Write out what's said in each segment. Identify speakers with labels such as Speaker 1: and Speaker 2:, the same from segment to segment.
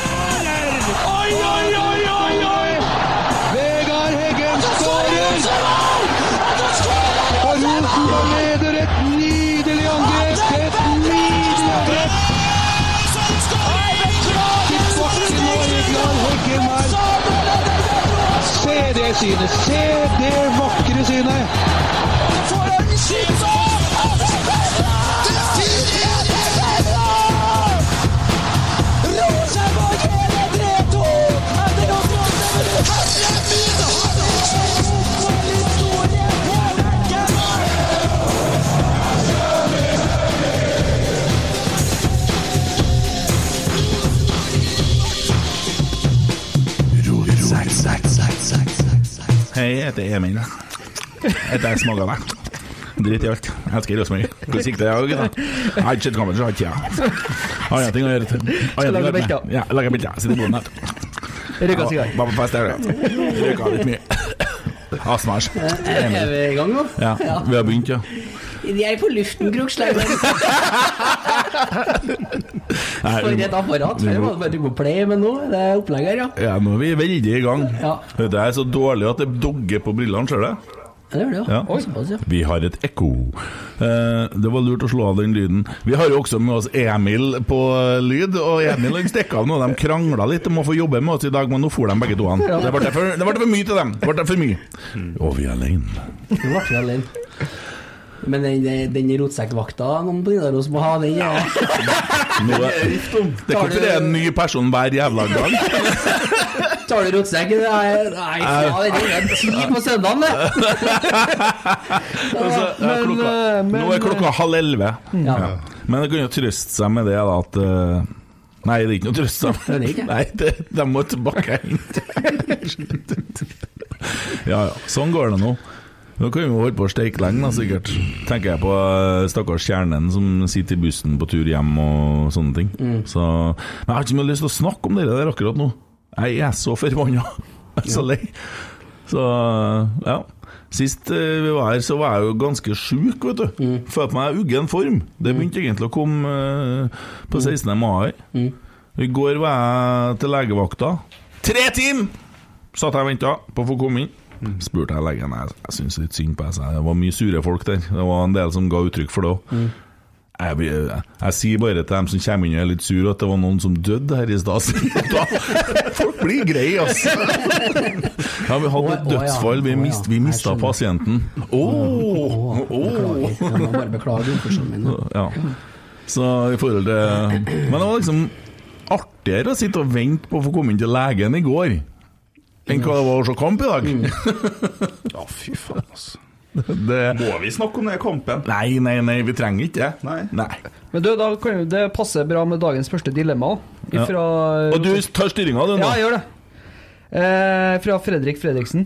Speaker 1: Oi, oi, oi, oi, oi! Vegard Heggen skårer! Og Rosenborg leder et nydelig angrep! Et nydelig angrep! Tilbake nå, Vegard Heggen her. Se det synet! Se det vakre synet!
Speaker 2: Hei, jeg heter Emil. Heter jeg smaker meg. Drit i alt. Jeg elsker Rosenborg. Hvordan gikk det i dag, gutta? Jeg har ikke sett kampen, så jeg har ikke tida. Har ingenting å gjøre. til- Har
Speaker 3: Skal
Speaker 2: ingenting å
Speaker 3: lage
Speaker 2: gjøre
Speaker 3: bilder.
Speaker 2: med. Ja, lager bilder. Sitter i boden her.
Speaker 3: Røyka sigar.
Speaker 2: Var på fest her, da. Røyka litt mye. Astmaers.
Speaker 3: Er
Speaker 2: Emil.
Speaker 3: vi i gang nå?
Speaker 2: Ja, vi har begynt, ja.
Speaker 4: De er på luften, Kroksleiven.
Speaker 2: Nei,
Speaker 3: For
Speaker 2: vi
Speaker 3: et
Speaker 2: må-
Speaker 3: apparat. Før var det bare å trykke på play, men nå er det opplegg her, ja.
Speaker 2: ja, nå er vi veldig i gang.
Speaker 3: Ja.
Speaker 2: Dette er så dårlig at det dogger på brillene, ser du det?
Speaker 3: Ja, Det gjør det, ja.
Speaker 2: Ja.
Speaker 3: Oi, såpass, ja.
Speaker 2: Vi har et ekko. Eh, det var lurt å slå av den lyden. Vi har jo også med oss Emil på eh, lyd, og Emil han stikk av nå. De krangla litt om å få jobbe med oss i dag, men nå for de begge to. han. Det ble for, det ble for mye til dem. Det ble for mye. Og vi er alene.
Speaker 3: Nå ble vi alene. Men den, den rotsekkvakta noen på Nidaros må ha, den ja.
Speaker 2: Nå er- Det er hvorfor det er en ny person hver jævla gang.
Speaker 3: Tar du rotsekk? Nei, nei, faen, det er jo ti på søndagen, det.
Speaker 2: Altså, ja,
Speaker 5: men,
Speaker 2: klokka,
Speaker 5: eh, men-
Speaker 2: nå er klokka halv elleve.
Speaker 3: Ja.
Speaker 2: Ja. Men det kan jo trøste seg med det da, at eh, Nei, det er ikke noe trøst.
Speaker 3: Det er
Speaker 2: seg
Speaker 3: det
Speaker 2: med.
Speaker 3: ikke.
Speaker 2: Nei, det, de må tilbake hit. ja, ja. Sånn går det nå. Nå kan vi jo holde på å steike lenge, da, sikkert. Tenker jeg på eh, stakkars kjernen som sitter i bussen på tur hjem og sånne ting. Så, men jeg har ikke mye lyst til å snakke om det der akkurat nå. Jeg er så forbanna. Jeg er så lei. Så eh, ja. Sist eh, vi var her, så var jeg jo ganske sjuk, vet du. Følte meg i uggen form. Det begynte egentlig å komme eh, på 16. mai. I går var jeg til legevakta. Tre timer! Satt jeg og venta på å få komme inn.
Speaker 3: Mm.
Speaker 2: Spurte jeg legen. Jeg, jeg syns litt synd på deg. Det var mye sure folk der. Det var en del som ga uttrykk for det òg.
Speaker 3: Mm.
Speaker 2: Jeg, blir- jeg, jeg sier bare til dem som kommer inn og er litt sur, at det var noen som døde her i stad. Da- Folk blir greie, ass! Ja, vi hadde et
Speaker 3: Å, å, ja.
Speaker 2: dødsfall. Vi,
Speaker 3: Å, ja.
Speaker 2: mist, vi
Speaker 3: Jeg
Speaker 2: mista
Speaker 3: skjønner.
Speaker 2: pasienten. Ååå!
Speaker 3: Beklager. Jeg må bare beklage oppførselen min. da.
Speaker 2: Ja. Så i forhold til Men det var liksom artigere å sitte og vente på å få komme inn til legen i går, enn hva det var å se kamp i dag.
Speaker 5: Mm. Ja, fy faen, altså.
Speaker 2: Det,
Speaker 5: Må vi snakke om den kampen?
Speaker 2: nei, nei, nei, vi trenger ikke det.
Speaker 5: Nei.
Speaker 6: Men du, da kan jo det passe bra med dagens første dilemma.
Speaker 2: Ja.
Speaker 6: Fra,
Speaker 2: Og du tar styringa, du, nå.
Speaker 6: Ja, jeg gjør det. Eh, fra Fredrik Fredriksen.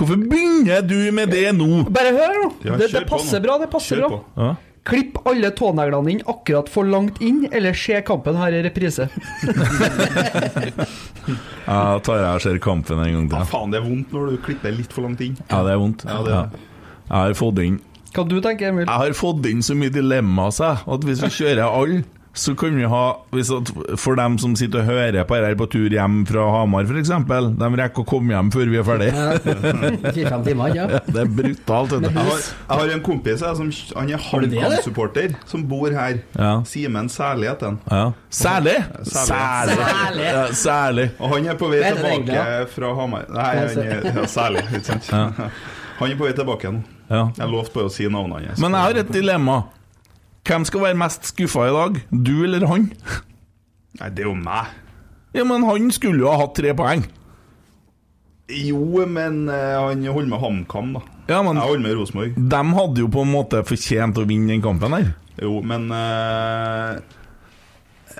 Speaker 2: Hvorfor begynner du med det nå?
Speaker 6: Bare hør, nå!
Speaker 5: Ja,
Speaker 6: det,
Speaker 5: kjør
Speaker 6: det
Speaker 5: på
Speaker 6: passer
Speaker 5: nå.
Speaker 6: bra. det passer
Speaker 5: Kjør
Speaker 6: bra.
Speaker 5: på.
Speaker 2: Ja.
Speaker 6: Klipp alle tåneglene inn akkurat for langt inn, eller se kampen her i reprise.
Speaker 2: Ja, tar jeg og ser kampen en gang
Speaker 5: Ja,
Speaker 2: til.
Speaker 5: faen, det er vondt når du klipper litt for langt inn.
Speaker 2: Ja, det er vondt.
Speaker 5: Ja, det er det.
Speaker 2: Jeg har fått inn
Speaker 6: Hva du tenker Emil?
Speaker 2: Jeg har fått inn så mye dilemma seg, at hvis vi kjører alle, så kan vi ha hvis at, For dem som sitter og hører på dette på tur hjem fra Hamar, f.eks. De rekker å komme hjem før vi er ferdige.
Speaker 3: Fire-fem timer, ja.
Speaker 2: Det er brutalt. vet
Speaker 5: Jeg
Speaker 2: du.
Speaker 5: har, jeg har en kompis jeg, som han er
Speaker 3: du det,
Speaker 5: HamKam-supporter, som bor her.
Speaker 2: Ja.
Speaker 5: Simen Særlig heter han.
Speaker 2: Ja. Særlig!
Speaker 5: Særlig.
Speaker 3: Særlig.
Speaker 2: Ja, særlig.
Speaker 5: Og han er på vei
Speaker 3: Hva heter det egentlig,
Speaker 5: tilbake
Speaker 3: da?
Speaker 5: fra Hamar Nei, han er ja, Særlig, ikke sant? Han er på vei tilbake nå.
Speaker 2: Ja.
Speaker 5: Jeg lovte bare å si navnet hans.
Speaker 2: Men jeg har et dilemma. Hvem skal være mest skuffa i dag? Du eller han?
Speaker 5: Nei, det er jo meg.
Speaker 2: Ja, men han skulle jo ha hatt tre poeng.
Speaker 5: Jo, men eh, han holder med HamKam, da.
Speaker 2: Ja, men
Speaker 5: Jeg holder med Rosenborg.
Speaker 2: de hadde jo på en måte fortjent å vinne den kampen her.
Speaker 5: Jo, men eh,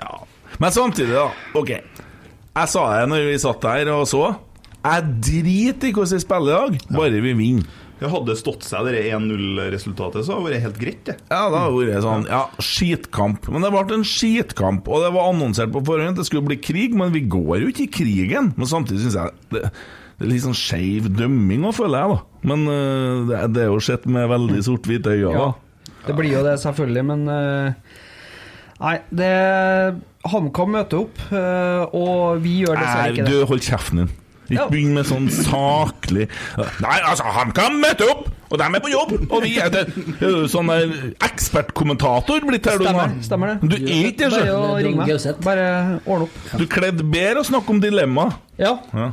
Speaker 5: Ja.
Speaker 2: Men samtidig, da. Ok. Jeg sa det når vi satt der og så. Jeg driter i hvordan vi spiller i dag, bare vi vinner.
Speaker 5: Det hadde stått seg, det 1-0-resultatet, så hadde det vært helt greit, det.
Speaker 2: Ja, da har det vært sånn Ja, skitkamp. Men det ble en skitkamp, og det var annonsert på forhånd at det skulle bli krig, men vi går jo ikke i krigen. Men samtidig syns jeg det, det er litt sånn skeiv dømming òg, føler jeg, da. Men øh, det, det er jo sett med veldig sort-hvite øyne, da.
Speaker 6: Det blir jo det, selvfølgelig, men eh, Nei, det HamKam møter opp, eh, og vi gjør dessverre
Speaker 2: Nei,
Speaker 6: ikke det.
Speaker 2: du, hold kjeften din.
Speaker 6: Ja.
Speaker 2: Ikke begynn med sånn saklig Nei, altså, HamKam møter opp, og de er på jobb! Og vi er til Er du Sånn der ekspertkommentator blitt her, du nå.
Speaker 6: Stemmer, stemmer det.
Speaker 2: Du er ikke
Speaker 6: Bare
Speaker 2: det, sjøl.
Speaker 6: å
Speaker 3: Det er
Speaker 6: ringe meg.
Speaker 3: Gauseth.
Speaker 6: Bare ordne opp.
Speaker 2: Du kledde bedre å snakke om dilemma.
Speaker 6: Ja,
Speaker 2: Ja.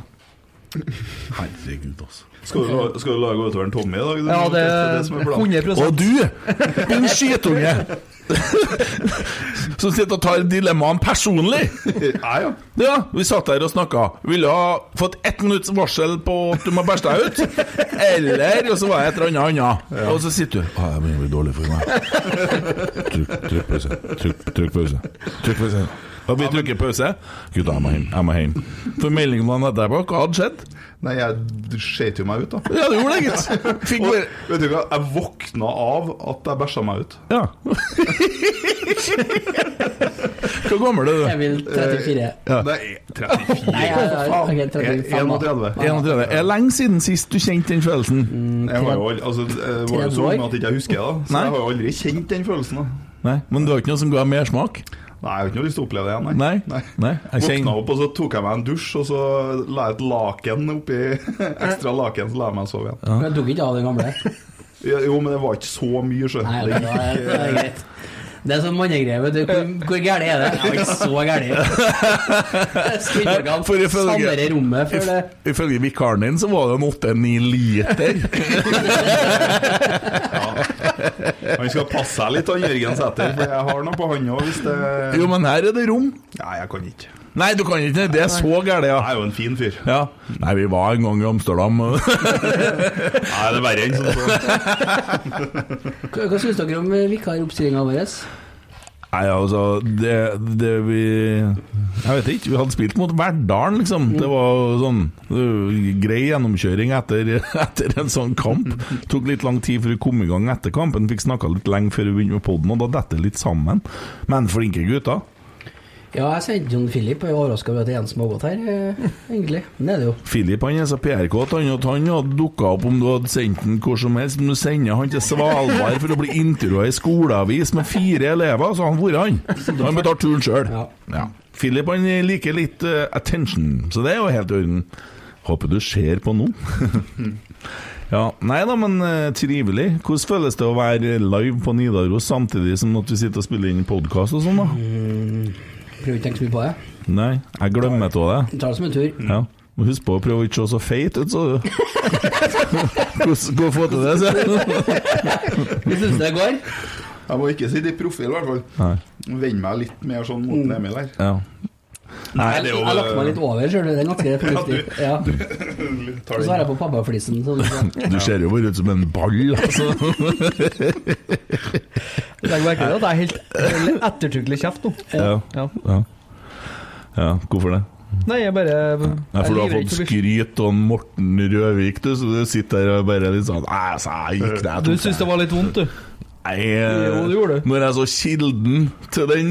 Speaker 2: Herregud, altså.
Speaker 5: Skal du, la- skal du lage utover en Tommy i dag? Du
Speaker 6: ja
Speaker 5: må
Speaker 6: det
Speaker 5: teste
Speaker 6: er
Speaker 5: det som er planen.
Speaker 6: 100
Speaker 2: Og du, din skitunge, som sitter og tar dilemmaene personlig!
Speaker 5: Ja, ja.
Speaker 2: Ja, vi satt her og snakka. Ville ha fått ett minutts varsel på at du må bæsje deg ut. Eller Og så var jeg et eller annet annet. Og så sitter du Å, jeg begynner å bli dårlig for meg. Trykk, trykk pause. Trykk, trykk pause. Trykk pause. Og vi trykker pause. Gutta, jeg må hjem. Jeg må hjem. For meldingene etterpå, hva hadde skjedd?
Speaker 5: Nei, jeg skjøt jo meg ut, da.
Speaker 2: Ja, det gjorde det, gitt. Fikk
Speaker 5: Og,
Speaker 2: bare
Speaker 5: vet du hva, jeg våkna av at jeg bæsja meg ut.
Speaker 2: Ja. Hvor gammel er du?
Speaker 3: Jeg vil
Speaker 6: eh,
Speaker 3: 34.
Speaker 5: Det er 34.
Speaker 3: Nei, jeg, jeg, jeg,
Speaker 5: Jeg er
Speaker 3: 35 da.
Speaker 5: 31.
Speaker 2: 31. Er lenge siden sist du kjente den følelsen?
Speaker 5: Jeg var jo aldri, altså, jeg var jo så ung at jeg ikke husker det, da. så
Speaker 2: Nei.
Speaker 5: jeg har jo aldri kjent den følelsen. da.
Speaker 2: Nei, Men du har ikke noe som ga mersmak?
Speaker 5: Nei, jeg har ikke noe lyst til å oppleve det igjen.
Speaker 2: Nei? Nei. Jeg
Speaker 5: Våkna
Speaker 2: kjenner
Speaker 5: opp, og så tok jeg meg en dusj, og så la jeg et laken oppi Ekstra laken, så la jeg meg sove igjen.
Speaker 3: Jeg tok ikke av det gamle.
Speaker 5: Ja, Jo, men det var ikke så mye, sjø.
Speaker 3: Nei,
Speaker 5: Det
Speaker 3: det
Speaker 5: gikk-
Speaker 3: er, det er greit. Det er sånn mannegreie. vet du. Hvor, hvor gæli er det? Jeg var ikke så gæli.
Speaker 2: Nei, for
Speaker 3: Skrittblokkene
Speaker 2: ifølge-
Speaker 3: sandere rommet før det.
Speaker 2: Ifølge vikaren din så var det en åtte-ni liter.
Speaker 5: Han skal passe seg litt, han Jørgen Sæther, for jeg har noe på han òg, hvis det
Speaker 2: Jo, men her er det rom.
Speaker 5: Nei, jeg kan ikke.
Speaker 2: Nei, du kan ikke det. Det er så gærent,
Speaker 5: Jeg
Speaker 2: ja.
Speaker 5: er jo en fin fyr.
Speaker 2: ja. Nei, vi var en gang i Amsterdam.
Speaker 5: Nei, det er verre enn sånn. Så.
Speaker 3: Hva, hva syns dere om vikaroppstillinga vår?
Speaker 2: Nei, altså det, det vi Jeg vet ikke. Vi hadde spilt mot Verdalen, liksom. Det var jo sånn det var grei gjennomkjøring etter, etter en sånn kamp. Tok litt lang tid før vi kom i gang etter kampen. Fikk snakka litt lenge før vi begynte med poden, og da detter det litt sammen. Men flinke gutter.
Speaker 3: Ja, jeg sendte John Philip, og jeg er overraska over at det er en som har gått her, eh, egentlig. Men det er det jo.
Speaker 2: Philip han er så PR-kåt, han at han hadde dukka opp om du hadde sendt han hvor som helst. Men du sender han til Svalbard for å bli intervjua i skoleavis med fire elever, så han hvor er han? Han betalte turen sjøl.
Speaker 3: Ja.
Speaker 2: Ja. Philip han liker litt eh, attention, så det er jo helt i orden. Håper du ser på nå. ja, Nei da, men eh, trivelig. Hvordan føles det å være live på Nidaros samtidig som at vi sitter og spiller inn podkast og sånn, da?
Speaker 3: Prøver ikke å tenke så mye på det.
Speaker 2: Nei, jeg glemmer av det.
Speaker 3: Jeg tar det som en tur.
Speaker 2: Ja. Må huske på å prøve å ikke se så feit ut, sa du. Hvordan gå og få til det, sier jeg.
Speaker 3: Vi syns det går.
Speaker 5: Jeg må ikke sitte i profil, i hvert fall.
Speaker 2: Nei.
Speaker 5: Vend meg litt mer sånn mot Emil her.
Speaker 2: Ja. Nei,
Speaker 5: det er
Speaker 3: Mm. Jeg
Speaker 5: jo-
Speaker 3: lagt meg litt over, ser du. Det er ganske fornuftig. Ja.
Speaker 5: Tar
Speaker 3: Og
Speaker 5: det
Speaker 3: så har
Speaker 5: inn.
Speaker 3: jeg på pappaflisen. sånn, Så
Speaker 2: Du ser jo bare ut som en ball, altså.
Speaker 6: Legg merke til at jeg er helt helt ettertrykkelig kjeft nå.
Speaker 2: Ja.
Speaker 6: Ja.
Speaker 2: ja. ja hvorfor det?
Speaker 6: Nei, jeg bare
Speaker 2: Nei, for du har fått
Speaker 6: skryt.
Speaker 2: skryt av Morten Røvik, du, så du sitter her og bare litt sånn Nei, altså, jeg gikk der.
Speaker 6: Du syns det var litt vondt, du?
Speaker 2: Nei, eh,
Speaker 6: Jo, det gjorde du.
Speaker 2: Når jeg så kilden til den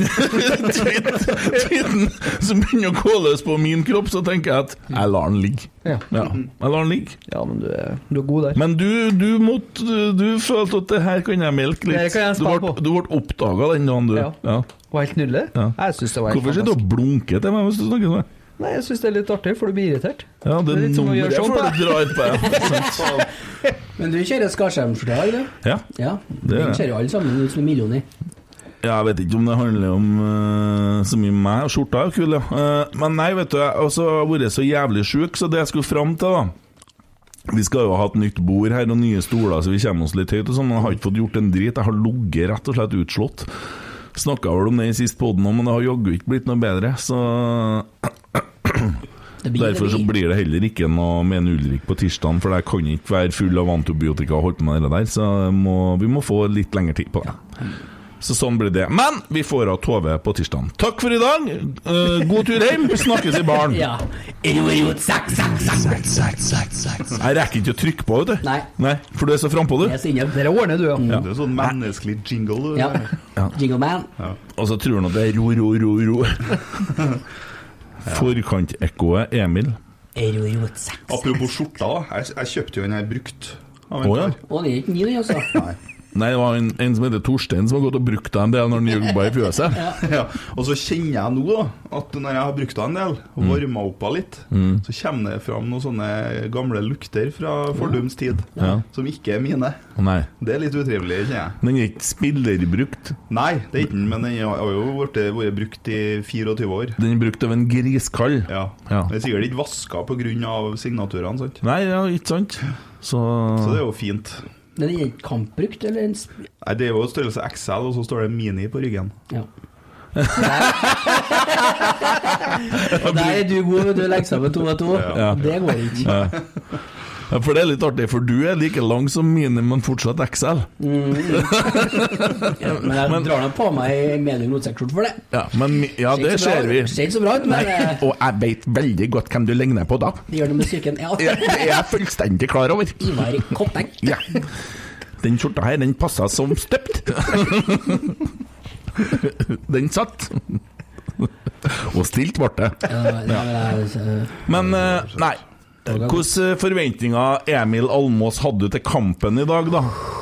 Speaker 2: tweeten som begynner å gå løs på min kropp, så tenker jeg at jeg lar den ligge.
Speaker 6: Ja.
Speaker 2: Ja, jeg lar den ligge.
Speaker 6: Ja, men du er, du er god der.
Speaker 2: Men du, du, måtte, du følte at det her kan jeg melke litt.
Speaker 6: Det kan jeg
Speaker 2: du
Speaker 6: spare
Speaker 2: ble,
Speaker 6: på.
Speaker 2: du ble oppdaga den dagen, du.
Speaker 6: Ja.
Speaker 2: Ja.
Speaker 6: Var helt nydelig?
Speaker 2: Ja.
Speaker 6: Jeg syns det var helt
Speaker 2: Hvorfor sitter du og blunker til meg hvis du snakker sånn?
Speaker 6: Nei, jeg syns det er litt artig, for du blir irritert.
Speaker 2: Ja,
Speaker 6: Det er
Speaker 2: det er
Speaker 6: litt som å
Speaker 2: nummeret
Speaker 6: gjøre sånn på
Speaker 2: jeg får du drar på. Ja.
Speaker 3: Men du kjører Skarsheim-skjorta i dag, du?
Speaker 2: Ja.
Speaker 3: Ja.
Speaker 2: er
Speaker 3: Den
Speaker 2: det.
Speaker 3: ser jo alle sammen ut som en million i.
Speaker 2: Ja, Jeg vet ikke om det handler om eh, så mye om meg. Skjorta er jo kul, ja. Eh, men nei, vet du, jeg har også vært så jævlig sjuk, så det jeg skulle fram til, da Vi skal jo ha et nytt bord her og nye stoler, så vi kommer oss litt høyt og sånn. men Jeg har ikke fått gjort en drit. Jeg har ligget rett og slett utslått. Snakka vel om det i sist podden òg, men det har jaggu ikke blitt noe bedre. Så
Speaker 3: Det blir
Speaker 2: derfor så
Speaker 3: det blir.
Speaker 2: blir det heller ikke noe med en Ulrik på tirsdagen, for jeg kan ikke være full av antibiotika og holde på med det der, så jeg må, vi må få litt lengre tid på det. Så sånn blir det. Men vi får av Tove på tirsdagen. Takk for i dag! Eh, god tur hjem! Vi snakkes i baren.
Speaker 3: Ja. Idiot, sak, sak, sak.
Speaker 2: Jeg rekker ikke å trykke på, vet du.
Speaker 3: Nei.
Speaker 2: for du er så frampå,
Speaker 3: Jeg
Speaker 2: du.
Speaker 3: er singel.
Speaker 6: Dere ordner du, ja.
Speaker 5: Det er sånn menneskelig jingle.
Speaker 3: Mm. Ja.
Speaker 5: det der.
Speaker 3: Jingle man.
Speaker 2: Og så tror han at det er ro, ro, ro, ro. Forkantekkoet Emil.
Speaker 3: Idiot, sak, sak.
Speaker 5: Apropos skjorta, da. Jeg, jeg kjøpte jo en her brukt. av en
Speaker 2: Å ja.
Speaker 5: kar.
Speaker 3: Å, den er ikke min, den, altså.
Speaker 5: Nei.
Speaker 2: Nei, det var en, en som heter Torstein som har gått og brukt deg en del når han jobba i fjøset.
Speaker 5: Ja, og så kjenner jeg nå da, at når jeg har brukt det en del,
Speaker 2: Mm.
Speaker 5: og varma opp av litt, så kommer det fram noen sånne gamle lukter fra fordums tid,
Speaker 2: Ja.
Speaker 5: som ikke er mine.
Speaker 2: Nei.
Speaker 5: Det er litt utrivelig, kjenner jeg.
Speaker 2: Den er ikke spillerbrukt.
Speaker 5: Nei, det er ikke den, men den har har jo vært, vært brukt i 24 år.
Speaker 2: Den er brukt av en griskall.
Speaker 5: Ja.
Speaker 2: Ja.
Speaker 5: Den er sikkert ikke vaska pga. signaturene, sant?
Speaker 2: Nei, ja, ikke sant? Så,
Speaker 5: Så det er jo fint.
Speaker 3: Men den er ikke kampbrukt, eller en sp-
Speaker 5: Nei, Det er jo størrelse XL, og så står det mini på ryggen.
Speaker 3: Ja. Og Der er du god, vet du. Legge sammen to og to.
Speaker 2: Ja.
Speaker 3: Det går ikke.
Speaker 2: Ja. Ja, for det er litt artig, for du er like lang som mine, men fortsatt XL.
Speaker 3: Men jeg drar nå på meg medium rotsekkskjorte for det.
Speaker 2: Ja, men, mi- ja det
Speaker 3: så bra-
Speaker 2: ser vi.
Speaker 3: Ser ikke så bra ut, men eh,
Speaker 2: Og jeg veit veldig godt hvem du ligner på da.
Speaker 3: det gjør noe med psyken. Ja.
Speaker 2: Jeg- Det er jeg fullstendig klar over.
Speaker 3: Ivar Kotteng.
Speaker 2: Ja. Den skjorta her, den passa som støpt. Den satt. Og stilt ble det.
Speaker 3: Ja, ja, men jeg- så-
Speaker 2: Men eh, nei. Hvilke forventninger Emil Almås hadde du til kampen i dag, da?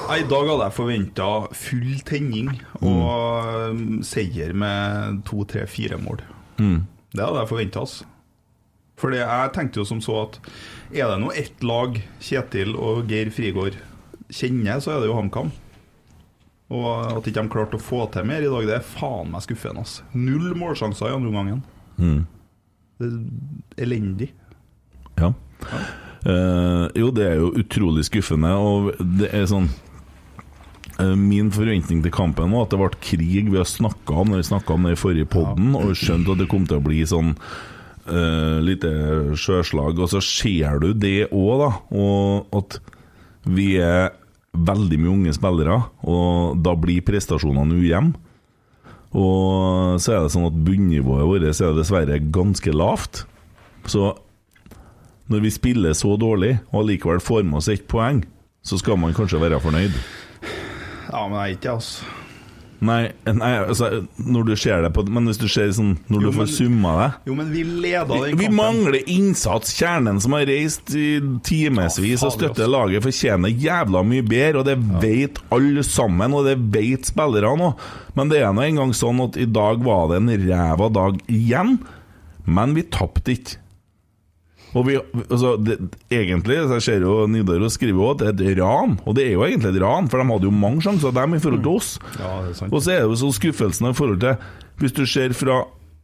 Speaker 5: Nei, I dag hadde jeg forventa full tenning og um, seier med to, tre, fire mål.
Speaker 2: Mm.
Speaker 5: Det hadde jeg forventa, altså. For jeg tenkte jo som så at er det nå ett lag Kjetil og Geir Frigård kjenner, så er det jo HamKam. Og at ikke de klarte å få til mer i dag, det er faen meg skuffende. Altså. Null målsjanser i andre omgangen.
Speaker 2: Mm.
Speaker 5: Det er elendig.
Speaker 2: Ja. Eh, jo, det er jo utrolig skuffende, og det er sånn eh, Min forventning til kampen var at det ble krig. Vi har snakka om det vi snakket om det i forrige podden, og skjønt at det kom til å bli sånn eh, lite sjøslag. Og så ser du det òg, da. Og at vi er veldig mye unge spillere, og da blir prestasjonene ujevne. Og så er det sånn at bunnivået vårt er dessverre ganske lavt. Så når vi spiller så dårlig og allikevel får med oss ett poeng, så skal man kanskje være fornøyd.
Speaker 5: Ja, men jeg er ikke det, altså.
Speaker 2: Nei, nei altså, når du ser det på Men hvis du ser sånn Når
Speaker 5: Jo,
Speaker 2: du
Speaker 5: men-
Speaker 2: får summa det
Speaker 5: Jo, men vi leda den
Speaker 2: vi, vi mangler innsats. Kjernen som har reist i timevis
Speaker 5: Ja,
Speaker 2: og
Speaker 5: fader,
Speaker 2: støtter
Speaker 5: altså.
Speaker 2: laget, fortjener jævla mye bedre, og det vet alle sammen, og det vet spillerne òg. Men det er nå engang sånn at i dag var det en ræva dag igjen, men vi tapte ikke. Og vi, altså, det, egentlig, så jeg ser jo Nidaros skriver jo at det er et ran, og det er jo egentlig et ran, for de hadde jo mange sjanser, dem, i forhold til oss.
Speaker 5: Ja, det er sant.
Speaker 2: Og så er det jo sånn skuffelsen i forhold til Hvis du ser fra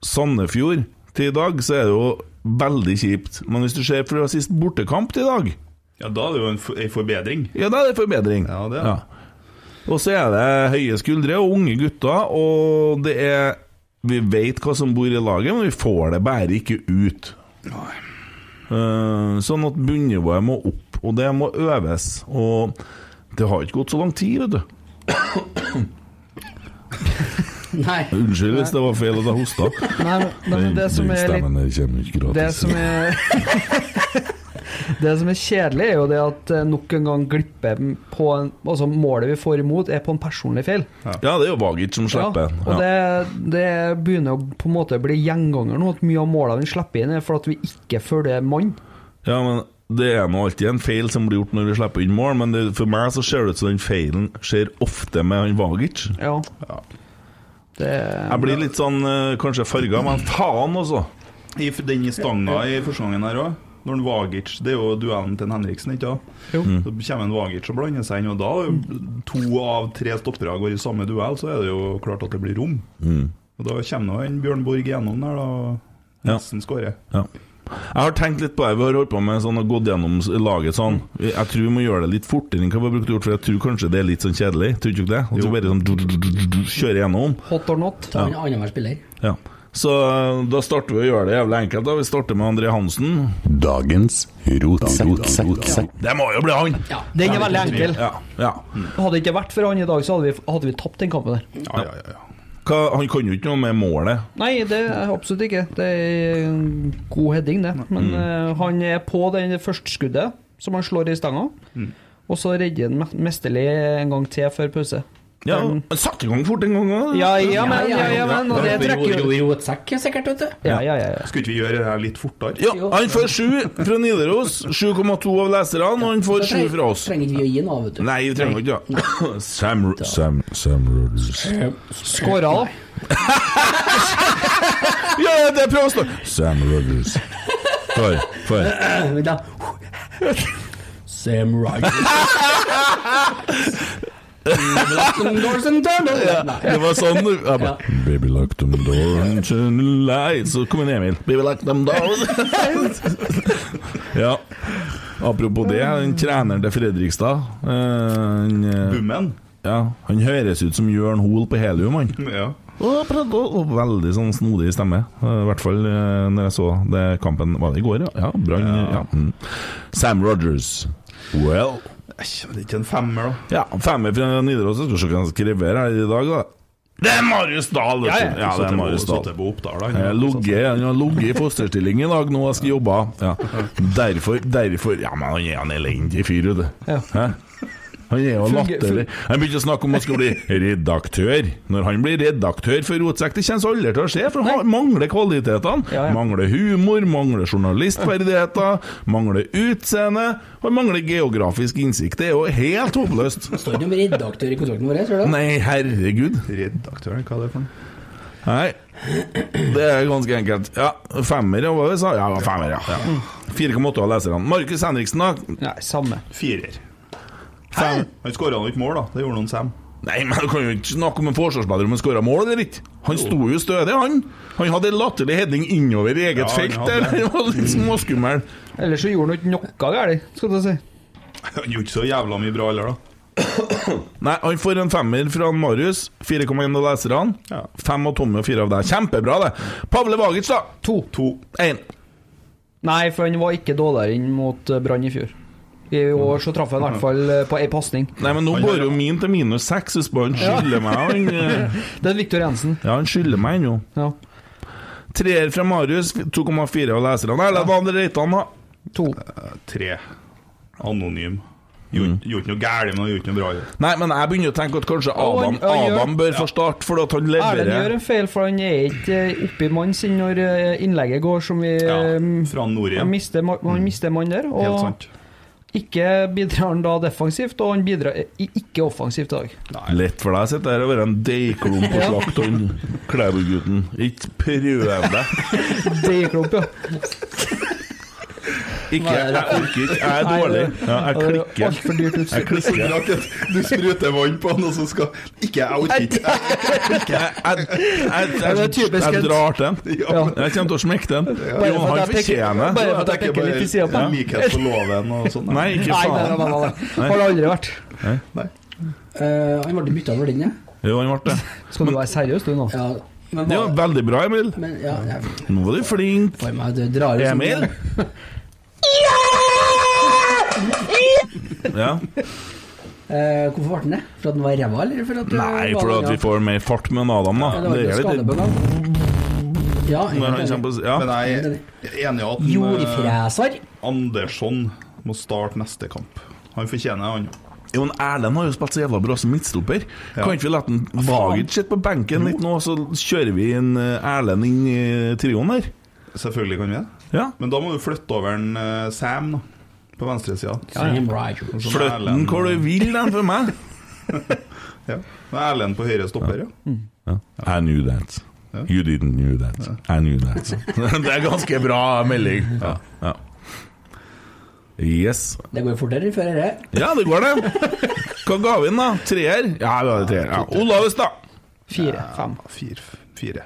Speaker 2: Sandefjord til i dag, så er det jo veldig kjipt. Men hvis du ser fra sist bortekamp til i dag,
Speaker 5: Ja, da er det jo en, f- en forbedring.
Speaker 2: ja, da er det forbedring.
Speaker 5: Ja, det er det.
Speaker 2: Og så er det høye skuldre og unge gutter, og det er Vi vet hva som bor i laget, men vi får det bare ikke ut. Eh, sånn at bunnivået må opp, og det må øves. Og det har ikke gått så lang tid, vet du.
Speaker 3: Nei.
Speaker 2: Unnskyld hvis det var feil at jeg hosta.
Speaker 6: Nei, men- nei, men det som er litt
Speaker 2: der Mm. kommer ikke gratis.
Speaker 6: Det som er Det som er kjedelig, er jo det at eh, nok en gang glipper på en, altså Målet vi får imot, er på en personlig feil.
Speaker 2: Ja, det er jo Vagic som slipper.
Speaker 6: Ja,
Speaker 2: Ja,
Speaker 6: og det, det begynner å på en måte bli gjenganger nå, at mye av målene vi slipper inn, er for at vi ikke følger mann.
Speaker 2: ja, men det er nå alltid en feil som blir gjort når vi slipper inn mål, men det, for meg så ser det ut som den feilen skjer ofte med han Vagic.
Speaker 6: Ja. Det,
Speaker 2: Jeg blir litt sånn eh, kanskje farga, men faen, altså!
Speaker 5: I f- den i stanga i første gangen her òg. Når en Vagic Det er jo duellen til en Henriksen, ikke sant?
Speaker 6: Jo.
Speaker 2: Mm.
Speaker 5: Så kommer en Vagic og blander seg inn, og da er jo to av tre stoppere går i samme duell, så er det jo klart at det blir rom.
Speaker 2: Mm.
Speaker 5: Og da kommer nå en Bjørn Borg gjennom der, da.
Speaker 2: Ja.
Speaker 5: Nesten skårer.
Speaker 2: Ja. Jeg har tenkt litt på det. Vi har holdt på med sånn og gått gjennom s- laget sånn. Jeg tror vi må gjøre det litt fortere enn hva vi har brukt å gjøre, for jeg tror kanskje det er litt sånn kjedelig. Tror du ikke det? At du bare sånn du- du- du- du- du- kjører gjennom.
Speaker 6: hot or not.
Speaker 3: Ta en annenhver spiller.
Speaker 2: Ja. Så eh, da starter vi å gjøre det jævlig enkelt. da Vi starter med André Hansen.
Speaker 7: Dagens rotsekk.
Speaker 2: Det må jo bli han!
Speaker 3: Ja.
Speaker 6: Den er veldig enkel.
Speaker 2: Ja, ja.
Speaker 6: Hadde det ikke vært for han i dag, så hadde vi, hadde vi tapt den kampen der.
Speaker 5: Ja, ja, ja. ja.
Speaker 2: Hva, han kan jo ikke noe med målet.
Speaker 6: Nei, det er absolutt ikke. Det er en god heading, det. Men eh, han er på den første Mm. skuddet som han slår i stanga. Og så redder han me- mesterlig en gang til før pause.
Speaker 2: Ja, satte i gang fort en gang òg.
Speaker 6: Ja, ja, men, ja, ja, men og det trekker jo
Speaker 3: Rotsekk, sikkert, vet du.
Speaker 6: Ja, ja, ja. ja.
Speaker 5: Skulle ikke vi gjøre det her litt fortere?
Speaker 2: Ja, han får sju fra Nidaros, 7,2 av leserne, og han får sju fra oss.
Speaker 3: Trenger ikke vi å gi noe, vet du.
Speaker 2: Nei, vi trenger ikke det. Sam, Sam, Sam Rogers.
Speaker 3: Eh,
Speaker 6: Skåra, da.
Speaker 2: Ja, ja, det er prøvestå! Sam Rogers. For, for.
Speaker 3: Vent da. Sam Rogers. Doors and tunnels. Nei.
Speaker 2: Det var sånn jeg bare,
Speaker 3: Ja.
Speaker 2: Baby lock them door and turn the lights Så kom en Emil Baby lock them door Ja Apropos det, den treneren til Fredrikstad eh, han, eh,
Speaker 5: Bummen?
Speaker 2: ja, han høres ut som Jørn Hol på Helium han.
Speaker 5: Ja.
Speaker 2: Og prøvde å- og Veldig sånn snodig stemme eh, I hvert fall eh, når jeg så det kampen Var det i går, ja? Ja, Brann, ja. Mm. Sam Rogers Well
Speaker 5: Æsj, men det er ikke en femmer, da.
Speaker 2: ja, femmer fra Nidaros. Jeg Skal se hva han skriver her i dag, da. Det er Marius Dahl! vet du.
Speaker 5: Ja,
Speaker 2: ja, det er Marius Dahl. Eh, Jeg har
Speaker 5: sånn
Speaker 2: ligget- Han har ligget i fosterstilling i dag nå og skal jobbe. Ja. Derfor, derfor Ja, men han er en elendig fyr, vet du. Hæ? Han er jo latterlig. Han begynte å snakke om å skulle bli redaktør. Når han blir redaktør for Rotsekk, det kommer aldri til å skje, for han mangler kvalitetene.
Speaker 6: Ja, ja.
Speaker 2: Mangler humor, mangler journalistferdigheter, mangler utseende, og mangler geografisk innsikt. Det er jo helt håpløst.
Speaker 3: Står det noen redaktør i kontrakten vår, ser du?
Speaker 2: Nei, herregud.
Speaker 5: Redaktøren, hva er det for noe?
Speaker 2: Nei. Det er ganske enkelt. Ja, femmer, ja, hva var det jeg sa? Ja, det var femmer, ja. ja. 4,8 av leserne. Markus Henriksen, da?
Speaker 6: Nei, samme.
Speaker 5: Firer. Fem. Han skåra nå ikke mål, da. Det gjorde han Sam.
Speaker 2: Nei, men du kan jo ikke snakke om en forsvarsspiller om han skåra mål eller ikke. Han sto jo stødig, han. Han hadde en latterlig heading innover i eget
Speaker 5: Ja, han
Speaker 2: felt
Speaker 5: hadde
Speaker 2: der.
Speaker 5: det.
Speaker 2: Han var litt småskummel.
Speaker 6: Ellers så gjorde han ikke noe galt, skal du si.
Speaker 5: Han gjorde ikke så jævla mye bra heller, da.
Speaker 2: Nei, han får en femmer fra han Marius. 4,1 av leserne.
Speaker 5: Ja.
Speaker 2: Fem av Tommy og fire av deg. Kjempebra, det. Pavle Vagic, da.
Speaker 6: To.
Speaker 5: To.
Speaker 2: Én.
Speaker 6: Nei, for han var ikke dårligere enn mot eh, Brann i fjor. I år så traff han i hvert fall eh, på ei pasning.
Speaker 2: Nei, men nå
Speaker 5: Han
Speaker 2: går
Speaker 5: har-
Speaker 2: jo min til minus seks, husk på. Han skylder meg, han. eh,
Speaker 6: Det er Viktor Jensen.
Speaker 2: Ja, han skylder meg ennå.
Speaker 6: Ja.
Speaker 2: Treer fra Marius, 2,4 av leserne. Erlend Vandre Reitan, da.
Speaker 6: To.
Speaker 5: Eh, Tre.
Speaker 2: Mm.
Speaker 5: Anonym. Gjorde gjorde ikke noe gærent, men han gjorde ikke noe bra heller.
Speaker 2: Nei, men jeg begynner å tenke at kanskje Adam,
Speaker 6: han- han gjør-
Speaker 2: Adam bør få start, for at han
Speaker 6: Erlend gjør
Speaker 2: leverer.
Speaker 6: en feil, for han er ikke eh, oppi mannen sin når eh, innlegget går, som vi
Speaker 5: Ja,
Speaker 6: eh,
Speaker 5: fra nord
Speaker 6: Han
Speaker 5: igjen. Mm.
Speaker 6: mister, ma- han mister mann der,
Speaker 5: Helt
Speaker 6: og
Speaker 5: sant.
Speaker 6: ikke bidrar han da defensivt, og han bidrar i- ikke offensivt i dag.
Speaker 2: Lett for deg å sitte der og være en deigklump på slakt og en Klæbu-gutten. Ikke prøv deg.
Speaker 6: Det gikk opp, ja.
Speaker 2: Ikke, jeg orker ikke. Jeg er dårlig. Ja, jeg
Speaker 6: Det er
Speaker 2: klikker.
Speaker 6: altfor dyrt utstyr.
Speaker 2: Jeg klikker. Jeg,
Speaker 5: Du spruter vann på han, og så skal Ikke jeg orker ikke.
Speaker 2: jeg, jeg, jeg, jeg drar til den.
Speaker 5: Ja, men-
Speaker 2: Jeg kommer til å smekke den.
Speaker 6: for
Speaker 2: Jo,
Speaker 6: at
Speaker 2: han
Speaker 6: jeg peker-
Speaker 2: fortjener det.
Speaker 6: Bare for at jeg peker litt i siden på
Speaker 5: Ja.
Speaker 6: han.
Speaker 5: Likhet for loven og sånn.
Speaker 2: Nei,
Speaker 6: Nei,
Speaker 2: ikke
Speaker 6: nei, nei,
Speaker 2: faen.
Speaker 6: nei, nei. Har det aldri vært.
Speaker 3: Eh, Han ble bytta over den, ja.
Speaker 2: Jo, han ble det.
Speaker 6: Skal du være seriøs, du nå?
Speaker 3: ja. Men,
Speaker 2: Det var
Speaker 3: hva-
Speaker 2: veldig bra, Emil.
Speaker 3: men ja, jeg
Speaker 2: Nå var du flink.
Speaker 3: får meg til å dra ut som-
Speaker 2: Emil? Ja.
Speaker 3: Eh, Hvorfor ble den det? For at den var ræva, eller? For at
Speaker 2: Nei, for at vi får mer fart med en Adam, da.
Speaker 3: Ja, det var
Speaker 2: Det
Speaker 3: ikke
Speaker 2: er litt
Speaker 3: skadebønn. Ja,
Speaker 2: når han kommer på s- Ja.
Speaker 5: Men jeg er enig i at en, eh,
Speaker 3: Jordfreser.
Speaker 5: Andersson må starte neste kamp. Han fortjener det, han.
Speaker 2: Jo, men Erlend har jo spilt så jævla bra som midtstopper. Kan ikke vi la den Vagic sitte på benken litt nå, så kjører vi en eh, Erlend inn i eh, trioen der?
Speaker 5: Selvfølgelig kan vi det.
Speaker 2: Ja.
Speaker 5: Men da må du flytte over en eh, Sam da, på venstresida.
Speaker 3: Sam Rogers.
Speaker 2: Flytt den hvor du vil, den, for meg.
Speaker 5: Ja. Med Erlend på høyre stopper, ja.
Speaker 2: I knew that. You didn't knew that. I knew that. det er ganske bra melding. Ja. ja. Yes.
Speaker 3: Det går fortere før dette.
Speaker 2: Ja, det går, det. Hva ga vi den, da? Treer? Ja, vi hadde treer. Ja. Olavus, da.
Speaker 6: Fire, fem.
Speaker 5: Fire. fire.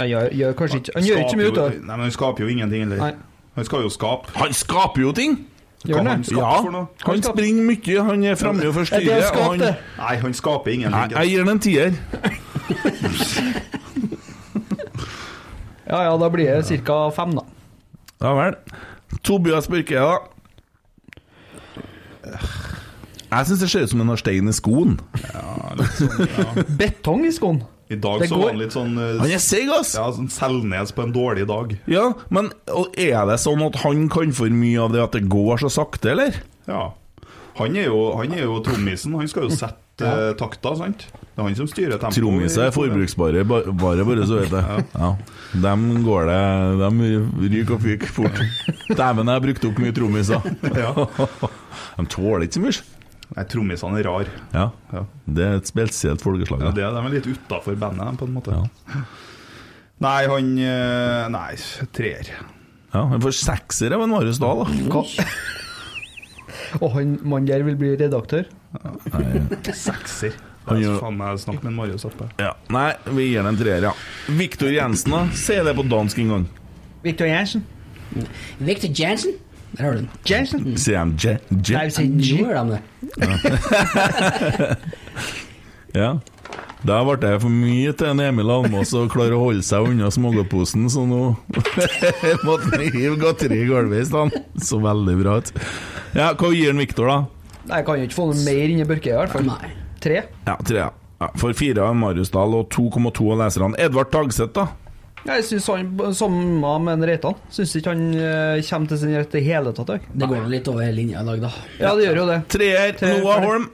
Speaker 6: Nei, gjør, gjør kanskje ikke Han gjør ikke så mye ut av
Speaker 5: Skaper jo- Nei, men Han skaper jo ingenting heller.
Speaker 6: Nei.
Speaker 5: Han skal jo skape.
Speaker 2: Han skaper jo ting!
Speaker 6: Gjør
Speaker 5: Hva
Speaker 6: han
Speaker 5: han
Speaker 6: det?
Speaker 5: skaper
Speaker 2: Ja,
Speaker 5: for noe?
Speaker 2: han
Speaker 6: skaper-
Speaker 2: springer mye, han er framme og
Speaker 6: Det er
Speaker 2: forstyrrer. og
Speaker 6: skapt,
Speaker 2: han-
Speaker 6: det.
Speaker 5: Nei, han skaper
Speaker 2: Nei,
Speaker 5: ingenting.
Speaker 2: jeg gir den en tier.
Speaker 6: Ja ja, da blir det ca. fem, da.
Speaker 2: Ja vel. Tobias Børke, da. Jeg syns det ser ut som han har stein i skoen.
Speaker 6: Betong i skoen.
Speaker 5: I dag
Speaker 6: Det
Speaker 5: så
Speaker 6: går-
Speaker 5: var han litt sånn eh,
Speaker 2: Han er seig, ass!
Speaker 5: ja, sånn Selnes på en dårlig dag.
Speaker 2: Ja, men og er det sånn at han kan for mye av det at det går så sakte, eller?
Speaker 5: Ja. Han er jo, han er jo trommisen. Han skal jo sette eh, takta, sant? Det er han som styrer tempoet.
Speaker 2: Trommiser er forbruksbare, ba- bare bare så vet jeg. Ja. Dem går det De ryker og fyker fort. Dæven, jeg har brukt opp mye trommiser.
Speaker 5: Ja.
Speaker 2: De tåler ikke så mye.
Speaker 5: Nei, trommisene er rar.
Speaker 2: Ja.
Speaker 5: Ja.
Speaker 2: Det er et spesielt folkeslag.
Speaker 5: Ja,
Speaker 2: Ja,
Speaker 5: det, de er litt utafor bandet, på en måte. Nei, han eh, Nei, treer.
Speaker 2: ja, men for sekser er vel Marius Dahl, da.
Speaker 6: Og han mannen der vil bli redaktør.
Speaker 5: Sekser.
Speaker 2: Han
Speaker 5: Jeg
Speaker 2: gjør-
Speaker 5: faen meg snakke med en Marius oppe.
Speaker 2: Ja. Nei, vi gir den en treer, ja. Viktor Jensen, da? Si det på dansk en gang.
Speaker 6: Victor Jensen.
Speaker 3: Victor Jansen. Der har du den.
Speaker 6: Jensen.
Speaker 2: Sier de Je...
Speaker 6: Nei,
Speaker 2: Je?
Speaker 6: vi sier
Speaker 3: Nå
Speaker 6: G.
Speaker 3: gjør de det.
Speaker 2: Ja. Da ble det for mye til en Emil Almås å klare å holde seg unna smågodtposen, så nå måtte vi hive godteri i gulvet i stedet. Så veldig bra ut. Ja, hva gir han Viktor, da?
Speaker 6: Nei, jeg kan jo ikke få noe mer inni Børke, i hvert fall.
Speaker 3: Nei.
Speaker 6: Tre.
Speaker 2: Ja, tre. ja. Ja, for fire av Marius Dahl og 2,2 av leserne. Edvard Tagseth, da?
Speaker 6: Jeg syns han samme med en Reitan. Syns ikke han eh, kommer til sin rett i hele tatt. jeg.
Speaker 3: Det går jo litt over linja i dag, da.
Speaker 6: Ja, det gjør jo det.
Speaker 2: Treer.
Speaker 6: Tre-
Speaker 2: Noah Holm.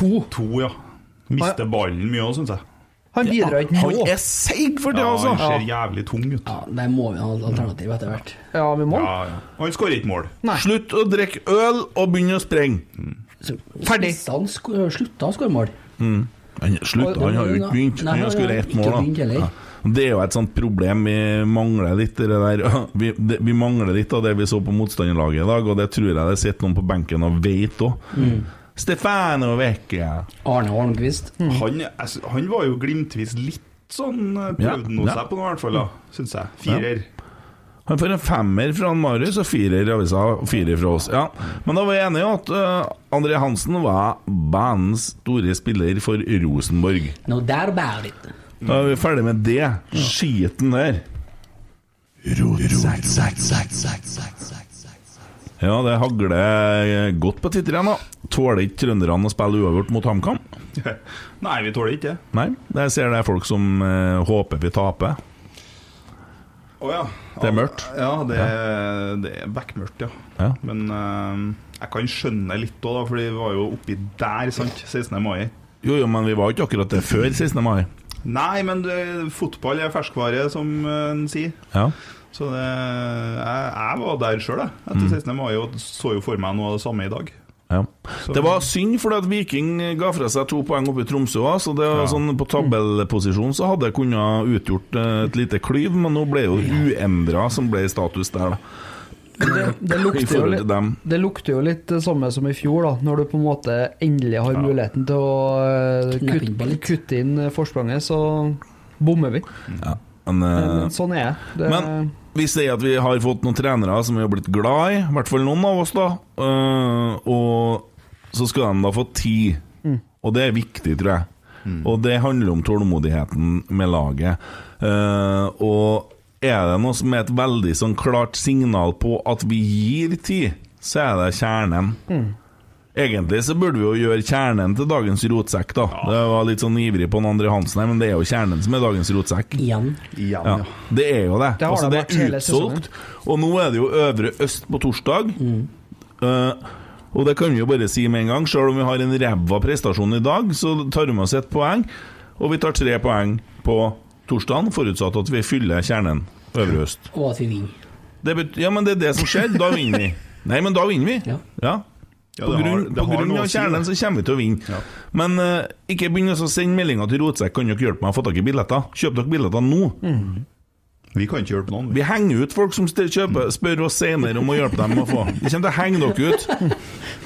Speaker 5: To. To, ja. Mister ballen mye òg, syns jeg.
Speaker 6: Han bidrar ikke
Speaker 2: Han
Speaker 6: nå.
Speaker 2: er seig for
Speaker 5: Ja,
Speaker 2: det, altså!
Speaker 5: han ser jævlig tung ut.
Speaker 3: Ja, Der må vi ha et alternativ etter hvert.
Speaker 6: Ja, vi må.
Speaker 5: Ja, ja. Han skårer ikke mål.
Speaker 2: Slutt å drikke øl og begynn å sprenge.
Speaker 3: Så,
Speaker 6: Ferdig.
Speaker 3: Han sk slutta å skåre mål.
Speaker 2: Han, slutt, han har jo ikke begynt. Han har skåret ett mål,
Speaker 3: Ikke begynt
Speaker 2: da.
Speaker 3: heller.
Speaker 2: Ja. Det er jo et sånt problem. Vi mangler litt det der vi, det, vi mangler litt av det vi så på motstanderlaget i dag, og det tror jeg det sitter noen på benken og vet òg.
Speaker 3: Mm.
Speaker 2: Stefano Vecchia.
Speaker 3: Arne Holmquist.
Speaker 2: Mm.
Speaker 5: Han, jeg sy- han var jo glimtvis litt sånn eh,
Speaker 2: Ja,
Speaker 5: Prøvde noe
Speaker 2: ja. Mm.
Speaker 5: seg på noe, i hvert fall. da, Syns jeg. Firer.
Speaker 2: Han får en femmer fra han Marius og firer i avisa, og firer fra oss. Ja. Men da var jeg enig i at eh, André Hansen var bandens store spiller for Rosenborg.
Speaker 3: No doubt about it.
Speaker 2: Da er vi ferdig med det. Skiten der. Ja, det hagler godt på tittelen, da. Tåler ikke trønderne å spille uavgjort mot HamKam?
Speaker 5: Nei, vi tåler ikke det.
Speaker 2: Nei, jeg ser det er folk som eh, håper vi taper.
Speaker 5: Å ja.
Speaker 2: Det er mørkt.
Speaker 5: Ja, det, er- det er bekmørkt, ja.
Speaker 2: Ja.
Speaker 5: Men eh, jeg kan skjønne litt òg, da, for vi var jo oppi der, sant? 16. mai.
Speaker 2: Jo, jo, men vi var ikke akkurat det før 16. mai.
Speaker 5: Nei, men det, fotball er ferskvare, som eh, en sier.
Speaker 2: Ja.
Speaker 5: Så det, jeg, jeg var der sjøl, jeg. Etter
Speaker 2: Mm.
Speaker 5: 16. mai og så jo for meg noe av det samme i dag.
Speaker 2: Ja. Det var synd, fordi at Viking ga fra seg to poeng oppe i Tromsø. også, Så det var sånn, På tabellposisjon så hadde jeg kunnet utgjort eh, et lite klyv, men nå ble jo uendra som ble status der, da.
Speaker 6: Det
Speaker 2: I
Speaker 6: lukter jo
Speaker 2: forhold
Speaker 6: litt
Speaker 2: til dem.
Speaker 6: Det lukter jo litt det samme som i fjor, da, når du på en måte endelig har muligheten til å eh,
Speaker 3: Kneppe inn på
Speaker 6: kutte,
Speaker 3: litt.
Speaker 6: kutte inn eh, forspranget, så bommer vi.
Speaker 2: Ja. Men, eh,
Speaker 6: Men sånn er jeg. det.
Speaker 2: Men vi sier at vi har fått noen trenere som vi har blitt glad i, i hvert fall noen av oss, da. Eh, og så skal de da få ti. Og det er viktig, tror jeg. Og det handler om tålmodigheten med laget. Eh, og er det noe som er et veldig sånn klart signal på at vi gir tid, så er det kjernen. Egentlig så burde vi jo gjøre kjernen til dagens rotsekk, da. Det var litt sånn ivrig på den andre Hansen her, men det er jo kjernen som er dagens rotsekk.
Speaker 3: Igjen.
Speaker 5: Igjen,
Speaker 2: Ja, det er jo det.
Speaker 6: Det har
Speaker 2: altså,
Speaker 6: det
Speaker 2: det
Speaker 6: vært
Speaker 2: er
Speaker 6: hele
Speaker 2: utsolgt. Og nå er det jo Øvre Øst på torsdag.
Speaker 6: Mm.
Speaker 2: Eh, og det kan vi jo bare si med en gang. Selv om vi har en ræva prestasjon i dag, så tar vi med oss ett poeng. Og vi tar tre poeng på torsdagen, forutsatt at vi fyller kjernen Øvre Øst.
Speaker 3: Og at vi vinner.
Speaker 2: Det bet ja, men det er det som skjer. Da vinner vi. Nei, men da vinner vi.
Speaker 3: Ja.
Speaker 2: ja.
Speaker 5: Ja,
Speaker 2: På
Speaker 5: det har-
Speaker 2: grunn,
Speaker 5: det
Speaker 2: på
Speaker 5: har
Speaker 2: grunn
Speaker 5: noe å
Speaker 2: av
Speaker 5: si,
Speaker 2: kjernen
Speaker 5: det.
Speaker 2: så kommer vi til å vinne.
Speaker 5: Ja.
Speaker 2: Men eh, ikke begynn å sende meldinger til Rotsekk. Kan dere hjelpe meg å få tak i billetter? Kjøp dere billetter nå!
Speaker 6: Mm.
Speaker 5: Vi kan ikke hjelpe noen.
Speaker 2: Vi henger ut folk som stil- kjøper, spør oss senere om å hjelpe dem å få. Vi kommer til å henge dere ut.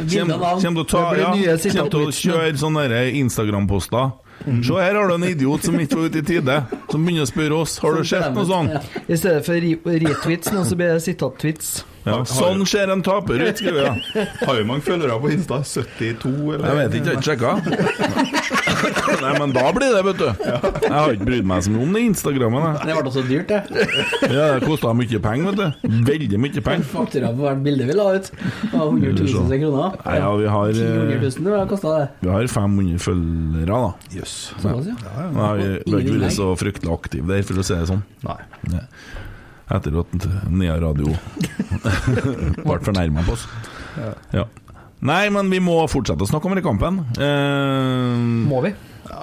Speaker 2: Kjem, kjem til å ta,
Speaker 6: Det blir
Speaker 2: ja,
Speaker 6: nye
Speaker 2: kjem til å kjøre sånne der Instagram-poster. Se, her har du en idiot som ikke var ute i tide, som begynner å spørre oss Har du sett noe sånt.
Speaker 6: I stedet for ri- retweets, nå så blir det sitat-tweets.
Speaker 2: Ja, sånn ser en taper ut, skriver jeg.
Speaker 5: Har jo mange følgere på Insta. 72, eller?
Speaker 2: Jeg vet ikke, jeg har ikke sjekka. Nei, men da blir det, vet du. Jeg har ikke brydd meg så mye om det Instagrammen. jeg.
Speaker 3: Det ble så dyrt, det.
Speaker 2: Ja, det kosta mye penger, vet du. Veldig mye penger.
Speaker 3: Faktura på hvert bilde vi la ut. Det var 100 000 kroner.
Speaker 2: Nei, ja, vi har,
Speaker 3: 400
Speaker 2: eh,
Speaker 3: 000 det kosta det.
Speaker 2: vi har 500 følgere, da.
Speaker 5: Jøss.
Speaker 3: Såpass, ja.
Speaker 2: Nei, jeg har ikke vært så fryktelig aktiv der, for å si det sånn.
Speaker 5: Nei.
Speaker 2: Etter at Nea Radio ble fornærma på oss. Ja. Nei, men vi må fortsette å snakke om den kampen. Eh,
Speaker 6: Må vi?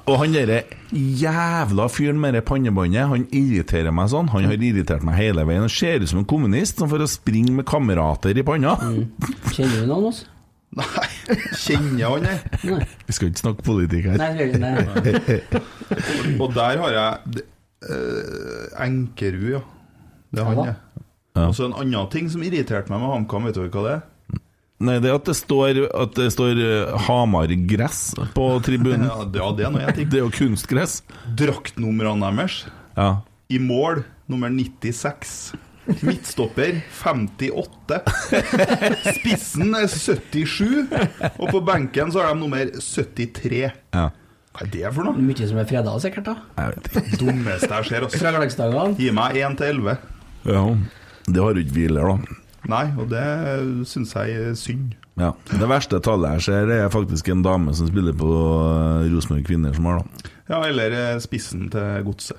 Speaker 2: og han derre jævla fyren med det pannebåndet, han irriterer meg sånn. Han har irritert meg hele veien. Han ser ut som en kommunist som får å springe med kamerater i panna.
Speaker 3: Kjenner du noen av oss?
Speaker 5: Nei, kjenner han det?
Speaker 3: Nei.
Speaker 2: Vi skal ikke snakke politikk her.
Speaker 3: Nei, jeg tror ikke det.
Speaker 5: Og der har jeg d- eh, Enkerud, ja. Det er han,
Speaker 3: Ja.
Speaker 5: ja. Og så en annen ting som irriterte meg med HamKam, vet du hva det er?
Speaker 2: Nei, det er at det står, at det står eh, Hamar-gress på tribunen.
Speaker 5: Ja, det, ja, det er noe jeg
Speaker 2: Det er jo kunstgress.
Speaker 5: tenker. Draktnumrene deres
Speaker 2: Ja.
Speaker 5: i mål nummer 96. Midtstopper 58. Spissen er 77. Og på benken så har de nummer 73.
Speaker 2: ja.
Speaker 5: Hva er det for noe?
Speaker 3: Mye som er freda, sikkert, da.
Speaker 2: Jeg vet ikke.
Speaker 5: Dummeste jeg ser.
Speaker 3: Fra
Speaker 5: Altså.
Speaker 3: hverdagsdagene.
Speaker 5: Gi meg 1 til 11.
Speaker 2: Ja. Det har jo ikke vi heller, da.
Speaker 5: Nei, og det syns jeg er synd.
Speaker 2: Ja. Det verste tallet jeg ser, er faktisk en dame som spiller på eh, Rosenborg Kvinner som har, da.
Speaker 5: Ja, eller eh, spissen til godset.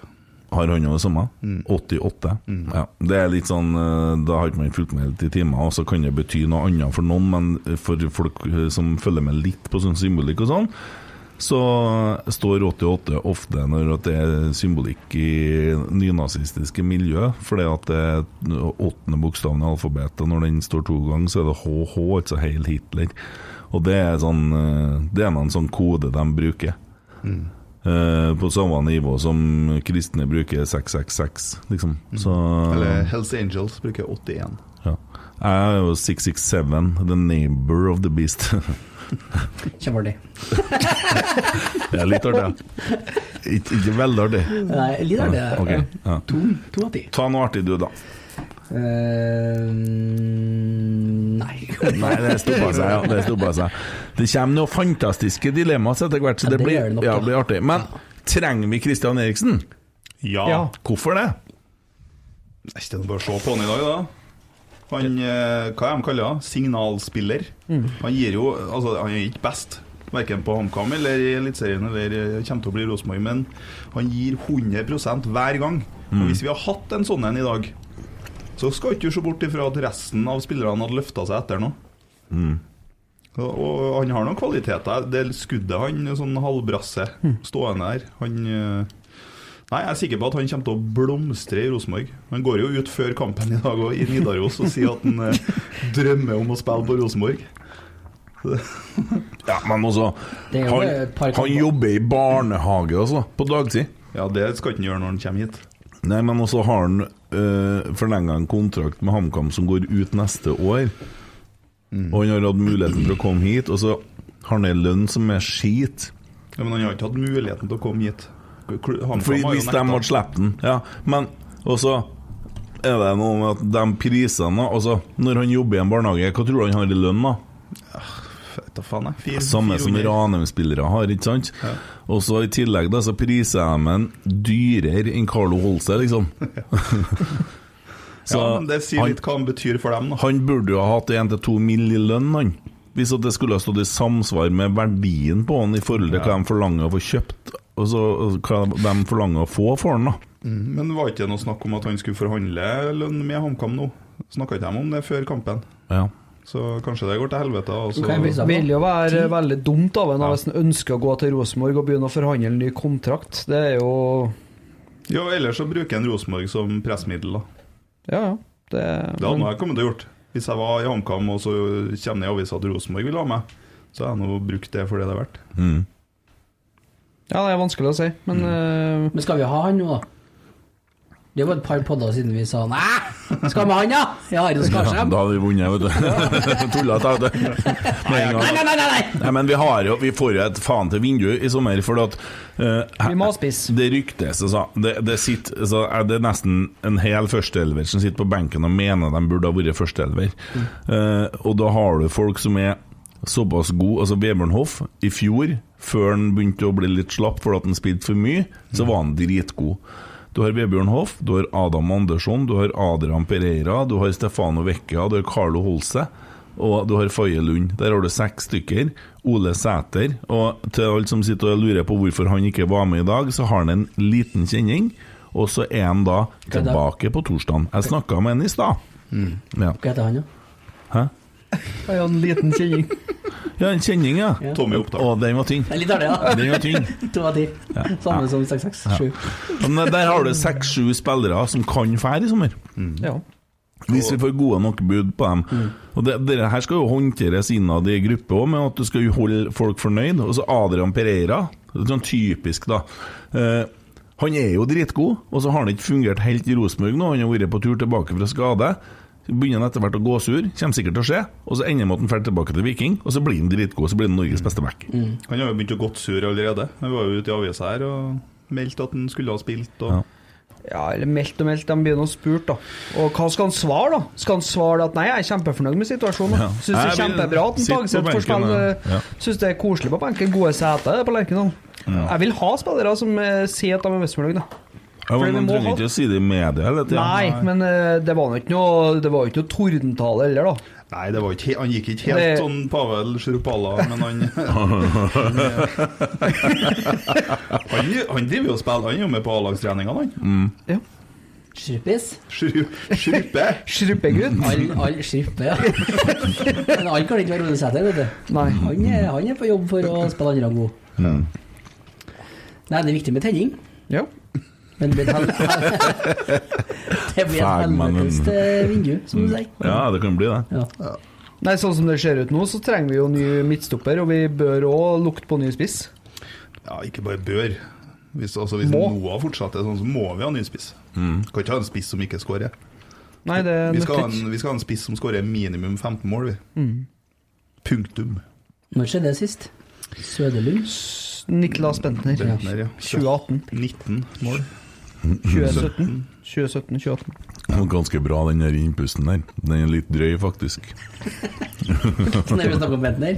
Speaker 2: Har han jo det samme? 88. Ja. Det er litt sånn eh, Da har ikke man fulgt med helt i timer, og så kan det bety noe annet for noen, men for folk eh, som følger med litt på sånn symbolikk og sånn, så står 88 ofte når at det er symbolikk i nynazistiske miljø, fordi at det er åttende bokstaven i alfabetet. Når den står to ganger, så er det HH, altså Heil Hitler. Og det er sånn eh, Det er en sånn kode de bruker. Eh, på samme nivå som kristne bruker 666, liksom. Så
Speaker 5: Eller Hells Angels bruker 81.
Speaker 2: ja. Jeg er jo 667, the neighbor of the beast.
Speaker 3: Kjempeartig.
Speaker 2: det er litt artig. ja. Ikke, ikke veldig artig.
Speaker 3: Nei, litt artig. det.
Speaker 2: Ok, ja.
Speaker 3: To, to av ti.
Speaker 2: Ta noe artig, du, da.
Speaker 3: Eh, nei.
Speaker 2: Nei, det stoppa seg, ja. Det, stoppa seg. det kommer noen fantastiske dilemmaer etter hvert, så
Speaker 3: Ja,
Speaker 2: det,
Speaker 3: det
Speaker 2: blir,
Speaker 3: gjør det nok,
Speaker 2: ja,
Speaker 3: da.
Speaker 2: det blir artig. Men trenger vi Christian Eriksen?
Speaker 5: Ja.
Speaker 6: Ja.
Speaker 2: Hvorfor det?
Speaker 5: Det er ikke noe bare å se på han i dag, da. Han, eh, hva er de kaller han? Signalspiller. Han gir jo Altså, han er ikke best. Verken på HamKam eller i Eliteserien eller eh, kommer til å bli Rosenborg, men han gir 100 hver gang. Og hvis vi har hatt en sånn en i dag, så skal ikke du se bort ifra at resten av spillerne hadde løfta seg etter noe. Og, og han har noen kvaliteter. Det skuddet han, sånn halvbrasse, stående der Han eh, Nei, jeg er sikker på at han kommer til å blomstre i Rosenborg. Han går jo ut før kampen i dag og i Nidaros og sier at han eh, drømmer om å spille på Rosenborg.
Speaker 2: Ja, men også
Speaker 3: Det er
Speaker 2: Han,
Speaker 3: jo et par kamper.
Speaker 2: han jobber i barnehage, altså, på dagtid.
Speaker 5: Ja, det skal han ikke gjøre når han kommer hit.
Speaker 2: Nei, men også har han øh, forlenga en kontrakt med HamKam som går ut neste år.
Speaker 3: Mm.
Speaker 2: Og han har hatt muligheten for å komme hit, og så har han ei lønn som er skit.
Speaker 5: Ja, men han har ikke hatt muligheten til å komme hit. Kl- han
Speaker 2: Fordi
Speaker 5: har jo
Speaker 2: hvis de
Speaker 5: nekta.
Speaker 2: hadde sluppet den Ja, men også er det noe med at de prisene Altså, når han jobber i en barnehage, hva tror du han har i lønn, da?
Speaker 5: Vet da faen, jeg. Fire-
Speaker 2: Samme som
Speaker 5: 400.
Speaker 2: Ranheim-spillere har, ikke sant? Og så i tillegg da, så priser jeg dem dyrere enn Carlo Holse, liksom. så
Speaker 5: Ja, men det sier
Speaker 2: han,
Speaker 5: litt hva han betyr for dem, da.
Speaker 2: han burde jo ha hatt 1-2 mill. i lønn, han. Hvis at det skulle ha stått i samsvar med verdien på han i forhold til hva de forlanger å få kjøpt, og så og hva de forlanger å få for han, da.
Speaker 5: Mm, Men var ikke det noe snakk om at han skulle forhandle lønn med HamKam nå? Snakka ikke de om det før kampen?
Speaker 2: Ja.
Speaker 5: Så kanskje det går til helvete. altså. Og så
Speaker 3: Hva er prisen?
Speaker 6: Det vil jo være veldig dumt av en hvis en ønsker å gå til Rosenborg og begynne å forhandle en ny kontrakt. Det er jo
Speaker 5: Ja, ellers så bruker han Rosenborg som pressmiddel, da.
Speaker 6: Ja, ja. Det,
Speaker 5: Det hadde jeg kommet til å gjort. Hvis jeg var i HamKam og så kjenner jeg i avisa at Rosenborg vil ha meg, så har jeg nå brukt det for det det er verdt.
Speaker 2: Mm.
Speaker 6: ja, det er vanskelig å si, men
Speaker 2: Mm.
Speaker 6: eh,
Speaker 3: Men skal vi ha han nå, da? Det var et par podder siden vi sa nei, skal vi ha han, ja? Ja, Arild
Speaker 2: Ja,
Speaker 3: Skarsheim.
Speaker 2: da hadde vi vunnet, vet du. Tulla jeg, vet du. Med en
Speaker 3: Nei,
Speaker 2: gang.
Speaker 3: nei, nei, nei! nei.
Speaker 2: Nei, men vi, har jo, vi får jo et faen til vindu i sommer, for at eh,
Speaker 6: Vi må ha spiss.
Speaker 2: Det ryktes, altså. Det, det, sitter, altså, er det er nesten en hel førsteelver som sitter på benken og mener de burde ha vært førsteelver. Eh, og da har du folk som er såpass gode Altså Vebjørn Hoff i fjor, før han begynte å bli litt slapp fordi at han spilte for mye, så var han dritgod. Du har Vebjørn Hoff, du har Adam Andersson, du har Adrian Pereira, du har Stefano Vecchia, du har Carlo Holse. Og du har Faye Lund. Der har du seks stykker. Ole Sæter. Og til alle som sitter og lurer på hvorfor han ikke var med i dag, så har han en liten kjenning. Og så er han da
Speaker 3: er det?
Speaker 2: tilbake på torsdagen. Jeg snakka med han i stad. Ja.
Speaker 3: Hva heter han, da?
Speaker 2: Hæ?
Speaker 6: Jeg har en liten kjenning.
Speaker 2: Ja, en kjenning, ja.
Speaker 5: Tommy Oppdal.
Speaker 2: Å, den var tynn.
Speaker 3: Det er litt artig, da.
Speaker 2: Den var tynn.
Speaker 3: To av ti. Samme
Speaker 2: Ja.
Speaker 3: som 6-6. Sju.
Speaker 2: Men der har du seks-sju spillere som kan fære i sommer.
Speaker 6: Ja.
Speaker 2: Hvis vi får gode nok bud på dem. Og det, det her skal jo håndteres innad i gruppe òg, med at du skal jo holde folk fornøyd. Og så Adrian Pereira, sånn typisk, da. Eh, han er jo dritgod, og så har han ikke fungert helt i Rosenborg nå. Han har vært på tur tilbake fra skade. Så Begynner han etter hvert å gå sur, kommer sikkert til å skje. Og så ender det med at han drar tilbake til Viking, og så blir han dritgod, så blir han Norges beste back.
Speaker 5: Han har jo begynt å gått sur allerede. Han var jo ute i avisa her og meldte at han skulle ha spilt. Og...
Speaker 2: Ja.
Speaker 6: ja, eller meldt og meldt. De begynner å spurt, da. Og hva skal han svare, da? Skal han svare at nei, jeg er kjempefornøyd med situasjonen?
Speaker 2: Ja.
Speaker 6: Ja. Syns det er
Speaker 2: Jeg vil
Speaker 6: kjempebra at en
Speaker 2: sitte på
Speaker 6: Tagseth får
Speaker 2: benken,
Speaker 6: spille
Speaker 2: ja. Ja.
Speaker 6: Syns det er koselig på benken. Gode seter på Lerkendal. Jeg vil ha spillere som eh, sier at de er mest fornøyd, da.
Speaker 2: Ja,
Speaker 6: Fordi
Speaker 2: men
Speaker 6: vi
Speaker 2: Man
Speaker 6: må
Speaker 2: trenger
Speaker 6: ha-
Speaker 2: ikke å si det i media hele tida.
Speaker 6: Nei, men eh, det var jo ikke noe Det var jo ikke noe tordentale heller, da.
Speaker 5: Nei, det var ikke, he- han gikk ikke helt
Speaker 6: Det-
Speaker 5: sånn Pavel Shrupalla, men han Han, han driver jo og spiller, han er jo med på A-lagstreningene, han.
Speaker 6: Ja.
Speaker 3: Shrupis.
Speaker 5: Shrup, Shrupe.
Speaker 6: Struppegutt?
Speaker 3: All, all shrupper, ja. Men alle kan ikke være Rune Sæther, vet du.
Speaker 6: Nei.
Speaker 3: Han er, han er på jobb for å spille andre god. Nei, det er viktig med tenning.
Speaker 6: Ja.
Speaker 3: Men det blir et hel- det blir et
Speaker 2: Fag, mannen.
Speaker 3: helvetes eh, vindu, som du sier.
Speaker 2: Ja, det kan bli det.
Speaker 3: Ja.
Speaker 6: Nei, sånn som det ser ut nå, så trenger vi jo ny midtstopper, og vi bør òg lukte på ny spiss.
Speaker 5: Ja, ikke bare bør. Hvis, altså, hvis
Speaker 6: Må.
Speaker 5: Noah fortsetter sånn, så må vi ha en ny spiss. Kan ikke ha en spiss som ikke skårer.
Speaker 6: Nei, det
Speaker 5: Vi skal,
Speaker 6: nytter
Speaker 5: ha
Speaker 6: ikke.
Speaker 5: en, vi skal ha en spiss som skårer minimum 15 mål, vi.
Speaker 6: Mm.
Speaker 5: Punktum.
Speaker 3: Når skjedde det sist? Søderlund?
Speaker 6: Niklas Bentner.
Speaker 5: Bentner, ja.
Speaker 6: 2018.
Speaker 5: 19 mål.
Speaker 6: 2017. 2017, 2018.
Speaker 2: Ganske bra, den der innpusten der. Den er litt drøy, faktisk.
Speaker 3: Når vi snakker om Bentner?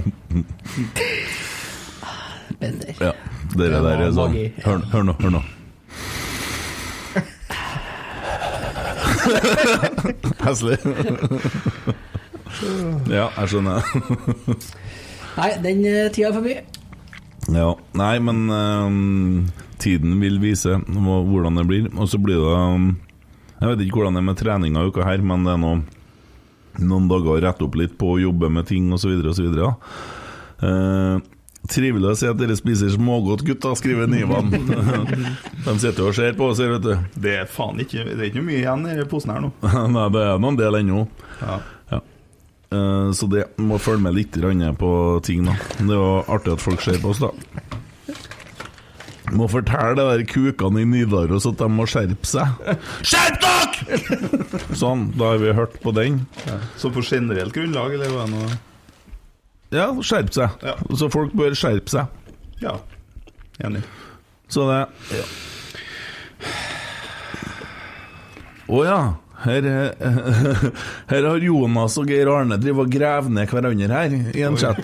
Speaker 3: Bentner.
Speaker 2: Ja, dere der er sånn
Speaker 3: Magi.
Speaker 2: Hør, nå, hør nå, hør nå. Heslig. ja, jeg skjønner.
Speaker 3: Nei, den eh, tida er forbi.
Speaker 2: Ja, nei, men ehm, tiden vil vise hva- hvordan det blir. Og så blir det ehm, Jeg vet ikke hvordan det er med treninga i uka her, men det er nå noen dager å rette opp litt på å jobbe med ting osv. osv. Uh, trivelig å se at dere spiser smågodt, gutta, skriver Nivan. De sitter og ser på oss her, vet du.
Speaker 5: Det er faen ikke Det er ikke mye igjen i denne posen her nå.
Speaker 2: Nei, det er noen del ennå.
Speaker 5: Ja.
Speaker 2: Eh, Så det må følge med litt grann på ting, da. Det er jo artig at folk ser på oss, da. Må fortelle de der kukene i Nidaros at de må skjerpe seg. Skjerp dere! Sånn, da har vi hørt på den.
Speaker 5: Så på generelt grunnlag, eller var det noe
Speaker 2: Ja, skjerp seg.
Speaker 5: Ja.
Speaker 2: Så folk bør skjerpe seg.
Speaker 5: Ja, enig.
Speaker 2: Så det Å ja. Her, eh, her har Jonas og Geir Arne drevet og gravd ned hverandre her i en
Speaker 5: Oi.
Speaker 2: chat.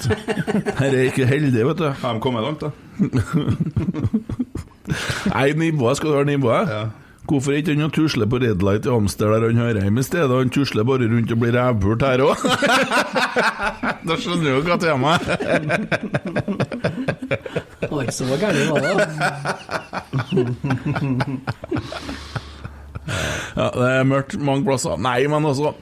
Speaker 2: Her er ikke heldig, vet du.
Speaker 5: Har de kommet langt, da?
Speaker 2: Nei, nivået skal du ha nivået.
Speaker 5: Ja.
Speaker 2: Hvorfor ikke han å tusle på Red Light i Amster der han hører hjemme i stedet? Han tusler bare rundt og blir rævpult her òg. da skjønner du jo hva temaet er.
Speaker 3: Oi, så var gærent var det. da.
Speaker 2: Ja, det er mørkt mange plasser. Nei, men altså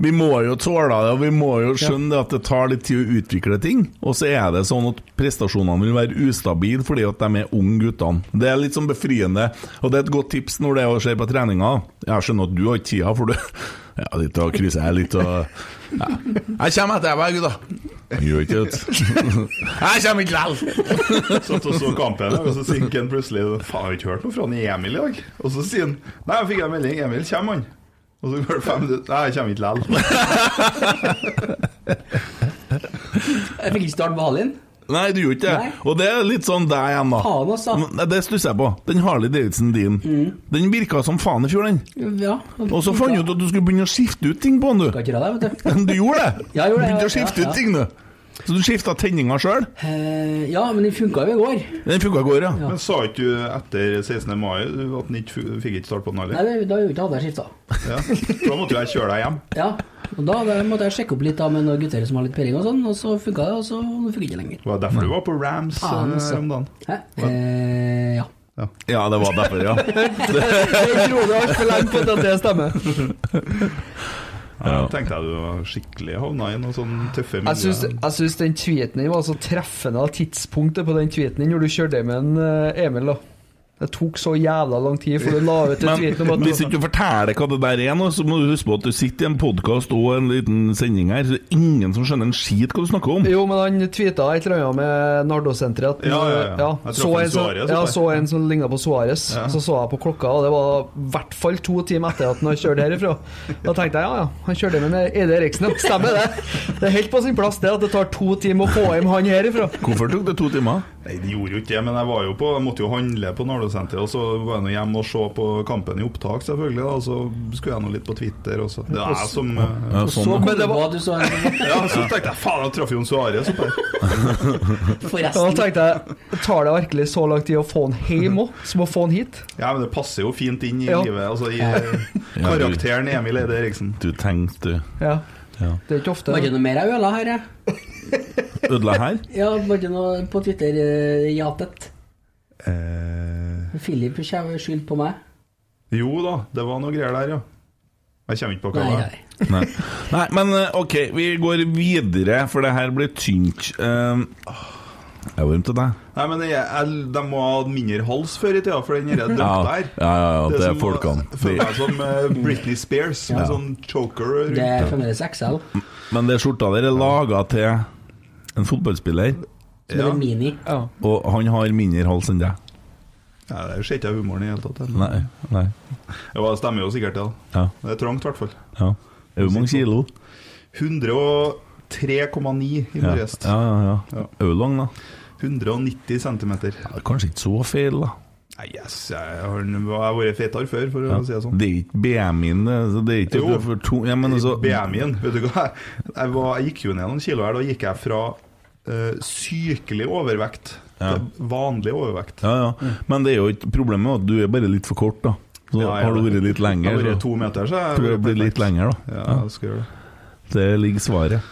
Speaker 2: Vi må jo tåle det, og vi må jo skjønne det at det tar litt tid å utvikle ting. Og så er det sånn at prestasjonene vil være ustabile fordi at de er unge guttene. Det er litt sånn befriende, og det er et godt tips når det er å se på treninga. Jeg skjønner at du har ikke tida, for du Ja, litt å krysse her, litt å ja. Jeg kommer etter deg, gutta. Gjør ikke det. Jeg kommer ikke vel!
Speaker 5: Satt og så kampen, og så synker han plutselig Faen, jeg har ikke hørt noe fra han Emil i dag. Og så sier han Nei, jeg fikk en melding. Emil, kommer han? Og så går det fem minutter. Nei, jeg kommer ikke likevel.
Speaker 3: Jeg fikk ikke starte med Halin.
Speaker 2: Nei, du gjorde ikke det.
Speaker 3: Nei.
Speaker 2: Og det er litt sånn deg igjen, da.
Speaker 3: Faen altså. også.
Speaker 2: Men Det stusser jeg på. Den Harley Davidson din,
Speaker 3: Mm.
Speaker 2: den virka som faen i fjor, den.
Speaker 3: Ja.
Speaker 2: Og så fant du ut at du skulle begynne å skifte ut ting på den,
Speaker 3: Skal
Speaker 2: du.
Speaker 3: ikke gjøre det, vet du.
Speaker 2: Du gjorde det!
Speaker 3: Ja,
Speaker 2: Du
Speaker 3: jeg gjorde det, ja,
Speaker 2: begynte å skifte ut
Speaker 3: ja, ja.
Speaker 2: ting, du. Så du skifta tenninga sjøl?
Speaker 3: Eh, ja, men den funka jo i går.
Speaker 2: Den funka i går, ja.
Speaker 5: Men sa ikke du etter 16. mai at han ikke fu- fikk ikke starte på den
Speaker 3: Nei,
Speaker 5: heller?
Speaker 3: det, da hadde jeg ikke skifta.
Speaker 5: Ja. Da måtte jo jeg kjøre deg hjem.
Speaker 3: Ja. Og da da måtte jeg sjekke opp litt da med noen gutter som har litt peiling og sånn, og så funka det, og så funker det ikke lenger.
Speaker 5: Det var derfor du var på Rams eh,
Speaker 3: Faen, altså.
Speaker 5: om dagen.
Speaker 3: Hæ? Eh, ja.
Speaker 2: Ja, det var derfor, ja.
Speaker 6: Jeg tror det er altfor lenge på at det stemmer.
Speaker 5: Ja, tenkte jeg du var skikkelig havna i noe sånn tøffe
Speaker 6: Jeg syns,
Speaker 5: miljø.
Speaker 6: jeg syns den tweeten din var så treffende av tidspunktet på den tweeten din når du kjørte med en eh, Emil, da. Det tok så jævla lang tid, for du la ut en tweet om at
Speaker 2: Men
Speaker 3: altså.
Speaker 2: hvis ikke du forteller hva det der er nå, så må du huske på at du sitter i en podkast og en liten sending her, så det er ingen som skjønner en skit hva du snakker om.
Speaker 6: Jo, men han tweeta et eller annet med Nardo-senteret. at-
Speaker 5: Ja, ja, ja. Jeg
Speaker 6: Så, en som,
Speaker 5: traff en Suarez,
Speaker 6: ja,
Speaker 5: bare.
Speaker 6: så en som ligna på Suárez.
Speaker 5: Ja.
Speaker 6: Så så jeg på klokka, og det var i hvert fall to timer etter at han har kjørt herifra. Da tenkte jeg ja, ja, han kjørte med Eide Eriksen. ja. Stemmer det. Det er helt på sin plass det at det tar to timer å få hjem han herifra.
Speaker 2: Hvorfor tok det to timer?
Speaker 5: Nei, det gjorde jo ikke det, men jeg var jo på Jeg måtte jo handle på Nardo-senteret, og så var jeg nå hjemme og se på kampen i opptak, selvfølgelig. da, Og så skulle jeg nå litt på Twitter også. Det er jeg som eh,
Speaker 2: Ja,
Speaker 3: Så
Speaker 2: sånn.
Speaker 3: kom
Speaker 6: Men det
Speaker 3: det på
Speaker 6: var-
Speaker 3: at du så en
Speaker 5: Ja, så tenkte jeg faen, jeg traff Jon Suárez opp her.
Speaker 6: Og da
Speaker 3: Forresten.
Speaker 6: tenkte jeg tar det virkelig så lang tid å få han hjem òg, som å få han hit?
Speaker 5: Ja, men det passer jo fint inn i
Speaker 6: Ja.
Speaker 5: livet. Altså i eh, karakteren Emil Eide Eriksen.
Speaker 2: Du tenkte du
Speaker 6: Ja.
Speaker 2: Ja.
Speaker 6: Det er ikke ofte.
Speaker 3: Var det noe mer av øla her, jeg?
Speaker 2: ødela her?
Speaker 3: Ja, var det noe på Twitter-jatet? Philip kommer skyld på meg.
Speaker 5: Jo da, det var noe greier der, ja. Jeg kommer ikke på hva
Speaker 3: Nei,
Speaker 5: det er.
Speaker 3: nei.
Speaker 2: Nei. Nei, men eh, OK, vi går videre, for det her blir tynt. Eh, Jeg var varm til deg.
Speaker 5: Nei, men jeg, jeg, De må ha hatt mindre hals før i tida, for den der
Speaker 2: Ja,
Speaker 5: drakta
Speaker 2: ja,
Speaker 5: her
Speaker 2: ja, ja, det er
Speaker 5: som-
Speaker 2: folkene.
Speaker 5: Føler meg som eh, Britney Spears, med sånn choker rundt.
Speaker 3: Det er fremdeles XL.
Speaker 2: Men det skjorta der er laga til en fotballspiller,
Speaker 3: Som er mini.
Speaker 6: Ja.
Speaker 2: og han har mindre hals enn deg.
Speaker 5: Nei, det ser ikke jeg humoren i det hele tatt. jeg.
Speaker 2: Nei. nei
Speaker 5: Ja, det stemmer jo sikkert, ja.
Speaker 2: Ja.
Speaker 5: Det er trangt, i hvert fall.
Speaker 2: ja. Er du mange kilo?
Speaker 5: 103,9 i
Speaker 2: Ja,
Speaker 5: morges.
Speaker 2: ja. ja, ja.
Speaker 5: Ja.
Speaker 2: Er du lang, da?
Speaker 5: 190 cm.
Speaker 2: Ja, Kanskje ikke så feil, da.
Speaker 5: Nei, yes, jeg har jeg har vært fetere før, for å si det sånn.
Speaker 2: Det er ikke BMI-en, det. så det er ikke
Speaker 5: Jo.
Speaker 2: for to, ja, men altså,
Speaker 5: BMI-en, vet du hva? Jeg, var, jeg gikk jo ned noen kilo her, da gikk jeg fra eh, sykelig overvekt til vanlig overvekt.
Speaker 2: Ja, ja. Men det er jo ikke problemet er at du er bare litt for kort, da. Så
Speaker 5: Ja, jeg
Speaker 2: har du
Speaker 5: vet.
Speaker 2: vært litt
Speaker 5: Jeg
Speaker 2: lenger,
Speaker 5: har
Speaker 2: så
Speaker 5: vært to meter, så
Speaker 2: tror jeg det blir litt lenger, da.
Speaker 5: Ja, jeg skal gjøre det.
Speaker 2: Det eh, ligger svaret.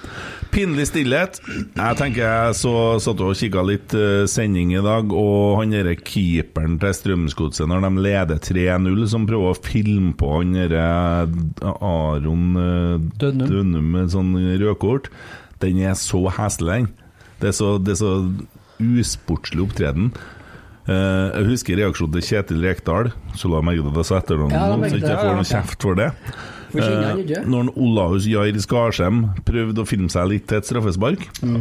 Speaker 2: Pinlig stillhet. Jeg tenker jeg så satt og kikka litt eh, sending i dag, og han derre keeperen til Strømsgodset, når de leder 3-0, som prøver å filme på han derre Aron eh,
Speaker 6: Dønnum.
Speaker 2: Dønnum med sånn rødkort, den er så heslig, den. Det er så, det er så usportslig opptreden. Eh, jeg husker reaksjonen til Kjetil Rekdal, så la meg det så etter
Speaker 3: Ja,
Speaker 2: noen,
Speaker 3: jeg merket
Speaker 2: så ikke jeg
Speaker 3: det,
Speaker 2: får
Speaker 3: ja,
Speaker 2: noe
Speaker 3: ok.
Speaker 2: kjeft for det.
Speaker 3: For skinner han
Speaker 2: Eh,
Speaker 3: ikke?
Speaker 2: Når en Olaus Jair Skarsheim prøvde å filme seg litt til et straffespark
Speaker 3: Mm.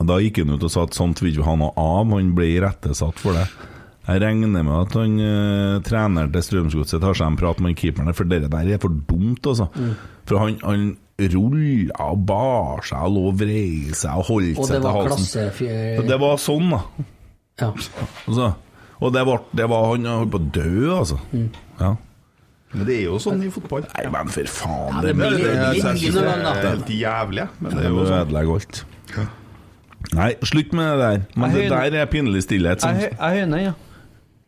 Speaker 2: og Da gikk han ut og sa at sånt vil ikke han ha av, han ble irettesatt for det. Jeg regner med at han eh, treneren til Strømsgodset tar seg en prat med keeperne, for det der er for dumt, altså.
Speaker 3: Mm.
Speaker 2: For han, han rulla og bar seg og lå og vrei seg og holdt
Speaker 3: Og det
Speaker 2: seg til
Speaker 3: var
Speaker 2: halsen.
Speaker 3: klassefjør...
Speaker 2: Det var sånn, da.
Speaker 3: Ja.
Speaker 2: Altså. Og det var, det var Han holdt på å dø, altså.
Speaker 3: Mm.
Speaker 2: Ja.
Speaker 5: Men det er jo sånn i fotball.
Speaker 2: Nei, men for faen,
Speaker 3: det
Speaker 5: Det,
Speaker 3: blir-
Speaker 5: det, det,
Speaker 3: det
Speaker 5: jeg
Speaker 3: blir
Speaker 5: synes
Speaker 3: noe
Speaker 5: det
Speaker 3: annet,
Speaker 5: er
Speaker 3: da.
Speaker 5: helt jævlig, men det
Speaker 2: Det
Speaker 5: er jo sånn.
Speaker 2: ødelegger alt. Nei, slutt med det der. Men det
Speaker 6: Jeg høyner-
Speaker 2: der er pinlig stillhet.
Speaker 6: Jeg, hø-
Speaker 2: sant?
Speaker 6: jeg høyner den, ja.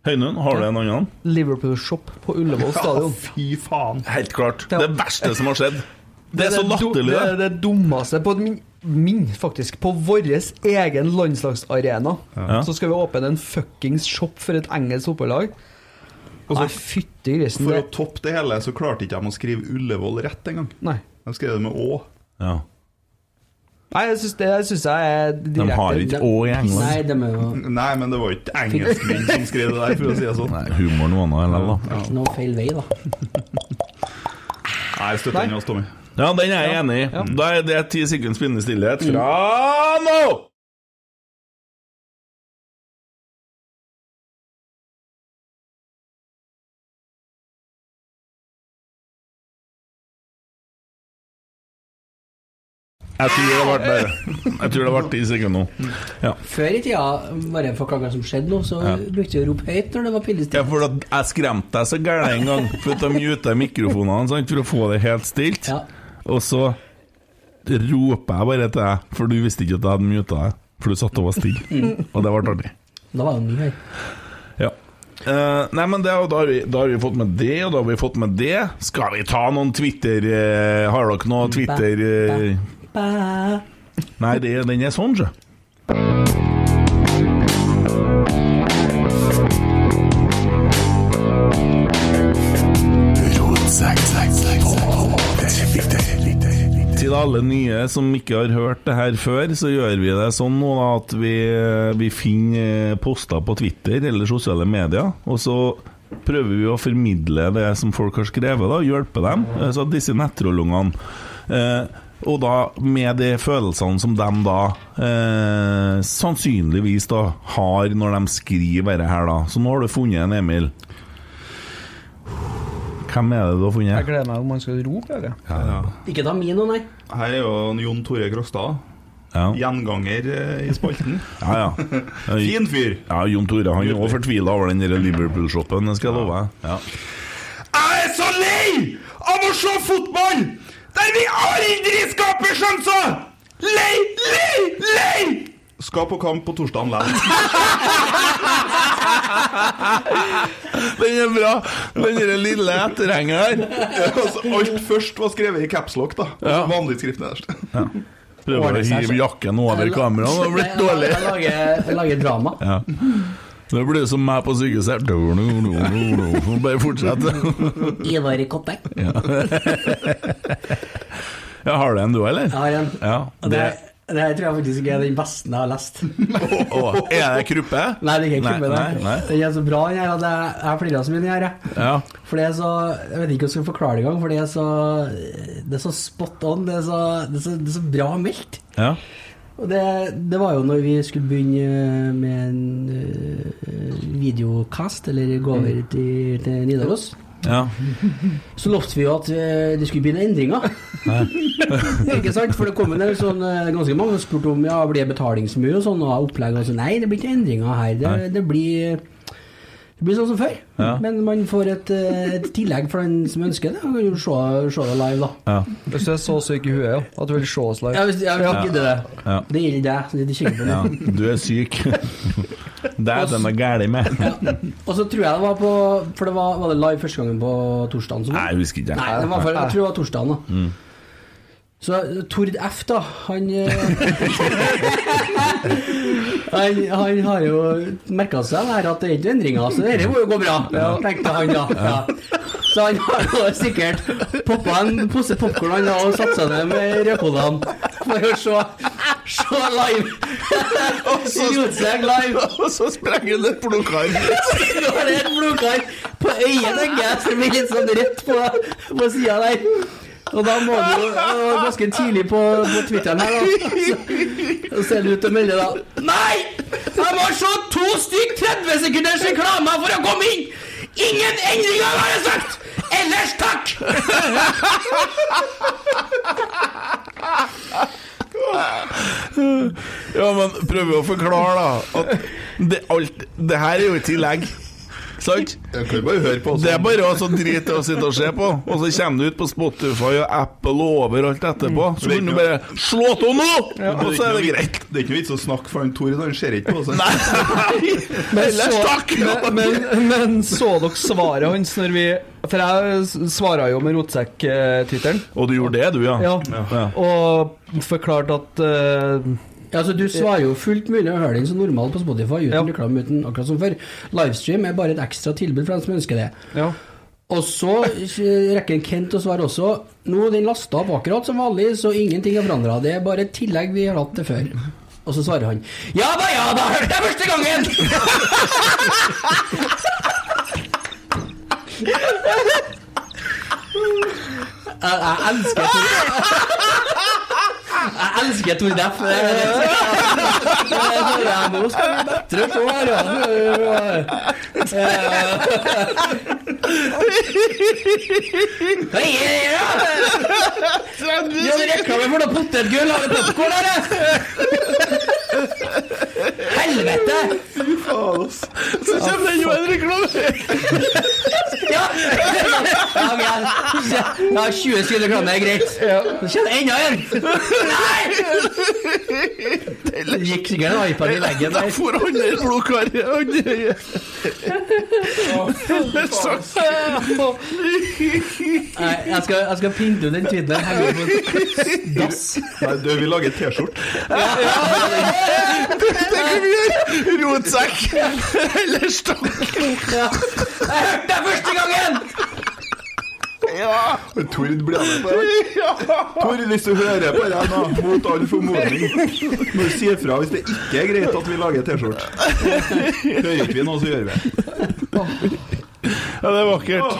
Speaker 2: Høynund, har du en annen?
Speaker 6: Liverpool-shop på Ullevål stadion.
Speaker 5: fy faen.
Speaker 2: Helt klart.
Speaker 6: Ja.
Speaker 2: Det verste som har skjedd. Det er så
Speaker 6: du-
Speaker 2: latterlig,
Speaker 6: Det er
Speaker 2: det.
Speaker 6: det dummeste på min, min faktisk, på vår egen landslagsarena.
Speaker 2: Ja.
Speaker 6: Så skal vi åpne en fuckings shop for et engelsk fotballag.
Speaker 5: så-
Speaker 6: Nei, fytti grisen.
Speaker 5: For å
Speaker 6: Det,
Speaker 5: toppe det hele, så klarte ikke de å skrive Ullevål rett engang.
Speaker 6: nei.
Speaker 5: De skrev det med Å.
Speaker 2: Ja.
Speaker 6: Nei, jeg syns det jeg synes jeg er direkte
Speaker 2: De har ikke Å i
Speaker 3: Nei,
Speaker 2: England.
Speaker 3: de er jo
Speaker 5: Nei, men det var jo ikke engelskmenn som skrev det der, for å si det sånn.
Speaker 2: Nei, humoren var noe annet, da.
Speaker 3: noe feil vei, da.
Speaker 5: Nei, jeg støtter
Speaker 6: Nei.
Speaker 5: den hos Tommy.
Speaker 2: Ja, den er jeg enig i. Da er det ti sekunds pinnende stillhet fra nå! Jeg tror det ble bare Jeg tror det ble ti sekunder nå. Ja.
Speaker 3: Før i tida, bare for hva som skjedde nå, så brukte vi å rope høyt når det var
Speaker 2: Ja,
Speaker 3: pillestille.
Speaker 2: for at jeg skremte deg så gæren en gang, for at de muta mikrofonene sant, for å få det helt stilt.
Speaker 3: Ja.
Speaker 2: Og så roper jeg bare til deg, for du visste ikke at jeg hadde muta deg. For du satt og var stille. Og det ble artig.
Speaker 3: Da var det mye høy.
Speaker 2: Ja. Eh, nei, men det, og da, har vi, da har vi fått med det, og da har vi fått med det. Skal vi ta noen Twitter eh, Har dere noe Twitter eh,
Speaker 3: Bæ.
Speaker 2: Nei, det, den er sånn, sjø.
Speaker 7: Rotsekk, sekk, sekk, sekk. På Twitter.
Speaker 2: alle nye som ikke har hørt det her før, så gjør vi det sånn nå da, at vi, vi finner poster på Twitter eller sosiale medier, og så prøver vi å formidle det som folk har skrevet, da, hjelpe dem. eh, Så at disse nettrollungene eh, og da med de følelsene som de da eh, sannsynligvis da har når de skriver dette her, da. Så nå har du funnet en Emil. Hvem er det du har funnet?
Speaker 6: Jeg gleder meg om man skal rope, eller?
Speaker 3: Ikke ta min, nei.
Speaker 5: Her er jo en Jon Tore Krogstad.
Speaker 2: Ja.
Speaker 5: Gjenganger eh, i spalten.
Speaker 2: Ja, ja.
Speaker 5: Fin fyr!
Speaker 2: Ja, Jon Tore han er også fortvila over den der Liverpool-shoppen, det skal jeg love deg. Ja.
Speaker 5: Jeg er så lei av å se fotball der vi aldri skaper sjanser! Lei, lei, lei! Skal på kamp på torsdagen likevel.
Speaker 2: Den er bra! Den der lille etterhengeren her.
Speaker 5: altså, alt først var skrevet i capslock, da. Ja. Vanlig skrift nederst.
Speaker 2: Prøver å hive jakken over kameraet, det har blitt dårlig.
Speaker 3: Jeg lager, jeg lager drama.
Speaker 2: Ja. Det blir som meg på sykehuset her. Du, du, du, du, du. Bare fortsett.
Speaker 3: Ivar i Koppeng.
Speaker 2: Ja, har du en du, eller?
Speaker 3: Jeg har en.
Speaker 2: Ja,
Speaker 3: Og det,
Speaker 2: det
Speaker 3: det her tror jeg faktisk ikke er den beste jeg har lest.
Speaker 2: Å, Er det kruppe?
Speaker 3: Nei, det er ikke en kubbe,
Speaker 2: Nei,
Speaker 3: det.
Speaker 2: nei, nei.
Speaker 3: Den er så bra, den her, at jeg, jeg flirer så mye den her. jeg.
Speaker 2: Ja.
Speaker 3: For det er så Jeg vet ikke hvordan jeg skal forklare det engang, for det er så Det er så spot on. Det er så, det er så, det er så bra meldt.
Speaker 2: ja.
Speaker 3: Og det, det var jo når vi skulle begynne eh, med en øh, videokast, eller
Speaker 2: Mm.
Speaker 3: gå over til, til Nidaros.
Speaker 2: Ja.
Speaker 3: Så lovte vi jo at øh, det skulle bli noen endringer. ikke sant? For det kom en del sånn, øh, ganske mange som spurte om ja, blir det betalingsmur og sånn, og opplegg og sånn. Nei, det blir ikke endringer her. Det, det, blir, det blir sånn som før.
Speaker 2: Ja.
Speaker 3: Men man får et, øh, et tillegg for den som ønsker det. Man kan jo se, se det live, da.
Speaker 2: ja.
Speaker 6: Hvis du er så syk i huet, ja. At du vil se oss live.
Speaker 3: Ja, hvis, ja, hvis du gidder det.
Speaker 2: Ja.
Speaker 3: Det gjelder deg. så Det er ikke sikkert på det.
Speaker 2: ja. Du er syk. Det er det de er gærne med.
Speaker 3: Og så tror jeg det var på For det var, var det live første gangen på torsdagen? Som
Speaker 2: Nei, jeg husker ikke.
Speaker 3: Nei, det Mm. var for, jeg tror det var torsdagen, da. Så Tord F, da, han eh, Han, han har jo merka seg det her at det er ikke endringer, så dette må jo gå bra, tenkte han da. Ja. Så han har jo sikkert poppa en pose popkorn han da, og satt seg ned med rødkolene for å se, se live. Rotsekk live.
Speaker 2: Og så sprenger det plukkene.
Speaker 3: Nå er det et blodkar på øyet, tenker jeg, som blir litt sånn rødt på, på sida der. Og da må du jo det var ganske tidlig på, på Twitteren her, da. Så- Så ser det ut til å melde da Nei! Jeg må se to stykk 30 sekunders reklame for å komme inn! Ingen endringer, har jeg sagt! Ellers takk!
Speaker 2: Ja, men prøv å forklare, da. At det, alt, det her er jo i tillegg. Sant?
Speaker 5: Jeg kan bare høre på.
Speaker 2: Det er bare å så drite å sitte og se på, og så kommer du ut på Spotify og Apple og overalt etterpå. Så kan du bare slå av nå, og så er det greit.
Speaker 5: Det er ikke noe vits å snakke for han Tore, han ser ikke på oss.
Speaker 2: Nei, ellers takk!
Speaker 6: Men, men, men så dere svaret hans når vi For jeg s- svara jo med rotsekk-tittelen.
Speaker 2: Og du gjorde det, du, ja?
Speaker 6: Ja.
Speaker 2: Ja.
Speaker 6: Og forklarte at eh,
Speaker 3: Ja, så Du svarer jo fullt mulig å høre den som normal på Spotify uten
Speaker 6: Ja.
Speaker 3: reklame, uten akkurat som før. Livestream er bare et ekstra tilbud for dem som ønsker det.
Speaker 6: Ja.
Speaker 3: Og så eh, rekker Kent å svare også. Nå er den lasta opp akkurat som vanlig, så ingenting har forandra. Det er bare et tillegg vi har hatt det før. Og så svarer han Ja da, ja da, hørte jeg første gangen! Jeg, jeg elsker Tor Jeg elsker Tor Deff. Det er- det er- det er- Nå skal vi bedre på her, ja. Hva er det da? Ja, det reklame for noe potetgull og popkorn her, det! Helvete!
Speaker 2: Så kommer det jo en reklame!
Speaker 3: Ja! ja ok, jeg jeg har 20 sekunder reklame, det er greit. Så kommer det enda en! Nei! Det gikk sikkert en iPad i leggen
Speaker 2: Da
Speaker 3: der.
Speaker 2: får han der blodkaret i andre øyet. Det er så
Speaker 3: Nei, jeg skal, jeg skal pinte ut den tweeten her. henge den på en Dass.
Speaker 5: Nei, du, vi lager T-skjorte.
Speaker 2: Rotsekk! Ellers takk!
Speaker 3: Ja. Jeg hørte deg første gangen!
Speaker 2: Ja,
Speaker 5: Tord ble med på det. Tord, hvis du hører på det nå, mot all formodning, må du si ifra hvis det ikke er greit at vi lager T-skjorte. Hører ikke vi noe, så gjør vi det.
Speaker 2: Ja, det er vakkert.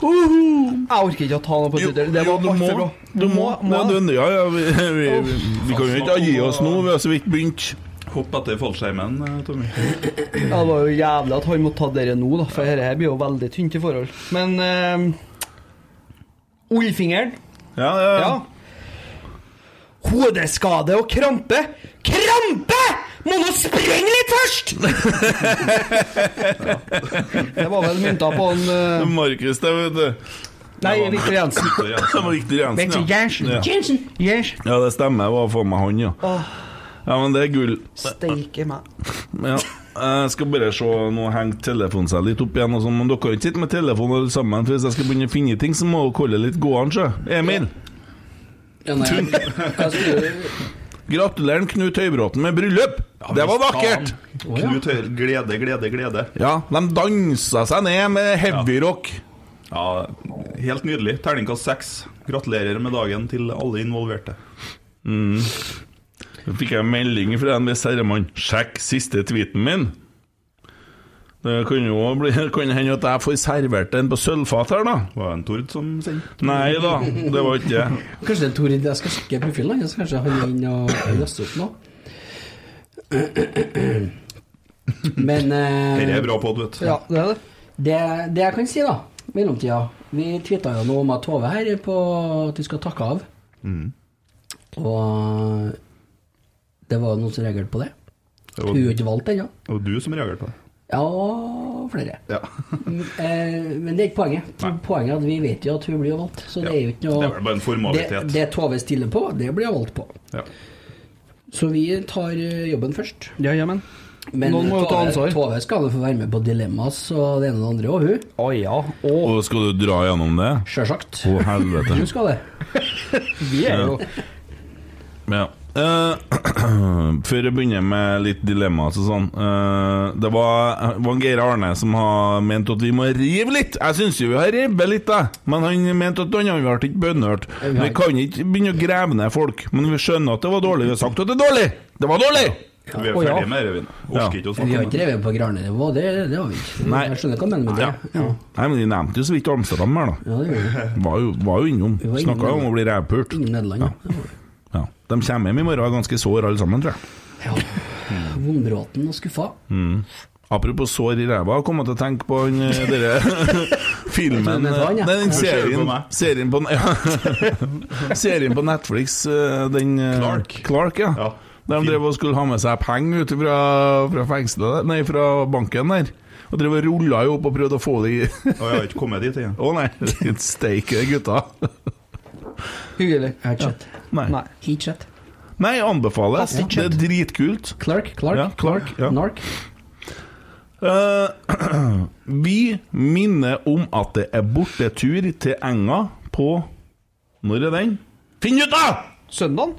Speaker 6: Jeg orker ikke å ta noe på
Speaker 2: Jo,
Speaker 6: Twitter. Det
Speaker 2: jo,
Speaker 6: var
Speaker 2: du
Speaker 6: altfor
Speaker 2: må.
Speaker 6: bra.
Speaker 2: Du må. Ja, du, ja, ja, vi, vi, vi, vi kan jo ikke gi oss nå, vi har så vidt begynt.
Speaker 5: Hopp etter fallskjermen, eh, Tommy.
Speaker 6: Ja, det var jo jævlig at han måtte ta dere nå, da, for dette her blir jo veldig tynt i forhold. Men uh, Oldfingeren
Speaker 2: Ja, ja.
Speaker 6: Ja. Hodeskade og krampe. Krampe! Må nå sprenge litt først! Det var vel mynta på en
Speaker 2: Det er
Speaker 6: eh,
Speaker 2: Markus, det, vet du.
Speaker 6: Nei, Viktor Jensen.
Speaker 5: Så
Speaker 2: Det
Speaker 5: ja.
Speaker 2: altså- var Victor Jensen,
Speaker 6: Victor
Speaker 2: ja.
Speaker 6: Jensen.
Speaker 2: Ja.
Speaker 4: Jensen.
Speaker 6: Yes.
Speaker 2: Ja, det stemmer. Det var faen meg han, ja.
Speaker 6: Åh.
Speaker 2: Ja, men det er gull.
Speaker 6: Steike meg.
Speaker 2: Ja. Jeg skal bare se Nå henger telefonen seg litt opp igjen, og sånn, men dere har ikke sittet med telefonen alle sammen. For hvis jeg skal begynne å finne ting, så må dere holde litt gående, sjø. Emil,
Speaker 3: Ja, nei, hva skulle du
Speaker 2: gratulerer Knut Høybråten med bryllup! Det var vakkert!
Speaker 5: Knut Høyre, glede, glede, glede.
Speaker 2: Ja, de dansa seg ned med heavyrock.
Speaker 5: Ja, helt nydelig. Terningkast seks. Gratulerer med dagen til alle involverte.
Speaker 2: Så fikk jeg en melding fra en viss herremann. 'Sjekk siste tweeten min'. Det kan jo også bli, kan hende at jeg får servert den på sølvfat her, da.
Speaker 5: Var det en Tord som sendte?
Speaker 2: Nei da, det var ikke det.
Speaker 3: Kanskje det er Torid jeg skal sjekke profilen hans, kanskje han er inne og laster opp noe. Men eh,
Speaker 5: Dette er bra pod, vet du.
Speaker 6: Ja, det er det.
Speaker 3: det, det jeg kan si, da, mellomtida Vi tvitra jo noe om at Tove her er på at vi skal takke av.
Speaker 5: Mm.
Speaker 3: Og det var noen som reagerte på det.
Speaker 5: Det
Speaker 3: Hun er
Speaker 5: var,
Speaker 3: ikke valgt ennå.
Speaker 5: det var du som reagerte på det.
Speaker 3: Ja, og flere.
Speaker 5: Ja.
Speaker 3: Eh, Men det er ikke poenget. Poenget er at vi vet jo at hun blir valgt. Så det er jo ikke
Speaker 5: Det
Speaker 3: noe
Speaker 5: er vel bare en
Speaker 3: det,
Speaker 5: formalitet.
Speaker 3: det Tove stiller på, det blir hun valgt på.
Speaker 5: Ja.
Speaker 3: Så vi tar eh, jobben først.
Speaker 6: Ja, jamen.
Speaker 3: Men
Speaker 6: Noen må jo ta
Speaker 3: Tove-
Speaker 6: ansvar.
Speaker 3: Tove skal jo få være med på Dilemmas og det ene og det andre, og hun.
Speaker 6: Å ja. Og
Speaker 2: Og skal du dra gjennom det?
Speaker 3: Sjølsagt.
Speaker 2: Å, helvete.
Speaker 3: Hun skal det.
Speaker 6: vi er jo
Speaker 2: Ja. Eh, før jeg begynner med litt dilemma og sånn eh, Det var, var Geir Arne som har ment at vi må rive litt. Jeg syns jo vi har revet litt, jeg. Men han mente at han ble ikke bønnhørt. Vi kan ikke begynne å grave ned folk. Men vi skjønner at det var dårlig. Vi har sagt at det er dårlig! Det var dårlig!
Speaker 5: Vi er
Speaker 6: Å, ja.
Speaker 5: ferdige med Revin.
Speaker 2: Ja.
Speaker 5: Orker ikke å
Speaker 3: Vi
Speaker 5: snakke
Speaker 3: har
Speaker 5: om det.
Speaker 3: ikke drevet på Granenivå, det, det har vi ikke.
Speaker 2: Nei.
Speaker 3: Jeg skjønner hva du mener med
Speaker 2: Ja.
Speaker 3: det. Ja,
Speaker 2: Nei, men de nevnte jo så vidt Amsterdam her, da.
Speaker 3: ja det gjør vi.
Speaker 2: Var jo, var jo innom.
Speaker 3: var innom.
Speaker 2: Snakka om å bli rævpult.
Speaker 3: Ingen Nederland. Ja.
Speaker 2: Ja. De kommer hjem i morgen ganske sår alle sammen, tror jeg.
Speaker 3: Vondbråten og skuffa.
Speaker 2: Apropos sår i ræva, kom jeg til å tenke på den eh, dere filmen
Speaker 3: Jeg tror det er han,
Speaker 2: eh, Nei, den serien,
Speaker 3: ja.
Speaker 5: Ja. Ser du på meg?
Speaker 2: serien, på, ja, serien på Netflix, eh, den eh,
Speaker 5: Clark.
Speaker 2: Clark ja.
Speaker 5: Ja.
Speaker 2: Der de drev og skulle ha med seg penger ut fra, fra fengselet der- Nei, fra banken der. Og drev og rulla jo opp og prøvde å få det i Å
Speaker 5: Og jeg har ikke kommet dit igjen.
Speaker 2: nei, steike gutta.
Speaker 6: hyggelig.
Speaker 3: Hatchet.
Speaker 2: Nei.
Speaker 6: Nei.
Speaker 3: Heatchet.
Speaker 2: nei, anbefales.
Speaker 3: Ja.
Speaker 2: Det er dritkult.
Speaker 3: Clark. Clark.
Speaker 2: Ja, Clark, ja.
Speaker 3: Nark.
Speaker 2: Eh, vi minner om at det er bortetur til Enga på Når er den? Finn ut, da!
Speaker 6: Søndagen?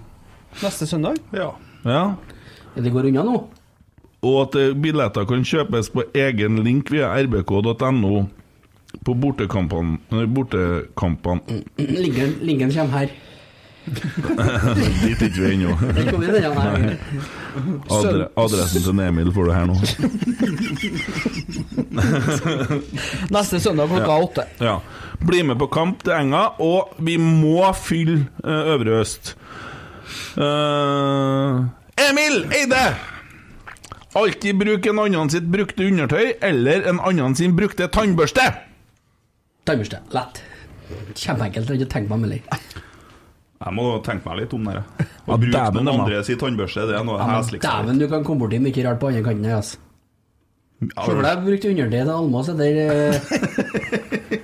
Speaker 6: Neste søndag?
Speaker 5: Ja.
Speaker 2: Ja.
Speaker 3: Ja, det går unna nå.
Speaker 2: Og at eh, billetter kan kjøpes på egen link via rbk.no på bortekampene nei, Bortekampene
Speaker 3: Linken, linken kommer her.
Speaker 2: Dit er ikke vi ennå.
Speaker 3: Den kommer i denne her.
Speaker 2: Adre, adressen til Emil får du her nå.
Speaker 6: Neste søndag klokka åtte.
Speaker 2: Ja. Bli med på kamp til Enga, og vi må fylle eh, Øvre Øst. Eh, Emil Eide! Alltid bruk en annen sitt brukte undertøy eller en annen sin brukte tannbørste.
Speaker 3: Tannbørste. Lett. Kjempeenkelt. Jeg har ikke tenkt meg om heller.
Speaker 5: Jeg må tenke meg litt om det.
Speaker 2: Ja,
Speaker 5: her. Å bruke
Speaker 2: dæven,
Speaker 5: noen
Speaker 2: Emma.
Speaker 5: andre sin tannbørste, det er noe heslig.
Speaker 2: liksom.
Speaker 3: Dæven, du kan komme borti mye rart på andre kanten her, altså. Se for deg jeg brukte undertøy til Almås etter eh,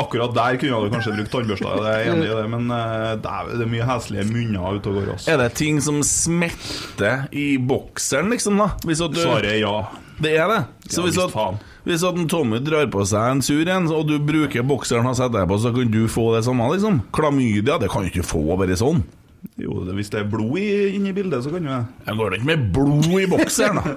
Speaker 5: Akkurat der kunne du kanskje brukt tannbørsta, jeg er enig i det, men eh, dæven, det er mye heslige munner ute og går. altså.
Speaker 2: Er det ting som smetter i bokseren, liksom, da? Hvis at du,
Speaker 5: Svaret er ja.
Speaker 2: Det er det. Så
Speaker 5: Ja,
Speaker 2: hvis,
Speaker 5: visst
Speaker 2: at,
Speaker 5: faen.
Speaker 2: hvis at en Tommy drar på seg en sur en, og du bruker bokseren han setter deg på, så kan du få det samme, liksom? Klamydia, det kan du ikke få bare sånn.
Speaker 5: Jo, det- hvis det er blod i- inne i bildet, så kan jo jeg
Speaker 2: Jeg går da ikke med blod i bokseren, da.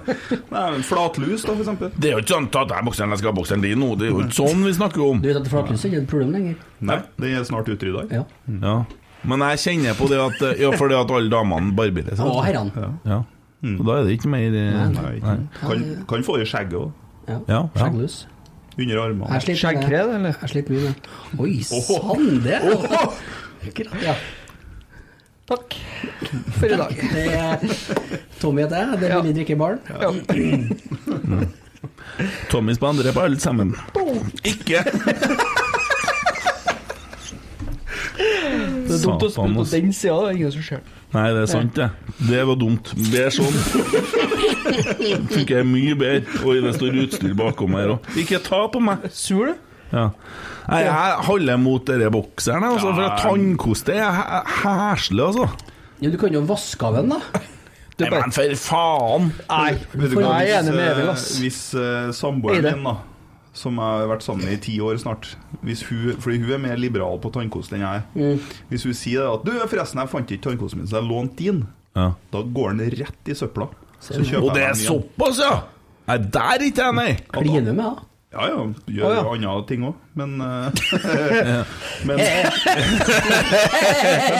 Speaker 5: Nei, men flatlus, da, for eksempel.
Speaker 2: Det er jo ikke sånn at jeg er bokseren, jeg skal ha bokseren din nå. Det er jo ikke sånn vi snakker om.
Speaker 3: Du vet at flatlus er ikke et problem lenger?
Speaker 5: Nei, det er snart utrydda.
Speaker 3: Ja.
Speaker 2: Ja. Men jeg kjenner på det at Ja, fordi at alle damene barberer seg.
Speaker 3: Og
Speaker 2: vet
Speaker 3: herrene.
Speaker 2: du. Ja. Og da er det ikke mer eh,
Speaker 5: Nei, ikke. Kan, kan få i skjegget òg.
Speaker 2: Ja, ja.
Speaker 3: Skjegglus.
Speaker 5: Under armene.
Speaker 3: Jeg sliter med det.
Speaker 6: Skjeggkred, eller?
Speaker 3: Jeg sliter mye med det. Oi sann, det Akkurat, Ja.
Speaker 6: Takk for i dag.
Speaker 3: Det er Tommy heter jeg. Det er Ville drikkebarn.
Speaker 2: Tommy spanderer på alle sammen. Ikke!
Speaker 6: Det er dumt å
Speaker 2: Satan,
Speaker 6: spille på
Speaker 2: ass.
Speaker 6: den sida, det er ingen som ser.
Speaker 2: Nei, det er sant, det. Det var dumt. Det er sånn. Funker mye bedre. Oi, det står utstyr bakom her òg. Ikke ta på meg!
Speaker 6: Sur du?
Speaker 2: Ja. Nei, jeg holder mot dere bokseren, jeg, altså, for at tannkoste er hæ- hæslig, altså.
Speaker 3: Jo, du kan jo vaske av den, da.
Speaker 2: Nei, men for faen!
Speaker 6: Nei,
Speaker 5: Vet du
Speaker 6: for
Speaker 5: hva,
Speaker 6: jeg er
Speaker 5: hvis,
Speaker 6: enig med
Speaker 5: eh,
Speaker 6: Emil, ass.
Speaker 5: Hvis eh, samboeren
Speaker 6: Eide.
Speaker 5: min, da som jeg har vært sammen med i ti år snart hvis hun, Fordi hun er mer liberal på tannkost enn jeg
Speaker 6: Mm.
Speaker 5: er. Hvis hun sier at 'Du, forresten, jeg fant ikke tannkosten min, så jeg lånte din',
Speaker 2: Ja.
Speaker 5: da går den rett i søpla. Så kjøper jeg
Speaker 2: Og det
Speaker 5: den
Speaker 2: er
Speaker 5: igjen.
Speaker 2: såpass, ja! Nei, der er ikke jeg, nei.
Speaker 3: Kline med, da.
Speaker 5: Ja ja, gjør
Speaker 6: Å,
Speaker 5: andre ting òg, men eh, Men Men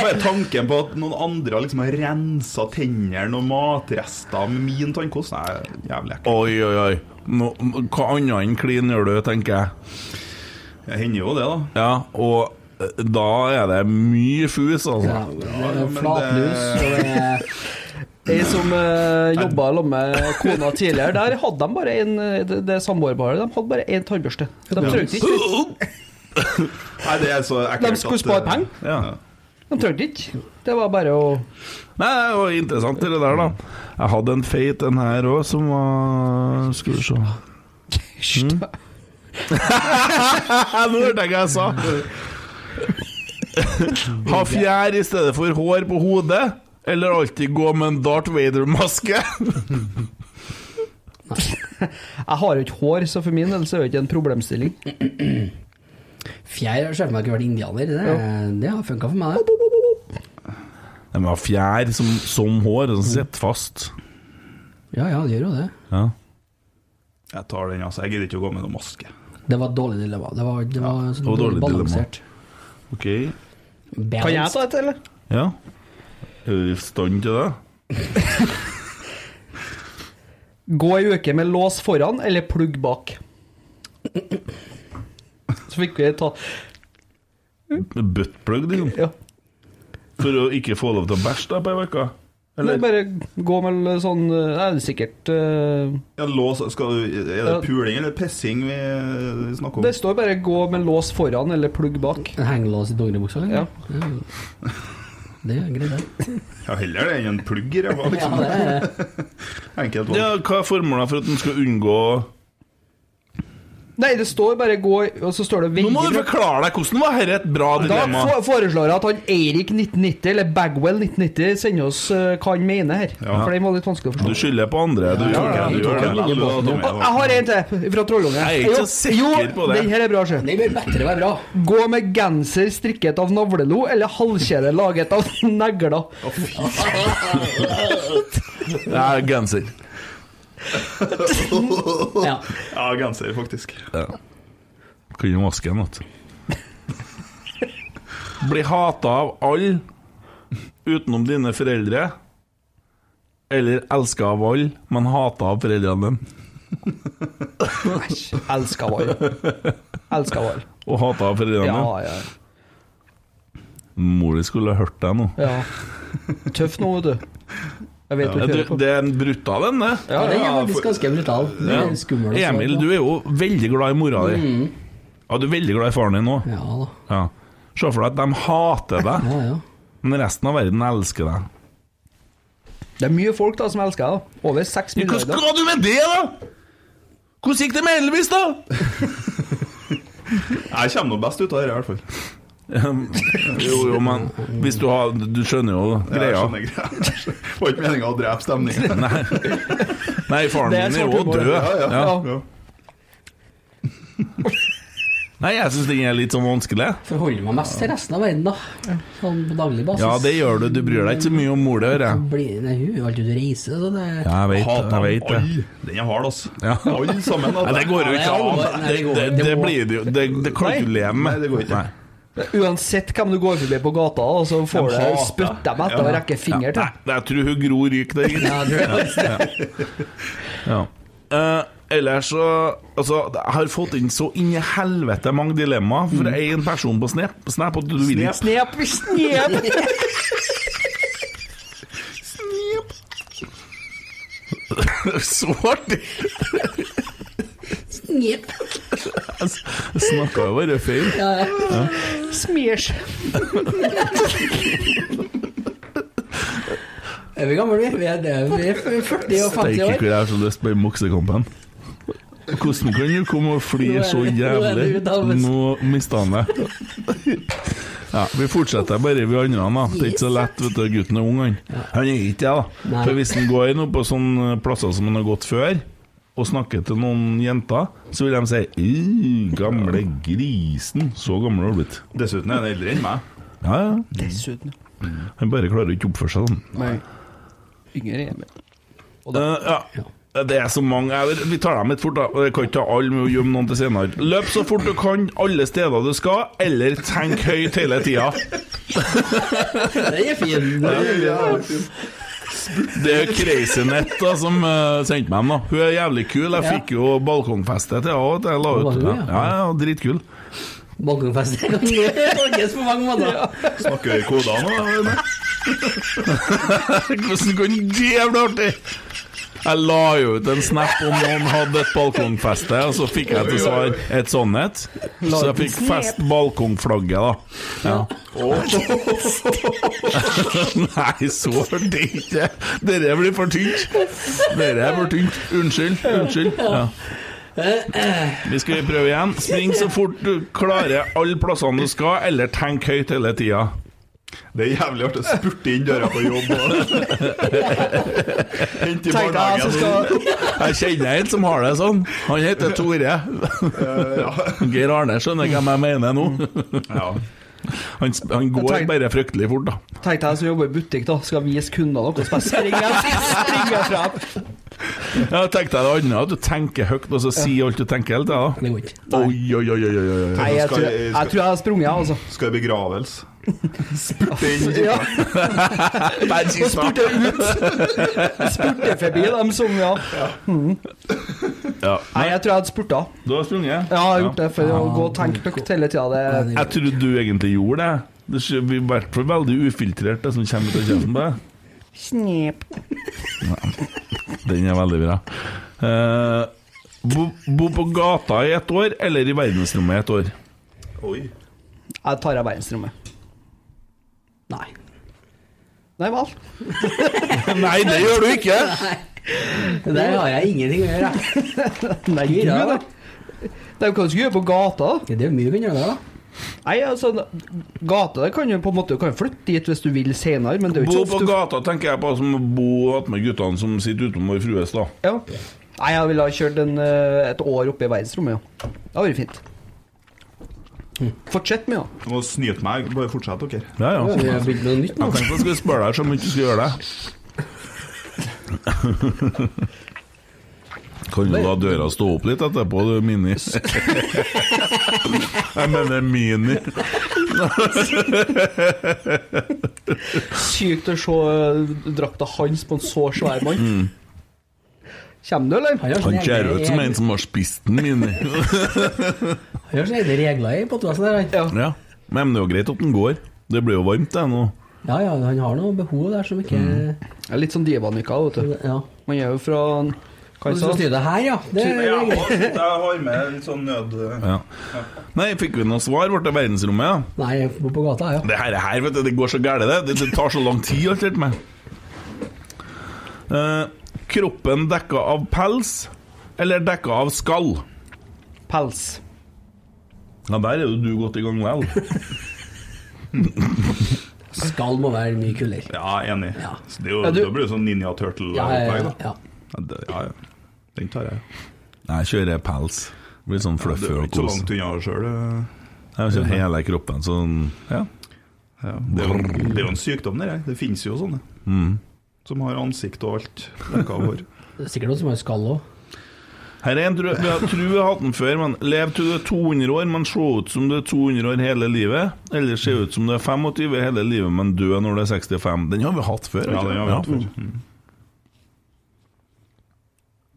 Speaker 5: bare tanken på at noen andre har liksom har rensa tennene og matrester med min tannkost, er jævlig ekkelt.
Speaker 2: Oi, oi, oi. Nå, hva annet enn klin gjør du, tenker jeg.
Speaker 5: Det hender jo det, da.
Speaker 2: Ja, og eh, da er det mye fus, altså.
Speaker 3: Ja, det
Speaker 5: ja,
Speaker 3: er
Speaker 5: men
Speaker 3: Flatlus
Speaker 5: det-
Speaker 3: og det er
Speaker 6: Jeg som uh, jobba sammen med kona tidligere, der hadde de bare en eh, Det, det samboerparet, de hadde bare én tannbørste. De trengte ikke
Speaker 5: Nei, det er så ekkelt
Speaker 6: De skulle
Speaker 5: at,
Speaker 6: spare
Speaker 5: eh,
Speaker 6: penger.
Speaker 2: Ja.
Speaker 6: De trengte ikke. Det var bare å
Speaker 2: Nei, det var interessant, det der, da. Jeg hadde en feit en her òg, som var Skal vi se mm. Nå hørte jeg hva jeg sa. Ha fjær i stedet for hår på hodet, eller alltid gå med en Darth Vader-maske.
Speaker 6: Jeg har jo ikke hår, så for min del så er det ikke en problemstilling.
Speaker 3: Fjær. Jeg ser for meg at jeg har vært indianer. Det, det har funka for meg, det.
Speaker 2: Nei, men ha fjær som, som hår, som sitter fast.
Speaker 3: Ja ja, det gjør jo det.
Speaker 2: Ja.
Speaker 5: Jeg tar den, altså. Jeg gidder ikke å gå med noe maske.
Speaker 3: Det var et dårlig dilemma. Det var, det var,
Speaker 2: det var dårlig
Speaker 3: dårlig
Speaker 2: dilemma.
Speaker 3: balansert.
Speaker 2: OK.
Speaker 6: Kan jeg
Speaker 3: Balance.
Speaker 6: ta et, eller?
Speaker 2: Ja. Er du i stand til det?
Speaker 6: Gå ei uke med lås foran eller plugg bak. Så fikk vi ta
Speaker 2: Med buttplug, liksom?
Speaker 6: Ja.
Speaker 2: For å ikke få lov til å bæsje da på ei uke?
Speaker 6: Eller bare gå med sånn eh, Jeg er sikkert eh,
Speaker 5: Ja, lås, skal du, er det
Speaker 6: Ja.
Speaker 5: puling eller pissing vi vi snakker om?
Speaker 6: Det står bare 'gå med lås foran' eller 'plugg bak'.
Speaker 3: En hengelås i dongeribuksa, eller?
Speaker 6: Ja.
Speaker 3: Det er greit, det.
Speaker 5: Ja, heller det enn en plugg i ræva,
Speaker 3: Ja,
Speaker 5: liksom.
Speaker 3: det er,
Speaker 5: Enkelt valg.
Speaker 2: Ja, hva er formålet for at den skal unngå
Speaker 6: Nei, det står bare 'gå', og så står det
Speaker 2: Nå må du
Speaker 6: veldig
Speaker 2: forklare deg hvordan var dette et bra
Speaker 6: Da
Speaker 2: dilemma.
Speaker 6: fo- foreslår jeg at han Eirik 1990 eller Bagwell 1990 sender oss eh, hva han mener her.
Speaker 5: Ja.
Speaker 6: For den var litt vanskelig å
Speaker 2: Du
Speaker 6: forstå.
Speaker 2: skylder på andre. Du gjør det.
Speaker 3: ja,
Speaker 2: Du gjør
Speaker 3: ja, ja,
Speaker 2: det.
Speaker 3: ja.
Speaker 6: Å, jeg har en til, fra Trollungen.
Speaker 2: Jeg er ikke
Speaker 6: Jo,
Speaker 2: så sikker på
Speaker 6: Jo,
Speaker 2: det.
Speaker 6: den her er bra, sjø.
Speaker 3: det bør bedre være bra.
Speaker 6: Gå med genser strikket av navlelo eller halvkjede laget av negler.
Speaker 2: Det er genser.
Speaker 3: Ja.
Speaker 5: Ja, genser, faktisk.
Speaker 2: Kunne maske en natt. Bli hata av alle utenom dine foreldre. Eller elska av alle, men hata av foreldrene dine.
Speaker 6: Elsker hval. Elsker hval.
Speaker 2: Og hata av foreldrene
Speaker 6: Ja,
Speaker 2: dine.
Speaker 6: ja,
Speaker 2: Mor di skulle ha hørt deg nå.
Speaker 6: ja. Tøff nå, vet du. Jeg vet du
Speaker 2: Jeg
Speaker 6: hører
Speaker 2: tror-
Speaker 6: på.
Speaker 2: Det er en brutal en, det.
Speaker 3: ja, den er
Speaker 5: ja,
Speaker 3: faktisk
Speaker 5: for-
Speaker 3: ganske brutal. Den er altså. skummel. også.
Speaker 2: Emil, du er jo veldig glad i mora di. Ja, du er veldig glad i faren din òg.
Speaker 3: Ja da.
Speaker 2: Ja. Se for deg at de hater deg,
Speaker 3: Ja, ja.
Speaker 2: men resten av verden elsker deg.
Speaker 6: Det er mye folk da som elsker deg. da. Over seks
Speaker 2: Hva
Speaker 6: milliarder.
Speaker 2: skal du med det, da?! Hvordan gikk det med Elvis, da?!
Speaker 5: Jeg kommer nå best ut av det, i hvert fall.
Speaker 2: jo, jo, men hvis du har Du skjønner jo
Speaker 5: Jeg
Speaker 2: greia.
Speaker 5: skjønner greia. Det var ikke meninga å drepe stemningen.
Speaker 2: Nei. Nei, faren
Speaker 6: Det er
Speaker 2: din er
Speaker 6: svart
Speaker 2: jo
Speaker 6: humor.
Speaker 2: død.
Speaker 5: Ja, ja.
Speaker 2: Ja.
Speaker 5: Ja.
Speaker 2: Nei, jeg syns den er litt sånn vanskelig.
Speaker 4: Forholder meg mest til resten av verden, da. Sånn på daglig basis.
Speaker 2: Ja, det gjør du. Du bryr deg ikke så mye om mor di, hører jeg.
Speaker 4: Blir, nei, hun er alltid ute og reiser, så det
Speaker 2: Ja, jeg vet,
Speaker 5: Hater
Speaker 2: jeg vet det.
Speaker 5: alle. Den er hard, altså.
Speaker 2: Ja.
Speaker 5: Alle sammen. altså.
Speaker 2: Nei, det går jo ikke an.
Speaker 4: Nei,
Speaker 2: Det,
Speaker 4: det går-
Speaker 2: det,
Speaker 4: det
Speaker 2: det
Speaker 4: må-
Speaker 2: blir det jo Det, det kan du ikke leve med.
Speaker 5: Nei, det går ikke.
Speaker 2: Nei.
Speaker 6: Uansett hvem du går forbi på gata, og så får
Speaker 5: De
Speaker 6: du
Speaker 5: hater.
Speaker 6: spytt dem etter og rekke finger til.
Speaker 2: Nei, jeg tror hun Gro ryker der. Ja, ja. Eh, ellers så Altså, jeg har fått inn så inn i helvete mange dilemmaer for én person på Snap. Snap og du vil ikke
Speaker 6: Snep, snep!
Speaker 2: Så artig!
Speaker 4: Jepp.
Speaker 2: Jeg snakka jo bare feil.
Speaker 6: Smiers.
Speaker 4: Er vi gamle, vi? Vi er, det, vi er 40 og
Speaker 2: Steike
Speaker 4: 50
Speaker 2: hvor
Speaker 4: år.
Speaker 2: jeg har så lyst på en moksekampen. Hvordan kan du komme og flire så
Speaker 4: Nå er det- nå er det
Speaker 2: jævlig?
Speaker 4: ut av oss.
Speaker 2: Nå mista han det. Ja, vi fortsetter bare vi andre, da. Det er ikke så lett, vet du. Gutten er ung, han. Han er ikke det, da.
Speaker 4: Nei.
Speaker 2: For hvis han går nå på sånne plasser som han har gått før, og snakker til noen jenter, så vil de si «Øh, 'Gamle grisen, så gammel har du blitt'.
Speaker 5: Dessuten er han eldre enn meg.
Speaker 2: Ja, ja. Mm.
Speaker 3: Dessuten.
Speaker 2: Han bare klarer ikke å oppføre seg sånn.
Speaker 3: Yngre hjemme.
Speaker 2: Eh, ja. Det er så mange Jeg- Vi tar dem litt fort, da. Jeg kan ikke ta alle med å gjemme noen til senere. Løp så fort du kan alle steder du skal, eller tenk høyt hele tida.
Speaker 4: Den er fin.
Speaker 2: Det er Crazynet da, som eh, sendte meg dem. da Hun er jævlig kul. Jeg fikk jo balkongfeste til henne. og Jeg la
Speaker 4: Var
Speaker 2: ut
Speaker 4: hun,
Speaker 2: ja.
Speaker 4: ja?
Speaker 2: Ja, ja, dritkul.
Speaker 4: Balkongfest kan tolkes på mange måter.
Speaker 5: Snakker vi i koder nå? eller?
Speaker 2: Hvordan kan det bli artig? Jeg la jo ut en snap om noen hadde et balkongfeste, og så fikk jeg til svar et sånt et. Så jeg fikk fest balkongflagget, da. Ja. Nei, så hørte jeg ikke. Dette blir for tynt. Dette er for tynt. Unnskyld. Unnskyld. Ja. Vi skal prøve igjen. Spring så fort du klarer alle plassene du skal, eller tenk høyt hele tida.
Speaker 5: Det er jævlig artig å spurte inn døra på jobb og Hente i
Speaker 6: Tenk deg jeg
Speaker 2: altså.
Speaker 6: som
Speaker 5: barnehagen.
Speaker 6: skal
Speaker 2: Jeg kjenner en som har det sånn. Han heter Tore. Geir Arne skjønner hvem jeg mener nå.
Speaker 5: Ja.
Speaker 2: Han, sp- han går
Speaker 6: Jeg tenk-
Speaker 2: bare fryktelig fort, da.
Speaker 6: Tenk deg jeg som jobber i butikk, da. Skal vise kundene noe, så bare springer jeg springer jeg frem.
Speaker 2: Jeg tenkte det andre, at du tenker høyt og så sier alt du tenker hele tida.
Speaker 4: Det går ikke.
Speaker 2: Oi, oi, oi, oi, oi, oi.
Speaker 6: Nei, jeg tror jeg, tror jeg har sprunget, jeg, altså.
Speaker 5: Skal i begravelse. Spurte inn
Speaker 6: Ja. Og spurte ut. Spurte forbi dem som, ja.
Speaker 2: Ja.
Speaker 6: Nei, jeg tror jeg hadde spurta.
Speaker 2: Du har sprunget?
Speaker 6: Ja, jeg har gjort det for å gå og tenke høyt hele tida. Det
Speaker 2: Jeg trodde du egentlig gjorde det. Det er i hvert fall veldig ufiltrert, det som kommer ut av kjeften på deg.
Speaker 6: Snep.
Speaker 2: Den er veldig bra. Eh, bo, bo på gata i ett år, eller i verdensrommet i ett år?
Speaker 5: Oi.
Speaker 6: Jeg tar av verdensrommet.
Speaker 4: Nei.
Speaker 6: Nei vel.
Speaker 2: Nei, det gjør du ikke!
Speaker 4: Det der har jeg ingenting å gjøre. jeg.
Speaker 6: Nei, gud,
Speaker 4: Ja, da.
Speaker 6: det. Det er jo hva du skal gjøre på gata. da.
Speaker 4: Det er mye du kan gjøre der, da.
Speaker 6: Nei, altså, gata det kan jo på en måte du kan jo flytte dit hvis du vil senere, men det er jo
Speaker 2: Bo
Speaker 6: ikke
Speaker 2: på
Speaker 6: ofte
Speaker 2: gata tenker jeg på som å bo attmed guttene som sitter utenfor Fruestad.
Speaker 6: ja. Nei, jeg ville ha kjørt en, eh, et år oppe i verdensrommet, ja. Det hadde vært fint. Fortsett med, ja.
Speaker 5: Nå snyter meg. Bare fortsett, dere.
Speaker 2: Ja, ja.
Speaker 4: Vi
Speaker 2: Jeg
Speaker 4: har begynt med noe nytt nå.
Speaker 2: tenkte jeg skulle spørre deg så mye du skulle gjøre det. Kan du la døra stå opp litt etterpå, du, Mini? Jeg mener Mini.
Speaker 6: Sykt å se eh, drakta hans på en så svær mann. Kommer du, eller?
Speaker 4: Han har
Speaker 2: Mm. Han
Speaker 4: sånne
Speaker 2: ser
Speaker 4: egne
Speaker 2: ut som en
Speaker 4: regler-
Speaker 2: som har spist den, Mini.
Speaker 4: Han har sånne egne regler i podkasten der, han.
Speaker 2: Ja. Men det er jo greit at den går. Det blir jo varmt, det nå.
Speaker 4: Ja ja, han har noe behov der som ikke
Speaker 6: Jeg er litt sånn divanika, vet du.
Speaker 4: Ja.
Speaker 6: Man er jo fra
Speaker 4: Og
Speaker 6: Hva
Speaker 4: Du
Speaker 6: sa
Speaker 4: skal styre det her, ja. Det er
Speaker 5: Ja,
Speaker 4: regler.
Speaker 5: jeg har med litt sånn nød...
Speaker 2: Ja. Nei, fikk vi noe svar? Ble det verdensrommet, ja?
Speaker 4: Nei, jeg bor på gata, ja.
Speaker 2: Det her, er her vet du, det går så gærent, det. det. Det tar så lang tid, alt dette med. Eh, kroppen dekka av pels, eller dekka av skall?
Speaker 6: Pels.
Speaker 2: Ja, der er jo du godt i gang vel.
Speaker 4: Skal må være mye kulere.
Speaker 5: Ja, enig.
Speaker 4: Ja.
Speaker 5: Så Det, er jo,
Speaker 6: Ja, du-
Speaker 5: det blir jo sånn Ninja Turtle-opplegg,
Speaker 4: Ja, ja,
Speaker 5: da.
Speaker 4: ja.
Speaker 5: Ja, det- ja, ja. Den tar jeg.
Speaker 2: Jeg kjører pels. Blir sånn
Speaker 5: Du
Speaker 2: fluffy
Speaker 5: er jo
Speaker 2: og
Speaker 5: ikke så
Speaker 2: kos.
Speaker 5: langt unna eh. sjøl.
Speaker 2: Jeg kjenner hele kroppen sånn Ja.
Speaker 5: Ja. Det, er jo- det er jo en sykdom, det der. Det finnes jo sånne.
Speaker 2: Mm.
Speaker 5: Som har ansikt og alt. Dekka hår.
Speaker 4: Det er sikkert noen som har skall òg.
Speaker 2: Her er en tru, vi har tru jeg har hatt den før, men lev til du er 200 år, men se ut som du er 200 år hele livet. Eller se ut som du er 25 hele livet, men dø når du er 65. Den har vi hatt før.
Speaker 5: Ja, Mm. den har vi hatt før.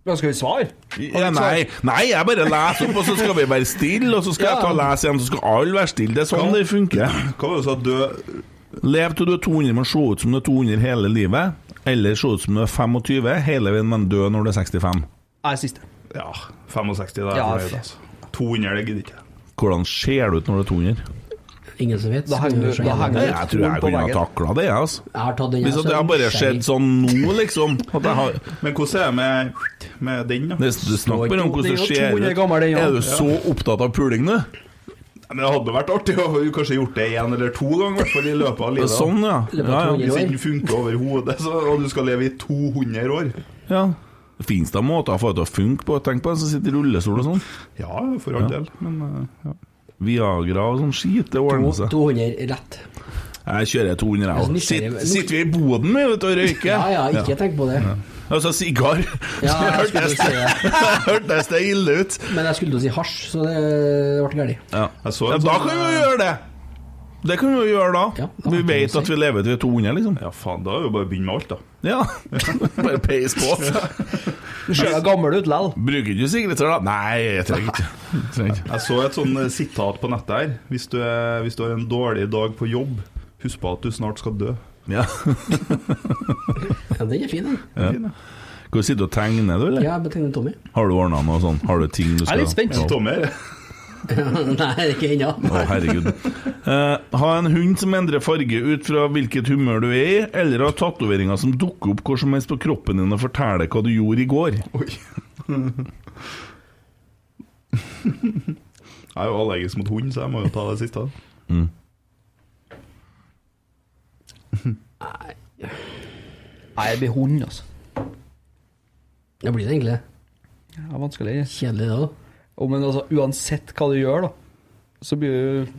Speaker 6: Da skal vi svare.
Speaker 2: Ja, nei, nei, jeg bare leser opp, og så skal vi være stille, og så skal jeg ta og lese igjen, så skal alle være stille. Det er sånn det funker.
Speaker 5: Hva var det du sa? Dø
Speaker 2: Lev til du er 200, men se ut som du er 200 hele livet. Eller se ut som du er 25 hele veien, men dø når du er 65.
Speaker 6: Nei, siste.
Speaker 5: Ja, 65 det er
Speaker 6: Ja,
Speaker 5: fornøyd, altså. 200 det gidder ikke.
Speaker 2: Hvordan ser du ut når du er 200?
Speaker 4: Ingen som vet.
Speaker 6: Da henger du- da henger
Speaker 2: Nei,
Speaker 6: du-
Speaker 2: Jeg tror jeg kunne ha takla det, jeg, altså.
Speaker 4: Jeg har tatt den.
Speaker 2: Hvis at det har bare skjedd sånn nå, liksom. At jeg har
Speaker 5: Men hvordan er det med, med den, da?
Speaker 2: Det, det snakker bare om hvordan
Speaker 6: Det er
Speaker 2: det
Speaker 6: jo
Speaker 2: ser
Speaker 6: 200 gammel,
Speaker 2: ut.
Speaker 6: den, ja.
Speaker 2: Er du så opptatt av puling, du?
Speaker 5: Men det hadde vært artig å kanskje gjort det én eller to ganger, i hvert fall i løpet
Speaker 2: Det
Speaker 5: av
Speaker 2: er
Speaker 5: livet.
Speaker 2: Sånn, ja.
Speaker 4: Eller
Speaker 2: ja,
Speaker 4: bare
Speaker 2: ja.
Speaker 4: 200
Speaker 5: Hvis den funker overhodet, så- og du skal leve i 200 år
Speaker 2: ja. Fins det måter å få det til å funke på? Tenk på en som sitter i rullestol og sånn.
Speaker 5: Ja, for all del, men eh, ja.
Speaker 2: Viagra og sånn skit, det ordner seg.
Speaker 4: 200 rett.
Speaker 2: Jeg kjører 200, jeg
Speaker 4: Altså,
Speaker 2: òg.
Speaker 4: nysgjerrig-
Speaker 2: Sitter, sitter vi i boden vi, vet du, og røyker?
Speaker 4: Ja ja, ikke tenk på det.
Speaker 2: Altså sigar.
Speaker 4: Ja, jeg skulle
Speaker 2: Hørtes
Speaker 4: til å si det.
Speaker 2: hørtes det ille ut?
Speaker 4: Men jeg skulle til å si hasj, så det ble galt.
Speaker 2: Ja.
Speaker 5: Jeg så
Speaker 2: Ja,
Speaker 5: en
Speaker 2: da
Speaker 5: sånn,
Speaker 2: kan vi jo gjøre det! Det kan vi jo gjøre da.
Speaker 4: Ja, da kan
Speaker 2: vi
Speaker 4: vi
Speaker 2: vet
Speaker 4: si.
Speaker 2: at vi lever til vi er 200, liksom.
Speaker 5: Ja, faen, da er det jo bare å begynne med alt, da.
Speaker 2: Ja. Bare peis på.
Speaker 6: Du ser deg gammel ut lell.
Speaker 2: Bruker ikke sigaretter, da? Nei, jeg trenger ikke. Jeg trenger ikke.
Speaker 5: Jeg så et sånn eh, sitat på nettet her. Hvis du, er, hvis du har en dårlig dag på jobb, husk på at du snart skal dø.
Speaker 2: Ja.
Speaker 4: Ja, den er fin, den.
Speaker 5: Det er fin, det.
Speaker 2: Skal du sitte og tegne, du, eller?
Speaker 4: Ja, jeg betegner Tommy.
Speaker 2: Har du ordna noe sånn? Har du ting du
Speaker 6: Jeg
Speaker 2: skal
Speaker 6: er litt spent.
Speaker 2: Ja.
Speaker 5: Tommy, er det?
Speaker 4: Nei, ikke ennå.
Speaker 2: Å, herregud. Eh, ha en hund som endrer farge ut fra hvilket humør du er i, eller ha tatoveringer som dukker opp hvor som helst på kroppen din og forteller hva du gjorde i går.
Speaker 5: Oi. Jeg er jo allergisk mot hund, så jeg må jo ta det siste. da.
Speaker 6: Nei, det blir hund, altså.
Speaker 4: Det blir det egentlig.
Speaker 6: Det er vanskelig.
Speaker 4: Kjedelig det òg.
Speaker 6: Å, men altså, uansett hva du gjør, da, så blir du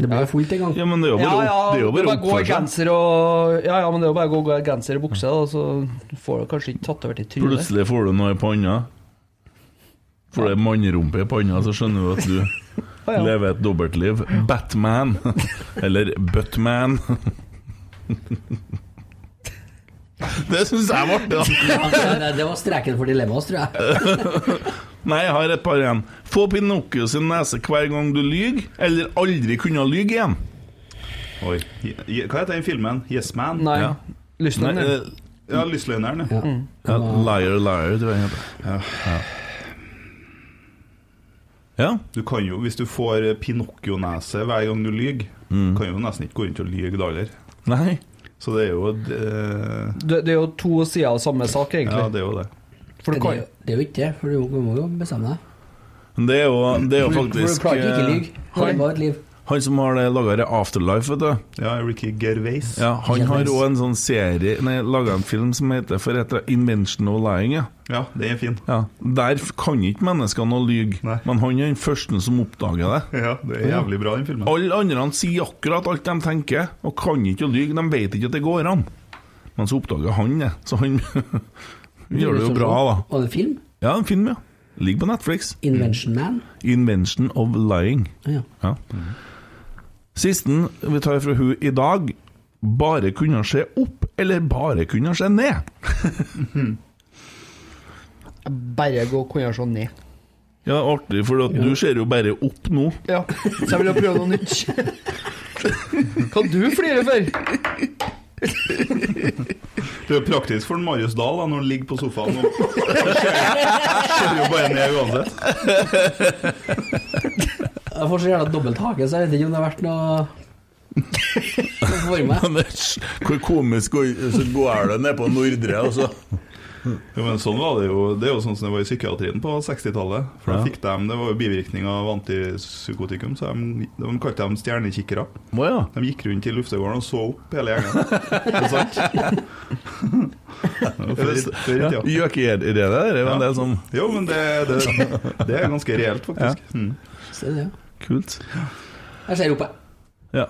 Speaker 4: Det blir jo fullt en gang.
Speaker 2: Ja, men det er jo bare, opp- det er jo
Speaker 6: det er
Speaker 2: bare
Speaker 6: bare å gå i
Speaker 2: oppføre seg.
Speaker 6: genser og Ja, ja, men det er jo bare å gå gå i genser og bukse, da, så får du kanskje ikke tatovert i trynet.
Speaker 2: Plutselig får du noe i panna. Får du ei mannerumpe i panna, så skjønner du at du
Speaker 6: Ja, ja.
Speaker 2: lever et dobbeltliv. Batman. Eller Buttman. Det syns jeg var artig, altså. da.
Speaker 4: Det, det var streken for dilemmaet, tror jeg.
Speaker 2: Nei, jeg har et par igjen. Få Pinocchio sin nese hver gang du lyver, eller aldri kunne lyve igjen.
Speaker 5: Oi. Je- je- Hva heter den filmen? Yes Man?
Speaker 6: Nei.
Speaker 2: Ja. Nei,
Speaker 6: Lysten din.
Speaker 2: eh,
Speaker 5: Ja, Lystløgneren. Ja.
Speaker 2: ja, liar, liar, tror jeg den heter. Ja.
Speaker 5: Du kan jo, hvis du får eh, Pinocchio-nese hver gang du lyver, kan jo nesten ikke gå rundt og lyve da heller.
Speaker 2: Nei.
Speaker 5: Så det er jo eh,
Speaker 6: Det, det er jo to sider av samme sak,
Speaker 5: Ja,
Speaker 6: egentlig.
Speaker 5: det er jo det.
Speaker 4: Det,
Speaker 6: For du kan jo
Speaker 4: det er jo ikke det, for du må- du må jo bestemme deg.
Speaker 2: Men Det er jo, det er jo
Speaker 4: For du
Speaker 2: faktisk
Speaker 4: klarer ikke ikke
Speaker 2: eh,
Speaker 4: lyve. Det er bare et liv.
Speaker 2: Han som har laga det Afterlife, vet du.
Speaker 5: Ja, Ricky Gervais.
Speaker 2: Ja, han
Speaker 4: Yes.
Speaker 2: har òg en sånn serie Nei, laga en film som heter for heter Invention of Lying. Ja.
Speaker 5: Ja, den er fin.
Speaker 2: Ja, der f- kan ikke menneskene å lyge,
Speaker 5: Nei.
Speaker 2: men han er den første som oppdager det.
Speaker 5: Ja, det er jævlig bra, den filmen.
Speaker 2: Alle andre han sier akkurat alt de tenker, og kan ikke å lyge. De vet ikke at det går an. Men så oppdager han det, så han gjør det jo bra, da.
Speaker 4: Og en film.
Speaker 2: Ja, en film, ja. Ligger på Netflix.
Speaker 4: Invention Man.
Speaker 2: 'Invention of Lying'.
Speaker 4: Ja.
Speaker 2: Ja. Sisten vi tar fra hun i dag Bare kunne se opp, eller bare kunne se ned?
Speaker 6: bare gå kunne gjøre sånn ned.
Speaker 2: Ja, artig, for at du ser jo bare opp nå.
Speaker 6: Ja, så jeg vil jo prøve noe nytt. Hva du flirer for?
Speaker 5: Det er jo praktisk for Marius Dahl da, når han ligger på sofaen og og ser ser jo bare ned uansett.
Speaker 4: Jeg får så gjerne dobbelt hake, så jeg vet ikke om det har vært noe noe for meg.
Speaker 2: Anders, hvor komisk går- så går det ned på Nordre, altså.
Speaker 5: Jo, men sånn var Det jo Det er jo sånn som det var i psykiatrien på 60-tallet. For da
Speaker 2: Ja.
Speaker 5: fikk de, Det var jo bivirkning av antipsykotikum, så de, de kalte dem stjernekikkere.
Speaker 2: Å ja.
Speaker 5: De gikk rundt i luftegården og så opp hele gjengen. Det er sant? Før i- før i tida.
Speaker 2: Gjøkeidé, det der er sånn- jo en del som
Speaker 5: Jo, men det, det, det er ganske reelt, faktisk. Mm.
Speaker 3: Så er det, ja.
Speaker 2: Kult.
Speaker 3: Jeg ser opp, jeg.
Speaker 2: Ja.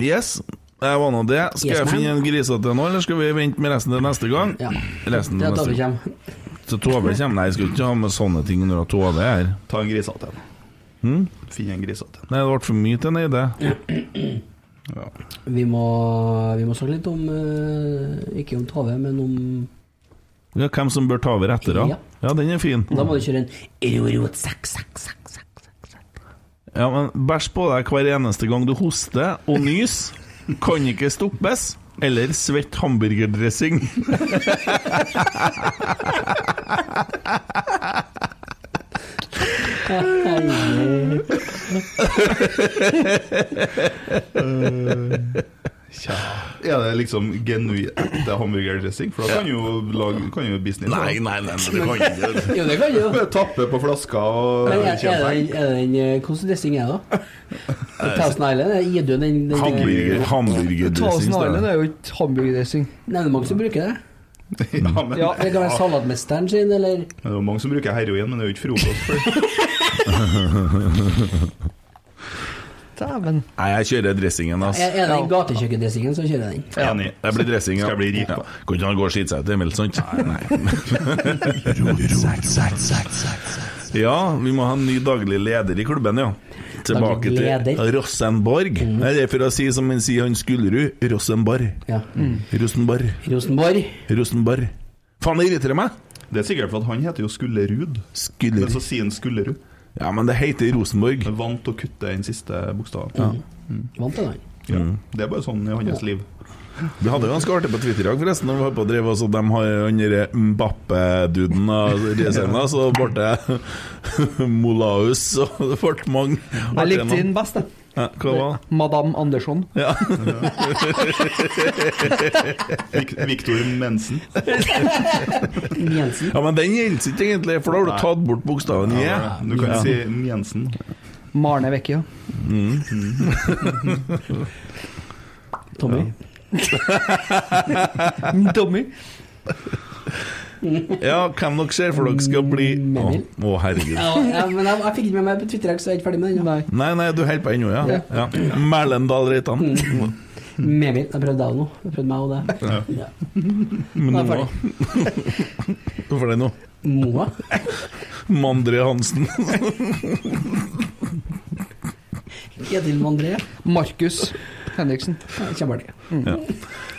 Speaker 2: Yes. Jeg var nå det. Skal
Speaker 3: Yes,
Speaker 2: jeg
Speaker 3: man.
Speaker 2: finne en grisete nå, eller skal vi vente med resten til neste gang?
Speaker 3: Ja.
Speaker 2: Resten til
Speaker 3: Det er at
Speaker 2: neste
Speaker 3: David
Speaker 2: gang.
Speaker 3: kommer.
Speaker 2: Så Tove kommer. Nei, jeg skulle ikke ha med sånne ting når at Tove er her.
Speaker 5: Ta en grisete en. Finn en grisete en.
Speaker 2: Nei, det ble for mye til en idé.
Speaker 3: Vi må, vi må snakke litt om eh, Ikke om Tove, men om
Speaker 2: Ja, hvem som bør ta over etter, da?
Speaker 3: Ja.
Speaker 2: Ja, den er fin.
Speaker 3: Da må du kjøre en rorot, sak, sak, sak, sak, sak, sak.
Speaker 2: Ja, men bæsj på deg hver eneste gang du hoster og nys. Kan ikke stoppes. Eller svett hamburgerdressing.
Speaker 5: Tja. Er det liksom genuint ekte hamburgerdressing? For da kan jo lage kan jo business. da.
Speaker 2: nei, nei, du kan ikke
Speaker 3: Jo, det kan du jo.
Speaker 5: Bare Tappe på flasker og
Speaker 3: Men er, er, det den-
Speaker 5: kjøpe
Speaker 3: er det den eh, Hvordan dressing er det, da? Thousand Island? er- Gir du den den- den-
Speaker 2: Hamburger, hamburgerdressing.
Speaker 6: Thousand
Speaker 2: står
Speaker 6: Island
Speaker 2: det.
Speaker 6: er jo ikke hamburgerdressing.
Speaker 3: Nei, det er mange som bruker det.
Speaker 5: Ja, men
Speaker 6: Ja.
Speaker 3: Det kan være salatmesteren sin, eller
Speaker 5: Det er jo mange som bruker heroin, men det er jo ikke frokost. For.
Speaker 6: Dæven.
Speaker 2: Nei, jeg kjører dressingen, ass.
Speaker 3: Er, er det den gatekjøkkendressingen, så kjører jeg den.
Speaker 5: Enig.
Speaker 2: Det blir dressing, ja.
Speaker 5: Skal jeg bli rik på.
Speaker 2: Ja. Kan ikke han gå og skite seg ut, Emil, sant? Ja, vi må ha en ny daglig leder i klubben, ja. Tilbake
Speaker 3: Daglig
Speaker 2: til
Speaker 3: leder. Mm.
Speaker 2: Rosenborg. Nei, Det er for å si som han sier, han Skullerud, Rosenborg.
Speaker 3: Ja.
Speaker 2: Rosenborg.
Speaker 3: Rosenborg.
Speaker 2: Rosenborg. Faen, det irriterer meg!
Speaker 5: Det er sikkert for at han heter jo Skullerud, men så
Speaker 2: Skullerud.
Speaker 5: sier han Skullerud.
Speaker 2: Ja, men det heter Rosenborg.
Speaker 5: Han vant å kutte den siste bokstaven.
Speaker 3: Vant den, han.
Speaker 5: Ja.
Speaker 2: Mm.
Speaker 5: Det er bare sånn i hans liv.
Speaker 2: Vi hadde det ganske artig på Twitter i dag, forresten. Når vi var på og drev oss, og de har han derre Mbappe-duden av Resena, så ble det Molaus, og det ble mange
Speaker 6: Jeg
Speaker 2: artige
Speaker 6: likte
Speaker 2: navn.
Speaker 6: den best, jeg.
Speaker 2: Ja, hva var det?
Speaker 6: Madame Andersson.
Speaker 5: Vik Viktor Mensen.
Speaker 3: Jensen.
Speaker 2: Ja, men den gjelder ikke egentlig, for da har du
Speaker 5: Nei.
Speaker 2: tatt bort bokstaven J.
Speaker 5: Du kan si Jensen.
Speaker 6: Marne Vecchia.
Speaker 3: Tommy.
Speaker 6: Dummy.
Speaker 2: Ja, hvem dere ser for dere skal bli Å,
Speaker 3: Emil.
Speaker 2: å, herregud.
Speaker 3: Ja, ja, men jeg, jeg fikk ikke med meg på Twitter, så jeg er ikke ferdig med den. Nei.
Speaker 2: Nei, nei, du holder på ennå, ja. ja. Merlendal Reitan.
Speaker 3: Memil. Mm. Jeg prøvde deg nå. Jeg prøvde meg og det. Ja. Nå er jeg ferdig.
Speaker 2: Hvorfor det nå?
Speaker 3: Moa.
Speaker 2: Mandre Hansen.
Speaker 3: Edil Mandré.
Speaker 6: Markus Henriksen.
Speaker 3: Ja, Kjempeartig.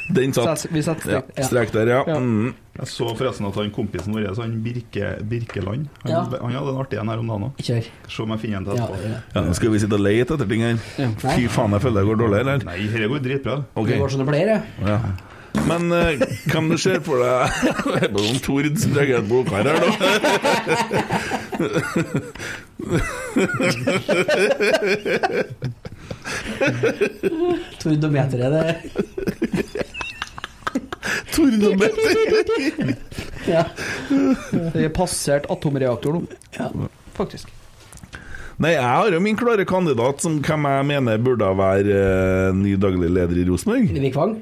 Speaker 2: Den satt.
Speaker 6: Sett- Vi setter
Speaker 2: Ja,
Speaker 6: strek.
Speaker 2: Strek der, ja. Mm.
Speaker 5: Jeg så forresten at han kompisen vår, så han Birke, Birkeland, han,
Speaker 3: Ja.
Speaker 5: han hadde en artig en her om dagen òg.
Speaker 3: Kjør.
Speaker 5: Se om jeg finner en til
Speaker 3: Ja,
Speaker 5: etterpå.
Speaker 3: ja.
Speaker 2: ja. Nå skal vi sitte og lete etter ting her.
Speaker 3: Nei,
Speaker 2: Fy faen, jeg føler det går dårlig her.
Speaker 5: Nei, dette går dritbra.
Speaker 2: Ok.
Speaker 3: det går som det pleier, jeg.
Speaker 2: Ja. Men eh, hvem du ser for deg Det er bare noen Tord som trenger et blodkar her, da.
Speaker 3: Tordometeret, det
Speaker 2: Tord og Mette.
Speaker 3: Ja.
Speaker 6: Vi har passert atomreaktoren nå. Faktisk.
Speaker 2: Nei, jeg har jo min klare kandidat som hvem jeg mener burde være eh, ny daglig leder i Rosenborg.
Speaker 3: Vivi Kvang.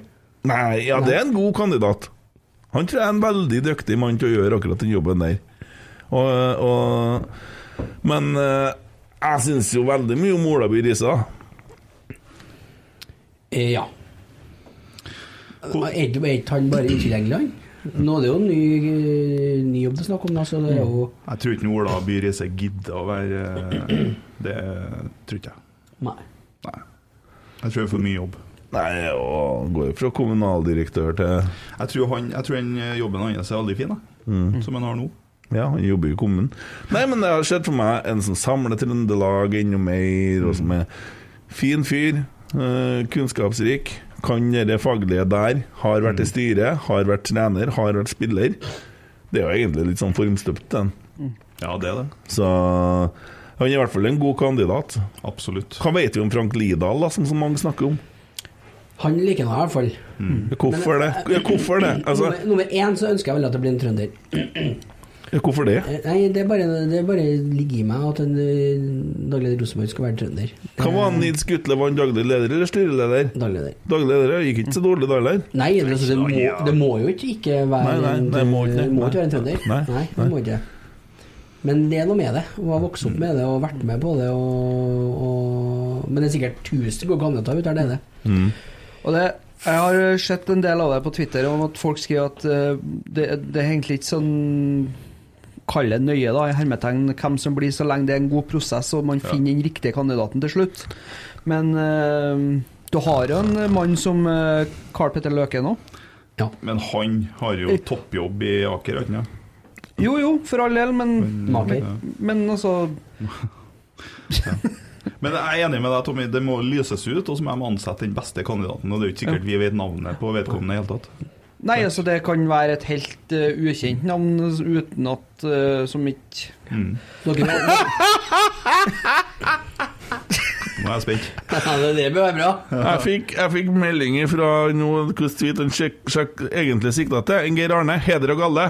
Speaker 2: Nei, ja, det er en god kandidat. Han tror jeg er en veldig dyktig mann til å gjøre akkurat den jobben der. Og, og, men eh, jeg syns jo veldig mye om Olaby Risa.
Speaker 3: Eh, Ja. Er ikke er ikke han bare utilgjengelig, han? Nå er det jo en ny, eh, ny jobb det er snakk om, da, så det er jo
Speaker 5: Jeg tror ikke Ola By Riise gidder å være eh, Det tror ikke jeg.
Speaker 3: Mm. Nei.
Speaker 5: Nei. Jeg tror det er for mye jobb.
Speaker 2: Nei, og går jo fra kommunaldirektør til
Speaker 5: Jeg tror, han, jeg tror den jobben hans er veldig fin, da. som han har nå.
Speaker 2: Ja, han jobber i kommunen. Nei, men det har skjedd for meg en som samler Trøndelag enda mer, og som er fin fyr. eh, Kunnskapsrik. Kan det faglige der. Har vært i styret, har vært trener, har vært spiller. Det er jo egentlig litt sånn formstøpt, den.
Speaker 5: Ja, det er det.
Speaker 2: Så han er i hvert fall en god kandidat.
Speaker 5: Absolutt.
Speaker 2: Hva vet vi om Frank Lidahl, da, som så mange snakker om?
Speaker 3: Han liker nå i hvert fall.
Speaker 2: Hvorfor det? Ja, hvorfor det? Altså,
Speaker 3: nummer, nummer én så ønsker jeg vel at det blir en trønder.
Speaker 2: Ja, Hvorfor det?
Speaker 3: Eh, Nei, det er bare, det er bare ligger i meg at en eh, daglig leder i Rosenborg skal være trønder.
Speaker 2: Hva var han Nils Gutle? Var han daglig leder eller styreleder?
Speaker 3: Daglig leder.
Speaker 2: Daglig leder gikk ikke så dårlig da heller.
Speaker 3: Nei, det, altså, det, må, det må jo ikke, ikke være
Speaker 2: Nei, nei,
Speaker 3: en-
Speaker 2: det må ikke det.
Speaker 3: det må ikke være en trønder.
Speaker 2: Nei,
Speaker 3: det må ikke Men det er noe med det. Hun har vokst opp med det og vært med på det. Og, og, men det er sikkert tusen gode kandidater ute der nede.
Speaker 6: Og det, jeg har eh, sett en del av det på Twitter om at folk skriver at eh, det, det er egentlig ikke sånn Kall det nøye, da, i hermetegn, hvem som blir, så lenge det er en god prosess og man finner den riktige kandidaten til slutt. Men eh, du har jo en mann som eh, Carl Petter Løke nå.
Speaker 5: Men han har jo toppjobb i Aker, har han ikke?
Speaker 6: Jo jo, for all del, men,
Speaker 2: Mm.
Speaker 3: Maker.
Speaker 6: men altså
Speaker 5: Men jeg er enig med deg, Tommy. Det må lyses ut, og så må de ansette den beste kandidaten. Og det er jo ikke sikkert vi vet navnet på vedkommende i det hele tatt.
Speaker 6: Nei, altså det kan være et helt eh, ukjent navn uten at eh, som ikke
Speaker 3: Dere,
Speaker 5: Nå er jeg spent.
Speaker 3: det, det bør være bra.
Speaker 2: Jeg fikk, jeg fikk meldinger fra noe hvordan tweet han sjekk, sjekk, egentlig sikta til. En Geir Arne, heder og galle.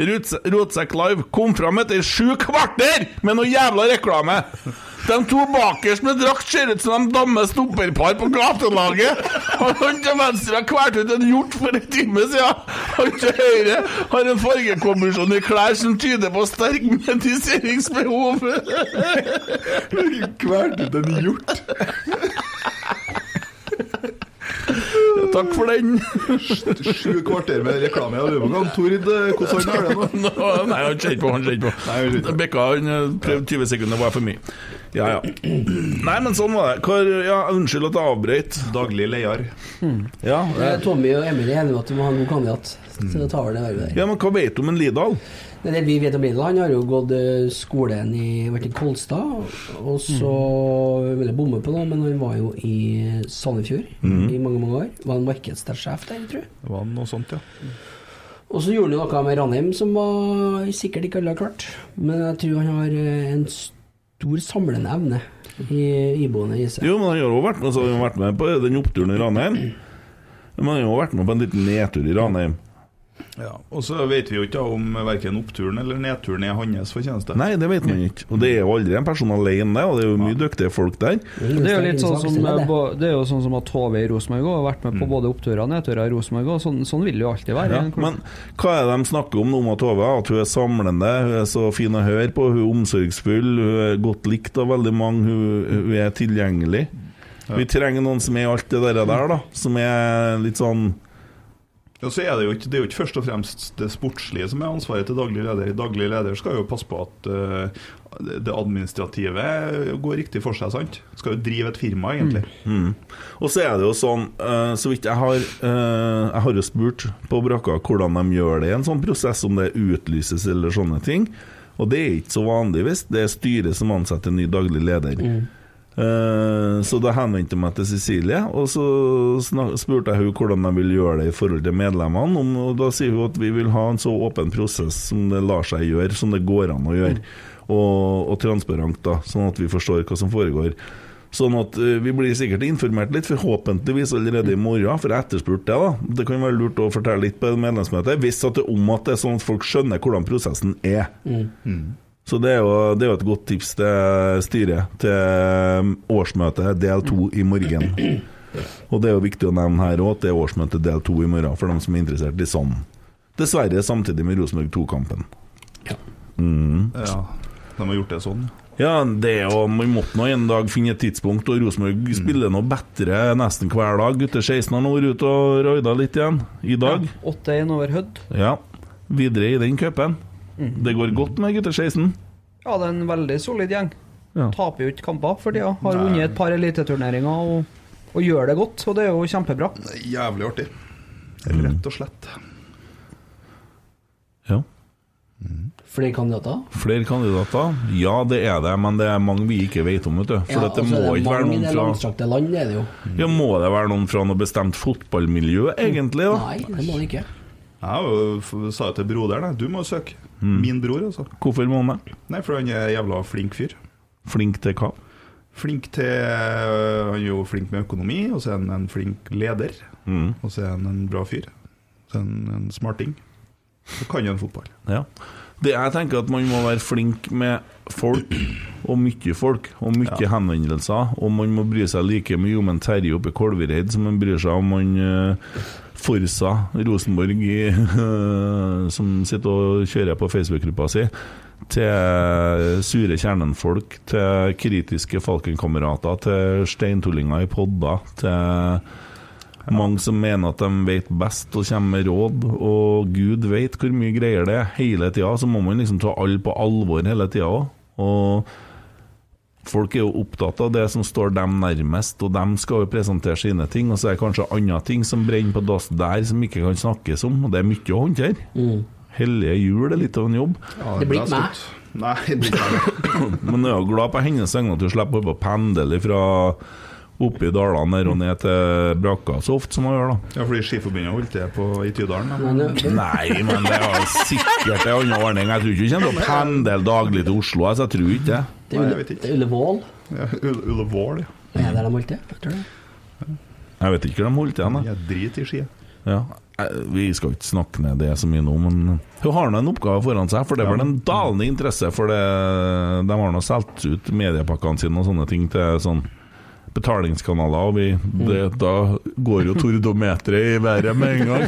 Speaker 2: Rotse- Rotsekk Live kom fram etter sju kvarter med noe jævla reklame! De to bakerst med drakt ser ut som de dammes stopperpar på gatelaget! Og han til venstre har kvært ut en hjort for en time siden! Han til høyre har en fargekombinasjon i klær som tyder på sterk mediseringsbehov!
Speaker 5: Hvert ut en hjort.
Speaker 2: Takk for den!
Speaker 5: Sju kvarter med reklame. Jeg lurer på hva han Tord eh, Hvordan han har det nå?
Speaker 2: Nå, nei, han kjente på, han kjente på.
Speaker 5: Nei, han kjente på.
Speaker 2: Bekka han eh, prøvde 20 sekunder, det var for mye. Ja, ja. Nei, men sånn var det. Hvor, ja, unnskyld at jeg avbrøt.
Speaker 5: Daglig leder.
Speaker 2: Ja,
Speaker 3: Eh, Tommy og Emil er enige om at vi må ha en god kandidat.
Speaker 2: Mm.
Speaker 3: Så da tar vi det vervet der.
Speaker 2: ja, men hva vet du om en Lidal?
Speaker 3: Nei, Det vi vet om Lidl, han har jo gått eh, skolen i vært i Kolstad, og så
Speaker 6: Mm.
Speaker 3: vil jeg bomme på noe, men han var jo i eh, Sandefjord
Speaker 2: Mm.
Speaker 3: i mange mange år. Var han markedsdelsjef der, tror jeg.
Speaker 5: Det var noe sånt, ja.
Speaker 3: Og så gjorde han jo noe med Ranheim som var sikkert ikke alle har klart, men jeg tror han har eh, en stor samlende evne i, iboende i seg.
Speaker 2: Jo, men han har jo vært med, så har han vært med på den oppturen i Ranheim. Men han har jo vært med på en liten nedtur i Ranheim.
Speaker 5: ja. Og så vet vi jo ikke om verken oppturen eller nedturen er hans fortjeneste.
Speaker 2: Nei, det vet man ikke. Og det er jo aldri en person alene, og det er jo mye dyktige folk der.
Speaker 6: Det er jo litt sånn som,
Speaker 3: Det er
Speaker 6: eh,
Speaker 3: det.
Speaker 6: bo- det er jo sånn som at HV i Rosenborg også har vært med på
Speaker 5: Mm.
Speaker 6: både oppturer og nedturer i Rosenborg. og Sånn, sånn vil det jo alltid være.
Speaker 2: Ja, men hva er det de snakker om nå med Tove? At hun er samlende, hun er så fin å høre på, hun er omsorgsfull, hun er godt likt av veldig mange, hun, hun er tilgjengelig. Vi trenger noen som er alt det der, der da, som er litt sånn
Speaker 5: Og så er det, jo ikke, det er jo ikke først og fremst det sportslige som er ansvaret til daglig leder. Daglig leder skal jo passe på at eh, det administrative går riktig for seg, sant? Skal jo drive et firma, egentlig.
Speaker 2: Og så er det jo sånn, eh, så vidt jeg har eh, Jeg har jo spurt på brakka hvordan de gjør det i en sånn prosess, om det utlyses eller sånne ting. Og det er ikke så vanlig hvis det er styret som ansetter ny daglig leder. Eh, så da henvendte jeg meg til Cecilie, og så snak- spurte jeg hun hvordan de vil gjøre det i forhold til medlemmene. Om, og da sier hun at vi vil ha en så åpen prosess som det lar seg gjøre, som det går an å gjøre. Og, og transparent, da, sånn at vi forstår hva som foregår. Sånn at eh, vi blir sikkert informert litt, forhåpentligvis allerede i morgen, for jeg etterspurte det. da. Det kan være lurt å fortelle litt på et medlemsmøte, hvis at det er om at det er sånn at folk skjønner hvordan prosessen er. Så det er, jo, det er jo et godt tips til styret til årsmøtet del to i morgen. Og det er jo viktig å nevne her òg at det er årsmøte del to i morgen for dem som er interessert i sånn. Dessverre samtidig med Rosenborg 2-kampen.
Speaker 5: Ja, de har gjort det sånn.
Speaker 2: Ja, det er jo Man måtte nå en dag finne et tidspunkt, og Rosenborg
Speaker 3: Mm.
Speaker 2: spiller nå bedre nesten hver dag. Gutter 16 har nå vært ute og raida litt igjen i dag.
Speaker 6: 8-1 over Hødd.
Speaker 2: Ja. Videre i den cupen.
Speaker 3: Mm.
Speaker 2: Det går godt med gutter 16.
Speaker 6: Ja, det er en veldig solid gjeng.
Speaker 2: Ja.
Speaker 6: Taper jo ikke kamper for tida. Har vunnet et par eliteturneringer og, og gjør det godt, og det er jo kjempebra.
Speaker 5: Det er jævlig artig. Rett og slett.
Speaker 2: Ja.
Speaker 3: Flere kandidater.
Speaker 2: Flere kandidater? Ja, det er det, men det er mange vi ikke vet om, vet du. For at det
Speaker 3: og så er
Speaker 2: må ikke være
Speaker 3: mange i
Speaker 2: noen
Speaker 3: det
Speaker 2: fra
Speaker 3: langstrakte land, er det jo.
Speaker 2: Ja, må det være noen fra noe bestemt fotballmiljø, egentlig? da?
Speaker 3: Nei, det må det ikke.
Speaker 5: Jeg har jo f- sa jo til broderen jeg, du må søke. Min bror, altså.
Speaker 2: Hvorfor må han det?
Speaker 5: Nei, for han er jævla flink fyr.
Speaker 2: Flink til hva?
Speaker 5: Flink til øh, Han er jo flink med økonomi, og så er han en flink leder.
Speaker 2: Mm.
Speaker 5: Og så er han en bra fyr. Så er han en smarting. Så kan han fotball.
Speaker 2: Ja. Det jeg tenker at man må være flink med folk, og mye folk, og mye henvendelser. Og man må bry seg like mye om en Terje oppe i Kolvereid som man bryr seg om han eh, Forsa Rosenborg i, som sitter og kjører på Facebook-gruppa si. Til sure kjernenfolk, til kritiske Falkenkamerater, til steintullinger i podder, til mange som mener at de vet best og kommer med råd, og Gud vet hvor mye greier det er hele tida. Så må man liksom ta alle på alvor hele tida òg. Og folk er jo opptatt av det som står dem nærmest, og dem skal jo presentere sine ting. Og så er det kanskje andre ting som brenner på dass der som ikke kan snakkes om, og det er mye å håndtere. Hellige jul er litt av en jobb,
Speaker 4: Det blir ikke meg.
Speaker 5: Nei, det blir ikke meg.
Speaker 2: men jeg er jo glad på hennes vegne at du slipper å pendle fra oppe i dalene der og ned til brakka så ofte som hun gjør, da.
Speaker 5: Ja, fordi Skiforbundet holdt det på i Tydalen. da.
Speaker 4: Men det- det-
Speaker 2: Nei, men det er jo sikkert en annen ordning. Jeg tror ikke du kommer til å pendle daglig til Oslo. altså, Jeg tror ikke det.
Speaker 4: det
Speaker 5: Nei, jeg
Speaker 4: er
Speaker 5: vet
Speaker 4: Ulle-
Speaker 5: ikke.
Speaker 4: det er Ullevål.
Speaker 5: Ja, Ulle- Ullevål, ja.
Speaker 4: Er det der de holdt det? Jeg tror det.
Speaker 2: Jeg vet ikke hvor de holdt igjen. jeg.
Speaker 5: Jeg driter i ski. jeg.
Speaker 2: Ja. Eh, Vi skal ikke snakke ned det så mye nå, men hun har nå en oppgave foran seg. For det er vel en dalende interesse for det. De har nå solgt ut mediepakkene sine og sånne ting til sånn betalingskanaler, og vi, det, da går jo tordometeret i været med en gang.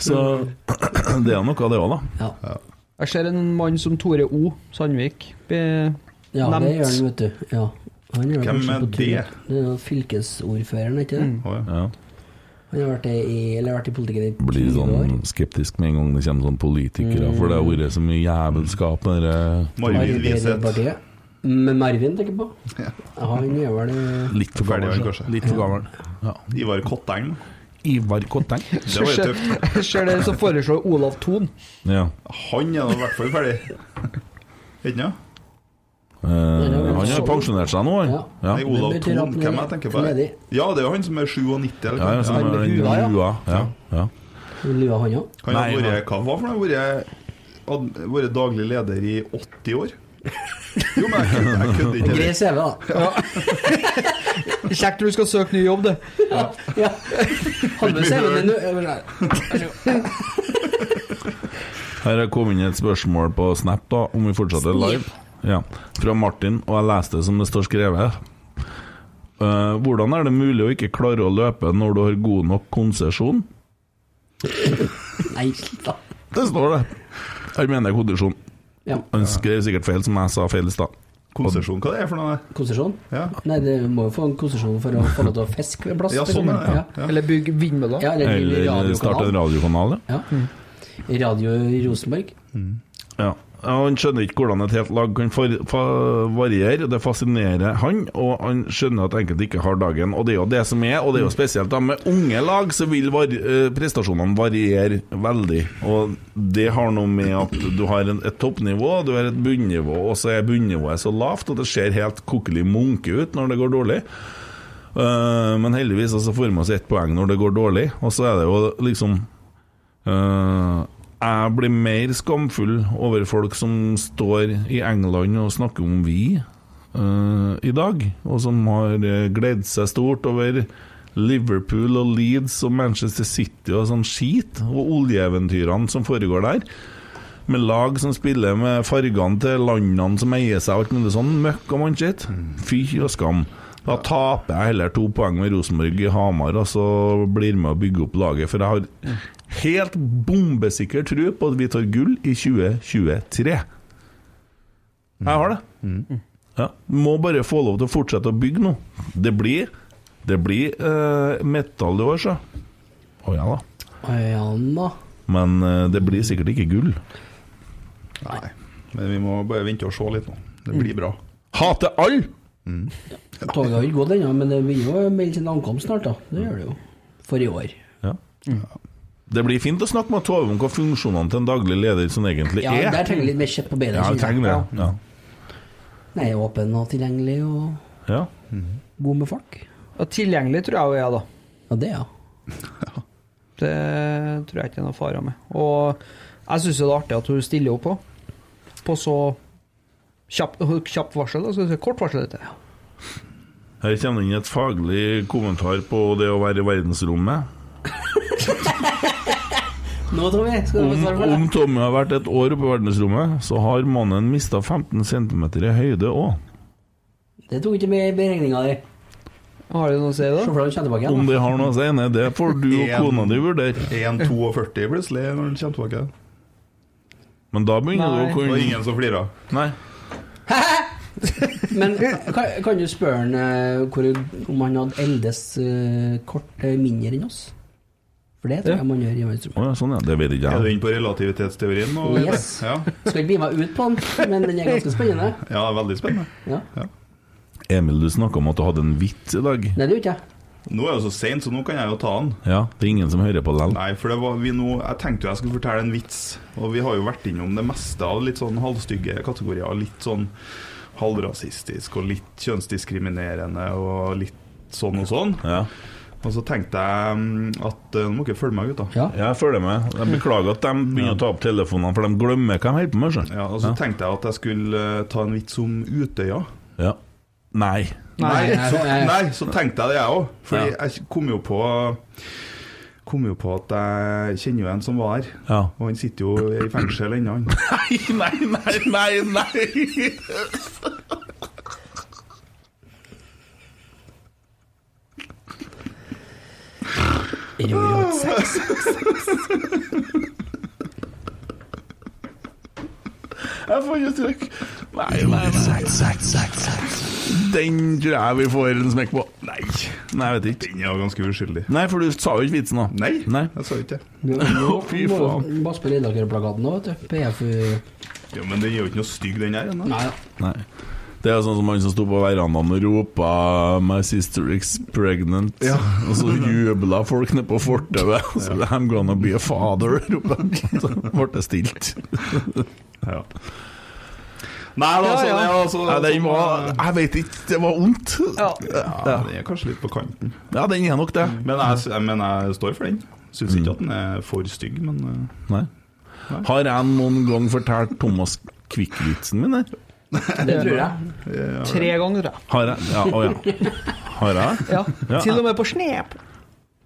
Speaker 2: så det er noe av det òg, da.
Speaker 4: Ja.
Speaker 6: Jeg ser en mann som Tore O. Sandvik. Be
Speaker 4: ja, det
Speaker 6: Nevnt.
Speaker 4: gjør han, vet du. Ja. Han gjør det
Speaker 5: Hvem
Speaker 4: kanskje
Speaker 5: er
Speaker 4: på tur.
Speaker 5: det?
Speaker 4: Det er jo fylkesordføreren, ikke det?
Speaker 5: Å, ja.
Speaker 2: Ja.
Speaker 4: Han har vært, det i, eller vært i politikken i
Speaker 2: blir
Speaker 4: 20 år.
Speaker 2: sånn skeptisk med en gang det kommer sånn politikere, for det har vært så mye jævelskap der. eh,
Speaker 5: Marvin Wiseth.
Speaker 4: Arbeiderpartiet. Men Marvin tenker på. Han er vel eh,
Speaker 2: Litt for gammel,
Speaker 5: Ferdig, kanskje.
Speaker 2: Litt for gammel. Ja.
Speaker 5: Ivar Kotteng.
Speaker 2: Ivar Kotteng.
Speaker 5: Det var jo tøft.
Speaker 6: Jeg ser det som foreslår Olav Thon.
Speaker 2: Ja.
Speaker 5: Han er nå i hvert fall ferdig. Ikke noe?
Speaker 2: Eh, han har pensjonert seg nå, han.
Speaker 4: Ja.
Speaker 2: Ja.
Speaker 5: Nei, Olav
Speaker 4: Men betyr
Speaker 5: Thon,
Speaker 4: at han
Speaker 5: hvem
Speaker 4: er
Speaker 5: jeg tenker på?
Speaker 4: ledig?
Speaker 5: Ja, det er jo han som er 97, eller
Speaker 2: Ja, ja, som
Speaker 5: han,
Speaker 2: er den
Speaker 6: hua, ja.
Speaker 2: hua. Ja. Ja.
Speaker 4: lua, han òg.
Speaker 5: han har
Speaker 2: Nei,
Speaker 5: vært Hva var for noe? Vært- had- Vært daglig leder i 80 år? Jo, men jeg kødder- jeg kødder ikke.
Speaker 4: Grei CV, da.
Speaker 6: Kjekt når du skal søke ny jobb, det.
Speaker 4: Ja. Hadde med CV, men nå-
Speaker 2: Her har kommet inn et spørsmål på Snap, da, om vi fortsetter live. Ja. Fra Martin, og jeg leste det som det står skrevet. Eh, hvordan er det mulig å ikke klare å løpe når du har god nok konsesjon?
Speaker 4: Nei, slutt, da.
Speaker 2: Det står det. Jeg mener kondisjon.
Speaker 4: Ja.
Speaker 2: Han skrev sikkert feil, som jeg sa feil i stad.
Speaker 5: Konsesjon, hva det er for noe?
Speaker 4: Konsesjon?
Speaker 5: Ja,
Speaker 4: Nei, du må jo få en konsesjon for å få lov til å fiske en plass.
Speaker 5: ja
Speaker 4: for
Speaker 5: sånn
Speaker 4: eksempel.
Speaker 5: er det. Ja. Ja.
Speaker 6: Eller bygge vindmøller.
Speaker 4: Ja, eller, eller
Speaker 2: Eller starte en
Speaker 4: radiokanal.
Speaker 2: radiokanal, ja.
Speaker 4: Ja. Radio Rosenborg.
Speaker 2: ja. Ja, Han skjønner ikke hvordan et helt lag kan for, fa, variere, det fascinerer han. Og han skjønner at enkelte ikke har dagen, og det er jo det som er. Og det er jo spesielt da med unge lag, så vil vari, eh, prestasjonene variere veldig. Og det har noe med at du har en, et toppnivå, du har et bunnivå, og så er bunnivået så lavt at det ser helt kokkelig munke ut når det går dårlig. Eh, men heldigvis altså, får vi oss ett poeng når det går dårlig, og så er det jo liksom eh, Jeg blir mer skamfull over folk som står i England og snakker om vi eh, i dag, og som har eh, gledd seg stort over Liverpool og Leeds og Manchester City og sånn skit, og oljeeventyrene som foregår der med lag som spiller med fargene til landene som eier seg, og alt mulig sånn møkk og mannskitt. Fy og skam. Da taper jeg heller to poeng med Rosenborg i Hamar, og så blir med å bygge opp laget. For jeg har helt bombesikker tro på at vi tar gull i 2023. Jeg har det. Ja. Må bare få lov til å fortsette å bygge nå. Det blir, det blir eh, metall i år, så. Å ja da.
Speaker 4: Å ja, da.
Speaker 2: Men eh, det blir sikkert ikke gull.
Speaker 5: Nei, men vi må bare vente og se litt nå. Det blir bra.
Speaker 2: Hater alle!
Speaker 4: Toget har ikke gått ennå, men det vil jo melde sin ankomst snart, da. Det gjør det jo. For i år.
Speaker 2: Ja. Det blir fint å snakke med Tove om hva funksjonene til en daglig leder som egentlig
Speaker 4: Ja,
Speaker 2: er.
Speaker 4: der trenger vi litt mer kjøtt på beina.
Speaker 2: ja, jeg trenger det. Ja.
Speaker 4: Nei, åpen og tilgjengelig og
Speaker 2: Ja.
Speaker 4: god med folk.
Speaker 6: Og tilgjengelig tror jeg hun er, da.
Speaker 4: Ja, det, ja.
Speaker 6: Det tror jeg ikke er noe fare med. Og jeg syns det er artig at hun stiller opp òg. På så kjapt kjapp varsel. Da, skal vi si, kort varsel. Dette.
Speaker 2: Her kommer det inn et faglig kommentar på det å være i verdensrommet.
Speaker 3: Nå, Tommy, skal du få
Speaker 2: Om,
Speaker 3: svar på
Speaker 2: om
Speaker 3: det.
Speaker 2: Tommy har vært et år oppe i verdensrommet, så har mannen mista 15 cm i høyde òg.
Speaker 4: Det tok ikke med i beregninga di.
Speaker 6: Har det noe å si,
Speaker 4: Se
Speaker 6: da?
Speaker 4: hvordan du kommer tilbake
Speaker 2: Om
Speaker 4: igjen. da.
Speaker 2: det har noe å si, nei, det får du og
Speaker 5: En.
Speaker 2: kona di vurdere.
Speaker 5: 1,42 plutselig når han kommer tilbake.
Speaker 2: Men da begynner du å
Speaker 6: Nei.
Speaker 5: Det var
Speaker 2: kunne
Speaker 5: ingen som flira.
Speaker 2: Nei.
Speaker 4: Men kan, kan du spørre han eh, hvor, om han hadde eldes eh, kort eh, mindre enn oss? For det tror jeg man gjør i verdensrommet.
Speaker 2: Å ja, sånn ja. Det vet ikke
Speaker 5: Er du
Speaker 2: jeg.
Speaker 5: inne på relativitetsteorien nå? eller?
Speaker 4: Yes.
Speaker 5: Ja.
Speaker 4: Skal ikke bli meg ut på den, men den er ganske spennende.
Speaker 5: ja, veldig spennende.
Speaker 4: Ja.
Speaker 2: Emil, du snakka om at du hadde en vits i dag.
Speaker 4: Nei, det gjorde ikke jeg.
Speaker 5: Nå er det så seint, så nå kan jeg jo ta den.
Speaker 2: Ja, det er ingen som hører på lell.
Speaker 5: Nei, for det var vi nå Jeg tenkte jo jeg skulle fortelle en vits, og vi har jo vært innom det meste av litt sånn halvstygge kategorier. Litt sånn halvrasistisk og litt kjønnsdiskriminerende og litt sånn og sånn.
Speaker 2: Ja.
Speaker 5: Og så tenkte jeg mm, at eh, Nå må dere følge meg, gutta.
Speaker 4: Ja.
Speaker 2: Jeg følger med. Jeg beklager at de begynner å ta opp telefonene, for de glemmer hva de holder på med. skjønner du.
Speaker 5: Ja, og så tenkte jeg at jeg skulle eh, ta en vits om Utøya.
Speaker 2: Ja. Nei.
Speaker 5: Nei,
Speaker 4: nei,
Speaker 5: så,
Speaker 4: nei.
Speaker 5: nei, så tenkte jeg det jeg òg. Fordi
Speaker 2: Ja.
Speaker 5: jeg kom jo på Kom jo på at jeg kjenner jo en som var her.
Speaker 2: Ja.
Speaker 5: Og han sitter jo i fengsel ennå, han.
Speaker 2: Nei, nei, nei, nei, nei.
Speaker 4: Ro, ro, sex.
Speaker 2: Jeg får ikke trykk. Nei, nei, nei. Den tror jeg vi får en smekk på. Nei, nei jeg vet ikke.
Speaker 5: Den er jo ganske uskyldig.
Speaker 2: Nei, for du sa jo ikke vitsen, da.
Speaker 5: Nei,
Speaker 2: Nei.
Speaker 5: jeg sa ikke det.
Speaker 4: Du må-
Speaker 2: Fy
Speaker 4: må jo
Speaker 2: faen.
Speaker 4: Bare spille Redaktørplakaten nå, vet du. PFU
Speaker 5: Ja, men den er jo ikke noe stygg, den her. ennå.
Speaker 4: Nei da.
Speaker 2: Nei. Det er sånn som han som sto på verandaen og ropa 'My sister is pregnant', og så jubla folk nede på fortauet. og Så 'I'm gonna be a father', ropte de. Så ble det stilt.
Speaker 5: Ja. Nei, da, så det er altså
Speaker 2: Nei, den var Jeg vet ikke, det var vondt.
Speaker 6: Ja.
Speaker 5: Ja, den er kanskje litt på kanten.
Speaker 2: Ja, den er nok det.
Speaker 5: Men jeg, jeg, men jeg står for den. Syns ikke at den er for stygg, men eh,
Speaker 2: Nei. Har jeg noen gang fortalt Thomas Quick-vitsen min, eller?
Speaker 4: Det tror jeg.
Speaker 6: Tre ganger, tror jeg.
Speaker 2: Har jeg? Ja, å ja. Har jeg?
Speaker 6: Ja.
Speaker 2: Ja.
Speaker 6: Til og med på snep.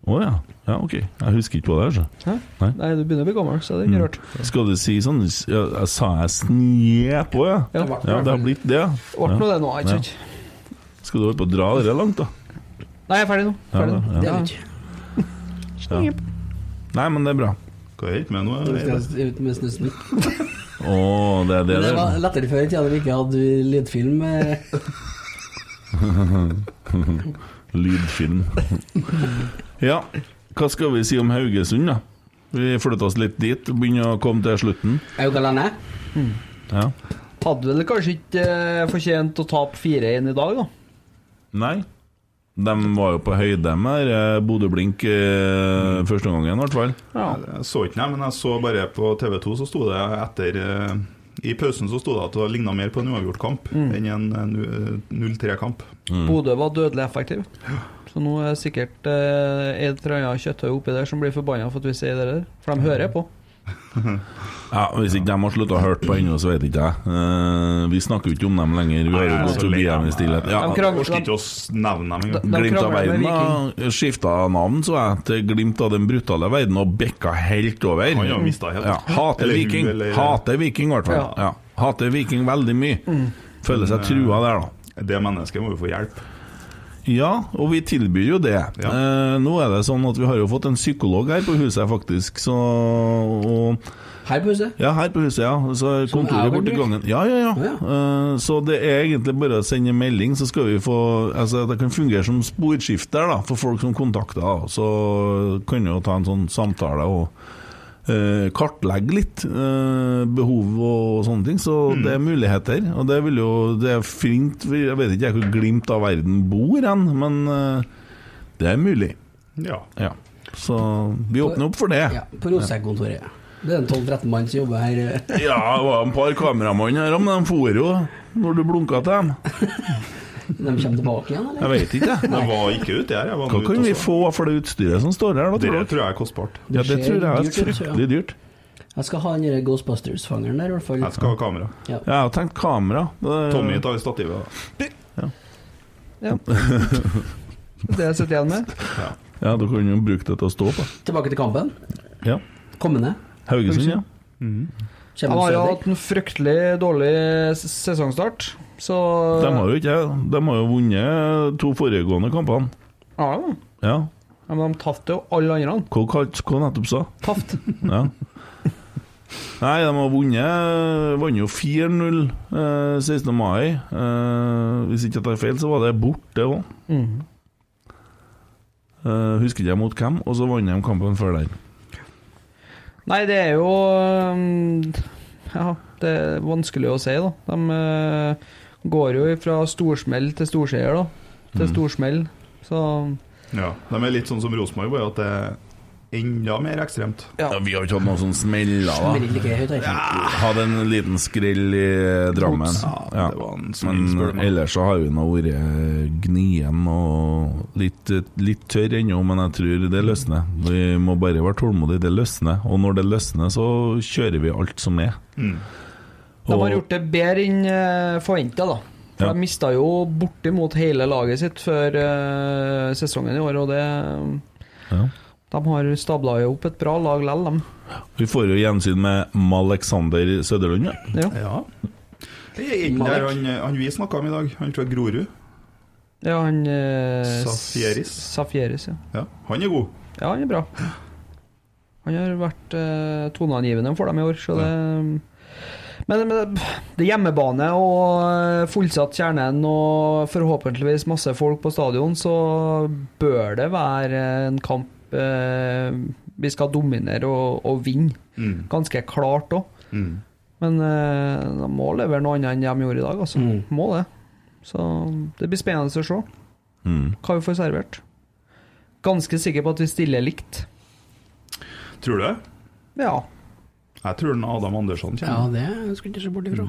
Speaker 2: Å ja. Ja, OK. Jeg husker ikke på det. altså.
Speaker 6: Hæ?
Speaker 2: Nei.
Speaker 6: Nei, du begynner å bli gammel, så det er
Speaker 2: Mm.
Speaker 6: ikke rart.
Speaker 2: Skal du si sånn ja, jeg Sa jeg sne på, ja?
Speaker 6: Ja.
Speaker 2: Ja, det har blitt det. ja.
Speaker 6: Ble nå det nå, ikke
Speaker 2: Ja.
Speaker 6: sant?
Speaker 2: Skal du holde på å dra det langt, da?
Speaker 6: Nei, jeg er ferdig nå. Ferdig nå.
Speaker 4: Det
Speaker 2: Ja,
Speaker 4: er det ikke.
Speaker 2: ja. Nei, men det er bra.
Speaker 5: hva er det med nå?
Speaker 4: Det
Speaker 5: Eivind?
Speaker 4: skal Ut med snusen.
Speaker 2: Å, det er
Speaker 4: Men
Speaker 2: det det
Speaker 4: det var
Speaker 2: er.
Speaker 4: lettere før i tida da vi ikke hadde lydfilm. eh.
Speaker 2: Lydfilm. Ja, hva skal vi si om Haugesund, da? Vi flytter oss litt dit, begynner å komme til slutten.
Speaker 4: Er jo hva landet er.
Speaker 2: Ja.
Speaker 6: Hadde vel kanskje ikke eh, fortjent å tape 4-1 i dag, da.
Speaker 2: Nei. De var jo på høyde med eh, Bodø-Blink eh, første omgangen, i hvert fall.
Speaker 6: Ja.
Speaker 5: Jeg så ikke den, men jeg så bare på TV 2, så sto det etter eh, I pausen så sto det at det ligna mer på en uavgjort kamp enn en eh, nu- eh, 0-3-kamp.
Speaker 6: Mm. Bodø var dødelig effektiv. Så nå er det sikkert eh, et eller annet kjøttøy oppi der som blir forbanna for at vi sier det der. For de hører på.
Speaker 2: Ja, Hvis ikke de har slutta å høre på ennå, så vet ikke jeg. Eh, vi snakker jo ikke om dem lenger. Vi har jo
Speaker 5: Nei,
Speaker 2: gått
Speaker 5: så
Speaker 2: forbi
Speaker 5: lenge.
Speaker 2: dem i stillhet. Ja,
Speaker 6: De krangler-
Speaker 5: Orker ikke å s- nevne dem engang.
Speaker 6: Da-
Speaker 2: Glimt av
Speaker 6: krangler med
Speaker 2: verden har skifta navn, så jeg, til Glimt av den brutale verden og bikka helt over.
Speaker 5: Han har mistet helt.
Speaker 2: Ja, hater
Speaker 5: Eller hun,
Speaker 2: Viking,
Speaker 5: eller-
Speaker 2: hater Viking i hvert fall.
Speaker 6: Ja.
Speaker 2: Ja. Hater Viking veldig mye. Føler seg trua der, da.
Speaker 5: Det mennesket må jo få hjelp.
Speaker 2: Ja, og vi tilbyr jo det.
Speaker 5: Ja.
Speaker 2: Eh, nå er det sånn at vi har jo fått en psykolog her på huset, faktisk, så og,
Speaker 4: Her på huset.
Speaker 2: Ja, her på huset, ja. Så
Speaker 4: jeg
Speaker 2: kontoret
Speaker 4: vel
Speaker 2: borti
Speaker 4: bruker?
Speaker 2: gangen. Ja, ja, ja.
Speaker 4: Å,
Speaker 2: Eh, så det er egentlig bare å sende melding, så skal vi få Altså, det kan fungere som sporskifter, da, for folk som kontakter. da. Så kan jo ta en sånn samtale og eh, kartlegge litt eh, behov og sånne ting. Så det er muligheter, og det vil jo Det er fint vi- Jeg vet ikke jeg hvor glimt av verden bor hen, men eh, det er mulig.
Speaker 5: Ja.
Speaker 2: Ja. Så vi åpner opp for det.
Speaker 4: Ja, på Rosegg-kontoret. Det er en 12-13 mann som jobber her. eh.
Speaker 2: Ja, det var en par kameramann her, men de for jo når du blunka til dem.
Speaker 4: De kommer tilbake igjen, eller?
Speaker 2: Jeg vet ikke, jeg.
Speaker 5: Det var ikke ute her. Jeg var
Speaker 2: Hva
Speaker 5: nå ute
Speaker 2: kan
Speaker 5: og
Speaker 2: vi
Speaker 5: så.
Speaker 2: få for det utstyret som står her, da,
Speaker 5: Det
Speaker 2: tror dere?
Speaker 5: tror jeg er kostbart.
Speaker 2: Ja, det
Speaker 4: ser
Speaker 2: tror jeg er
Speaker 4: dyrt ut, ja.
Speaker 2: fryktelig dyrt.
Speaker 4: Jeg skal ha den der Ghostbusters-fangeren der, i hvert fall.
Speaker 5: Jeg skal ha kamera.
Speaker 4: Ja.
Speaker 2: Jeg har tenkt kamera. Det-
Speaker 5: Tommy tar stativet. da.
Speaker 6: Det jeg sitter igjen med.
Speaker 2: Ja, du kan jo bruke det til å stå på.
Speaker 4: Tilbake til kampen.
Speaker 2: Ja.
Speaker 4: Kommende.
Speaker 2: Haugesund, ja.
Speaker 6: De
Speaker 4: Kommer
Speaker 6: har jo
Speaker 4: Søder.
Speaker 6: hatt en fryktelig dårlig s- sesongstart, så
Speaker 2: De har jo ikke De har jo vunnet to foregående kampene.
Speaker 6: Ja, ja.
Speaker 2: Ja.
Speaker 6: Ja, Men de tapte jo alle andre.
Speaker 2: Hva kalt- hva nettopp sa?
Speaker 6: Tapt.
Speaker 2: Ja. Nei, de har vunnet eh, Vant jo 4-0 eh, 16. mai. Eh, hvis ikke jeg tar feil, så var det borte òg. Eh, husker ikke jeg mot hvem, og så vant de kampen før der.
Speaker 6: Nei, det er jo øhm, Ja, det er vanskelig å si, da. De øh, går jo fra storsmell til storseier, da.
Speaker 2: Mm.
Speaker 6: Til storsmell. Så
Speaker 5: Ja, De er litt sånn som Rosenborg, bare at det er enda mer ekstremt.
Speaker 6: Ja.
Speaker 2: Ja, vi har jo ikke hatt noen sånn smeller,
Speaker 4: Smeller like høyt, jeg.
Speaker 2: da. Hadde en liten skrell i Drammen. Ja.
Speaker 5: det var en snill
Speaker 2: Men eh,
Speaker 5: spørsmål.
Speaker 2: Mm, ellers så har vi nå vært eh, gnien og litt, litt tørr ennå, men jeg tror det løsner. Vi må bare være tålmodige, det løsner. Og når det løsner, så kjører vi alt som er.
Speaker 5: Mm.
Speaker 6: de
Speaker 2: Og-
Speaker 6: har gjort det bedre enn øh, forventa, da. For
Speaker 2: Ja.
Speaker 6: De mista jo bortimot hele laget sitt før øh, sesongen i år, og det
Speaker 2: Ja.
Speaker 6: De har stabla jo opp et bra lag lell, dem.
Speaker 2: Vi får jo gjensyn med Malexander Søderlund, ja.
Speaker 6: Ja.
Speaker 5: Ja. Jeg er inne der han, han vi snakka om i dag, han fra Grorud.
Speaker 6: Ja, han eh,
Speaker 5: Safieris.
Speaker 6: Safieris, ja.
Speaker 5: Ja, han er god.
Speaker 6: Ja, han er bra. Han har vært eh, toneangivende for dem i år, så det men, men det er hjemmebane og eh, fullsatt kjernen og forhåpentligvis masse folk på stadion, så bør det være en kamp eh, vi skal dominere og, og vinne.
Speaker 5: Mm.
Speaker 6: Ganske klart òg.
Speaker 5: Mm.
Speaker 6: Men eh, de må levere noe annet enn de gjorde i dag, altså.
Speaker 4: Mm.
Speaker 6: Må det. Så det blir spennende å se
Speaker 2: Mm.
Speaker 6: hva vi får servert. Ganske sikker på at vi stiller likt.
Speaker 5: Tror du det?
Speaker 6: Ja.
Speaker 5: Jeg tror den Adam Andersson
Speaker 4: Ja,
Speaker 5: kommer.
Speaker 4: det skulle jeg ikke se bort ifra.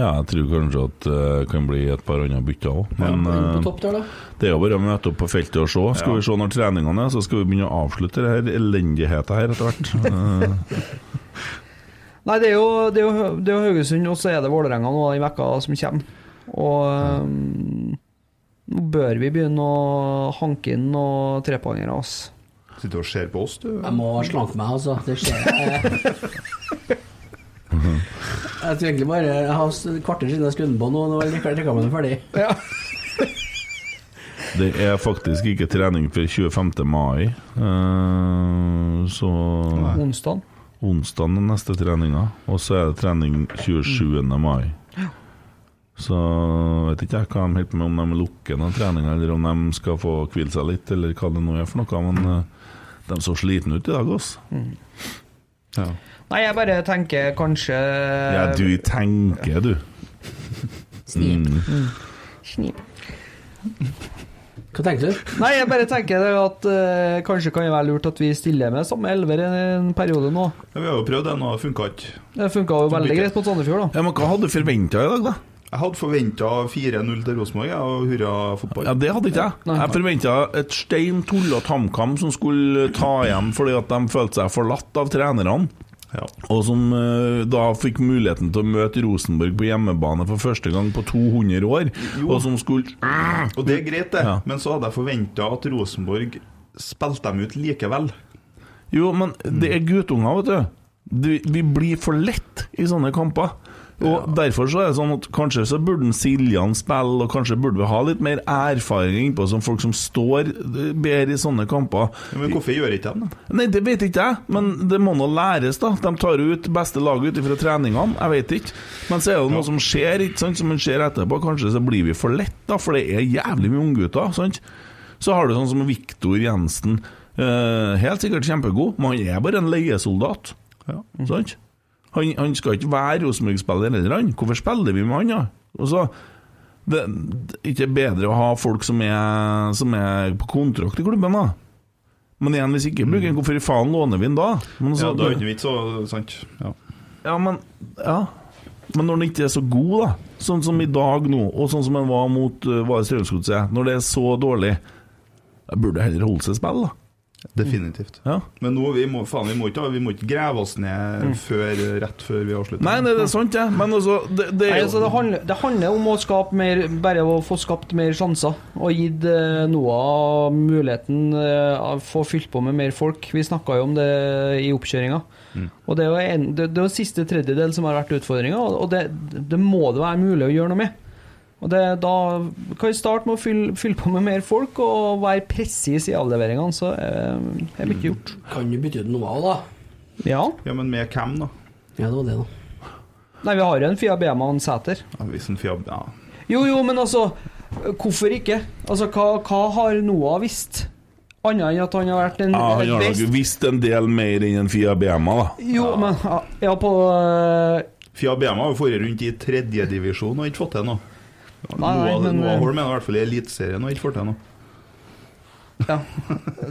Speaker 2: Ja, jeg tror kanskje at det kan bli et par andre bytter òg, men
Speaker 4: Inn på
Speaker 2: eh,
Speaker 4: topp der, da.
Speaker 2: det er jo bare å møte opp på feltet og se. Skal vi se når treningene er, så skal vi begynne å avslutte det her elendigheten her etter hvert. Eh,
Speaker 6: Nei, det er jo, det er jo, Hø- det er jo Haugesund, og så er det Vålerenga nå i vekka som kommer. Og øhm, nå bør vi begynne å hanke inn noen trepoengere, altså.
Speaker 5: Sitter og ser på oss, du.
Speaker 4: Jeg må slanke meg, altså. Det skjer. Jeg, jeg tror egentlig bare Jeg har s- et kvarter siden jeg skrudde den på nå, nå er reklamen ferdig.
Speaker 2: Det er faktisk ikke trening før 25. mai, eh, så
Speaker 6: Onsdag.
Speaker 2: onsdag er neste treninga, og så er det trening 27. mai. Så vet ikke jeg hva de holder på med, om de lukker noen treninger, eller om de skal få hvile seg litt, eller hva det nå er for noe, men eh, de så slitne ut i dag, altså.
Speaker 5: Ja.
Speaker 6: Nei, jeg bare tenker kanskje
Speaker 2: Ja, du tenker, du. Mm.
Speaker 4: Hva tenkte du?
Speaker 6: Nei, jeg bare tenker det at øh, kanskje kan det være lurt at vi stiller med samme elver en, en periode nå.
Speaker 5: Ja, Vi har jo prøvd den, og det funka ikke.
Speaker 6: Det funka jo veldig greit mot Sandefjord, da.
Speaker 2: Ja, men hva hadde du forventa i dag, da?
Speaker 5: Jeg hadde forventa 4-0 til Rosenborg jeg, og hurra fotball.
Speaker 2: Ja, Det hadde ikke jeg. Jeg forventa et stein tullete HamKam som skulle ta igjen fordi at de følte seg forlatt av trenerne.
Speaker 5: Ja.
Speaker 2: Og som eh, da fikk muligheten til å møte Rosenborg på hjemmebane for første gang på 200 år. Og som skulle
Speaker 5: Og det er greit, det,
Speaker 2: Ja.
Speaker 5: men så hadde jeg forventa at Rosenborg spilte dem ut likevel.
Speaker 2: Jo, men det er guttunger, vet du. du. Vi blir for lett i sånne kamper. Og derfor så er det sånn at kanskje så burde en Siljan spille, og kanskje burde vi ha litt mer erfaring innpå som folk som står eh, bedre i sånne kamper.
Speaker 5: Men hvorfor gjør ikke de det?
Speaker 2: Nei, det vet ikke jeg, men det må nå læres, da. De tar jo ut beste laget ut ifra treningene, jeg vet ikke. Men så er det jo noe som skjer, ikke sant, som en ser etterpå. Kanskje så blir vi for lett, da, for det er jævlig mye unggutter, sant. Så har du sånn som Viktor Jensen. eh, helt sikkert kjempegod, men han er bare en leiesoldat, sant. Han, han skal ikke være Rosenborg-spiller heller, han. Hvorfor spiller vi med han, da? Og så det, det er ikke bedre å ha folk som er, som er på kontrakt i klubben, da. Men igjen, hvis ikke bruker den, hvorfor i faen låner vi den da? Men, altså,
Speaker 5: Ja,
Speaker 2: så,
Speaker 5: da er det ikke vits, så sant. Ja.
Speaker 2: ja, men, ja. men når den ikke er så god, da, sånn som i dag nå, og sånn som den var mot uh, Vare Strømsgodset, når det er så dårlig, da burde det heller holde seg i spill, da.
Speaker 5: Definitivt.
Speaker 2: Ja.
Speaker 5: Mm. Men nå, vi må, faen, vi må ikke, vi må ikke grave oss ned før, rett før vi avslutter.
Speaker 2: Nei, nei, det er sant, jeg. Men altså, det, det
Speaker 6: Nei,
Speaker 2: er
Speaker 6: altså, det,
Speaker 2: jo
Speaker 6: handler, det handler om å skape mer Bare å få skapt mer sjanser. Og gitt eh, Noah muligheten eh, av å få fylt på med mer folk. Vi snakka jo om det i oppkjøringa.
Speaker 2: Mm.
Speaker 6: Og det er jo en, det, det er jo siste tredjedel som har vært utfordringa, og og det, det må det være mulig å gjøre noe med. Og det, Da kan vi starte med å fylle, fylle på med mer folk og være presis i avleveringene, så eh, er
Speaker 2: Mm.
Speaker 6: mye gjort.
Speaker 4: Kan du bytte ut noe av, da?
Speaker 6: Ja.
Speaker 5: Ja, men med hvem, da?
Speaker 4: Ja, det var det, da.
Speaker 6: Nei, vi har jo en Fia Bema og en Sæter.
Speaker 5: Ja, hvis en fjab, ja.
Speaker 6: Jo, jo, men altså Hvorfor ikke? Altså, hva, hva har Noah visst? Annet enn at han har vært en
Speaker 2: ja, Han
Speaker 6: et
Speaker 2: har
Speaker 6: best
Speaker 2: nok visst en del mer enn en Fia BMA, da.
Speaker 6: Jo, men Ja, på øh,
Speaker 5: Fjab Bema har jo forrige rundt i tredjedivisjon og ikke fått til noe.
Speaker 6: Nei, nei,
Speaker 5: Noah,
Speaker 6: men- eh,
Speaker 5: Noah Holm er i hvert fall i Eliteserien og ikke fått til noe.
Speaker 6: Ja.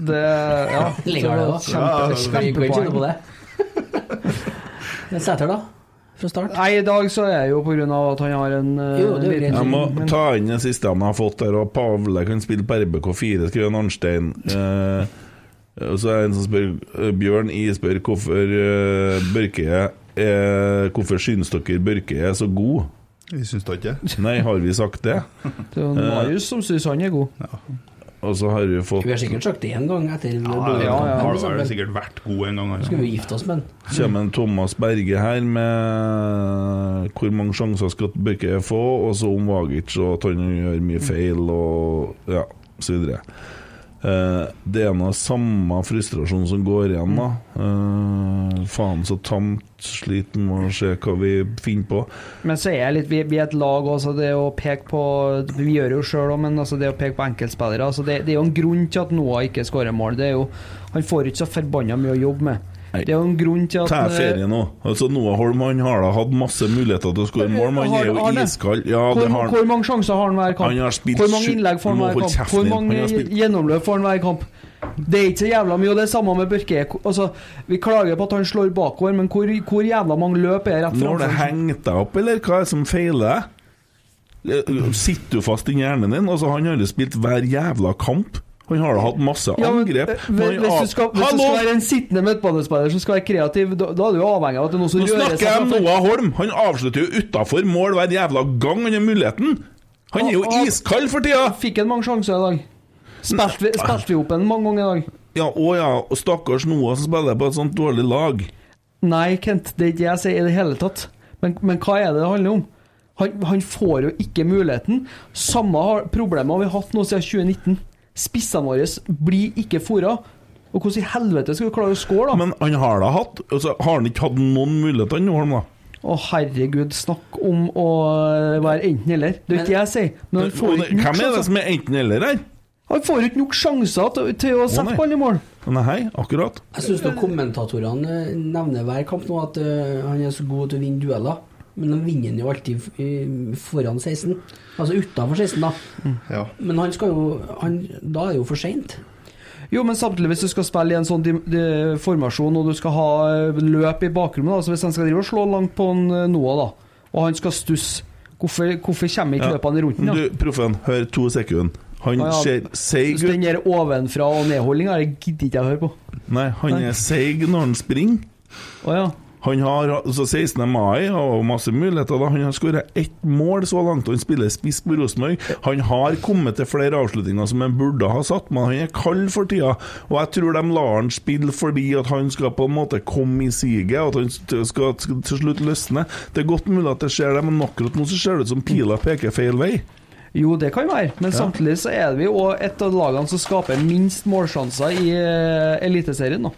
Speaker 6: Det Ja.
Speaker 4: Ligger det, da?
Speaker 5: Ja,
Speaker 4: Kjempe,
Speaker 5: ja, ja.
Speaker 4: kjempe, kjempe på det. Men Sæter, da? Fra start?
Speaker 6: Nei, i dag så er det jo på grunn av at han har en øh,
Speaker 4: Jo, det er jo
Speaker 6: liten-
Speaker 4: greit.
Speaker 2: Jeg må
Speaker 6: men-
Speaker 2: ta inn den siste han har fått der, og Pavle kan spille på RBK4, skriver Arnstein. Eh, og så er det en som spør eh, Bjørn I spør hvorfor eh, Børke eh, Hvorfor synes dere Børke er så god?
Speaker 5: Vi syns da ikke det.
Speaker 2: Nei, har vi sagt det?
Speaker 6: Det er
Speaker 2: Eh,
Speaker 6: jo Marius som syns han er god.
Speaker 2: Og så har vi fått
Speaker 4: Vi har sikkert sagt det én gang etter
Speaker 5: Ja,
Speaker 6: ja, ja.
Speaker 5: Har
Speaker 4: for
Speaker 5: har
Speaker 4: eksempel.
Speaker 5: sikkert vært god en gang.
Speaker 4: Skulle
Speaker 5: Han.
Speaker 4: vi gifte oss med den?
Speaker 2: kommer en Thomas Berge her med hvor mange sjanser skal Børke få, og så om Vagic og at han gjør mye feil og ja, så videre. Eh, det er noe samme frustrasjon som går igjen, da. Eh, faen så tamt, sliten med å se hva vi finner på.
Speaker 6: Men så er jeg litt Vi, vi er et lag, også, det å peke på Vi gjør jo sjøl òg, men altså det å peke på enkeltspillere altså det, det er jo en grunn til at Noah ikke skårer mål. Det er jo, han får ikke så forbanna mye å jobbe med.
Speaker 2: Nei.
Speaker 6: Det er jo en grunn til at eh,
Speaker 2: Ta ferie nå. Altså Noah Holm han har da hatt masse muligheter til å skåre mål, men han er
Speaker 6: Har- har
Speaker 2: jo
Speaker 6: det?
Speaker 2: iskald. Ja,
Speaker 6: Hvor,
Speaker 2: det har
Speaker 6: hvor
Speaker 2: han.
Speaker 6: mange sjanser har han hver kamp?
Speaker 2: Han har spilt
Speaker 6: hvor mange
Speaker 2: sju-
Speaker 6: innlegg får
Speaker 2: Du
Speaker 6: han
Speaker 2: må
Speaker 6: hver kamp?
Speaker 2: holde kjeften
Speaker 6: Hvor
Speaker 2: din. Han
Speaker 6: mange
Speaker 2: har spilt-
Speaker 6: gjennomløp får han hver kamp? Det er ikke så jævla mye, og det er samme med Børke. Altså, vi klager på at han slår bakover, men hvor, hvor jævla mange løp er rett
Speaker 2: Når det
Speaker 6: framfor?
Speaker 2: hengt deg opp, eller hva er det som feiler deg? Eh, Sitter du fast inni hjernen din? Altså, han har jo spilt hver jævla kamp. Han har da hatt masse
Speaker 6: Ja, men,
Speaker 2: angrep.
Speaker 6: eh,
Speaker 2: men han
Speaker 6: hvis
Speaker 2: av-
Speaker 6: du skal, hvis du
Speaker 2: Hallo!
Speaker 6: skal være en sittende midtbanespiller som skal være kreativ, da, da er du jo avhengig av at det er noen som
Speaker 2: Nå
Speaker 6: rører
Speaker 2: snakker jeg
Speaker 6: seg.
Speaker 2: om
Speaker 6: fra-
Speaker 2: Noah Holm. Han avslutter jo utafor mål hver jævla gang han har muligheten. Han er jo
Speaker 6: Og- og-
Speaker 2: iskald for tida!
Speaker 6: Fikk han mange sjanser i dag? Spilte vi, spilte vi opp en mange ganger i dag?
Speaker 2: Ja, å ja, og stakkars Noah som spiller på et sånt dårlig lag.
Speaker 6: Nei, Kent, det er ikke det jeg sier i det hele tatt. Men, men hva er det det handler om? Han, han får jo ikke muligheten. Samme har- problemet har vi hatt nå siden 2019. Spissene våre blir ikke fôra. Og hvordan i helvete skal vi klare å score, da?
Speaker 2: Men han har da hatt altså, Har han ikke hatt noen muligheter, Noah Holm, da?
Speaker 6: å herregud, snakk om å være enten-eller. Det er jo ikke det jeg sier. Men han får jo ikke nok
Speaker 2: Hvem er det
Speaker 6: sjanser.
Speaker 2: som er enten-eller her?
Speaker 6: Han får jo ikke nok sjanser til, til å
Speaker 2: nei.
Speaker 6: sette ballen i mål.
Speaker 2: Nei, akkurat.
Speaker 4: Jeg syns kommentatorene eh, nevner hver kamp nå at eh, han er så god til å vinne dueller. Men han vinner den jo alltid eh, foran 16. Altså utafor 16, da.
Speaker 5: Ja.
Speaker 4: Men han skal jo han, Da er det jo for seint.
Speaker 6: Jo, men samtidig hvis du skal spille i en sånn dim- de- formasjon og du skal ha eh, løp i bakrommet, da, så hvis han skal drive og slå langt på en eh, Noah, da, og han skal stusse, hvorfor, hvorfor kommer ikke
Speaker 2: Ja.
Speaker 6: løpene rundt den? da?
Speaker 2: Du, proffen, hør to sekunder. Han
Speaker 6: Ah, ja.
Speaker 2: ser seig
Speaker 6: Så
Speaker 2: ut.
Speaker 6: Den der ovenfra og nedholdninga gidder ikke jeg å høre på.
Speaker 2: Nei, han
Speaker 6: Nei.
Speaker 2: er seig når han springer.
Speaker 6: Å ja.
Speaker 2: Han har altså 16. mai og masse muligheter. da Han har skåra ett mål så langt, og han spiller spiss på Rosenborg. Han har kommet til flere avslutninger som han burde ha satt, men han er kald for tida. Og jeg tror de lar han spille fordi at han skal på en måte komme i siget, og at han st- skal t- til slutt løsne. Det er godt mulig at det skjer, det, men akkurat nå så ser det ut som pila peker feil vei.
Speaker 6: Jo, det kan være, men samtidig så er vi jo et av lagene som skaper minst målsjanser i eh, Eliteserien nå.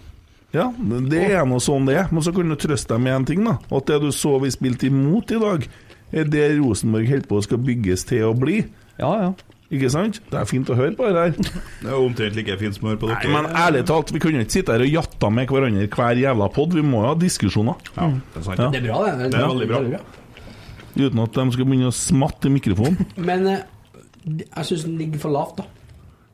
Speaker 2: Ja, det er nå sånn det er. Men så kan du trøste deg med én ting, da. At det du så vi spilte imot i dag, er det Rosenborg holder på å skal bygges til å bli.
Speaker 6: Ja, ja.
Speaker 2: Ikke sant? Det er fint å høre på det her.
Speaker 5: Det er jo omtrent like fint smør på dere.
Speaker 2: Nei, men
Speaker 4: eh,
Speaker 2: ærlig talt, vi kunne jo ikke sitte her og jatta med hverandre hver jævla pod. Vi må jo ha diskusjoner.
Speaker 5: ja, det er sant.
Speaker 2: Ja.
Speaker 4: Det er bra, det.
Speaker 5: Det er veldig bra.
Speaker 2: Uten at de skal begynne å smatte i mikrofonen.
Speaker 4: Men eh, jeg syns den ligger for lavt, da.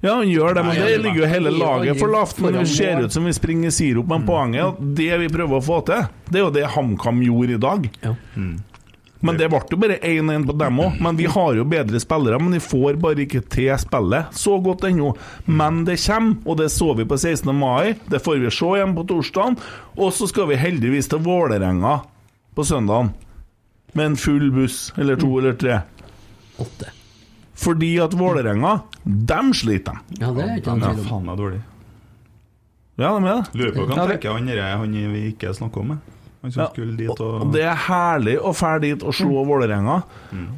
Speaker 2: Ja, han gjør det, men
Speaker 5: Nei,
Speaker 2: det
Speaker 5: han gjør
Speaker 2: ligger jo hele
Speaker 4: det.
Speaker 2: laget for lavt. Men
Speaker 4: Foran
Speaker 2: det ser
Speaker 4: mål.
Speaker 2: ut som vi springer
Speaker 4: Mm.
Speaker 2: sirup, men poenget er at det vi prøver å få til, det er jo det HamKam gjorde i dag.
Speaker 4: Ja.
Speaker 2: Men det ble jo bare 1-1 på dem òg. Men vi har jo bedre spillere, men vi får bare ikke til spillet så godt ennå. Men det kommer, og det så vi på 16. mai. Det får vi se igjen på torsdag. Og så skal vi heldigvis til Vålerenga på søndagen. Med en full buss, eller to
Speaker 4: Mm.
Speaker 2: eller tre.
Speaker 4: Åtte.
Speaker 2: Fordi at Vålerenga, dem sliter, de.
Speaker 4: Ja, det er ikke noe
Speaker 5: Ja,
Speaker 4: tvil om.
Speaker 5: faen meg dårlig.
Speaker 2: Ja, de er det.
Speaker 5: Lurer på hva
Speaker 6: Ja,
Speaker 5: han
Speaker 6: det-
Speaker 5: tenker, han der han vi ikke snakker om. jeg. Han som
Speaker 2: Ja,
Speaker 5: skulle dit
Speaker 2: og,
Speaker 5: og
Speaker 2: og det er herlig å fære dit og slå Vålerenga.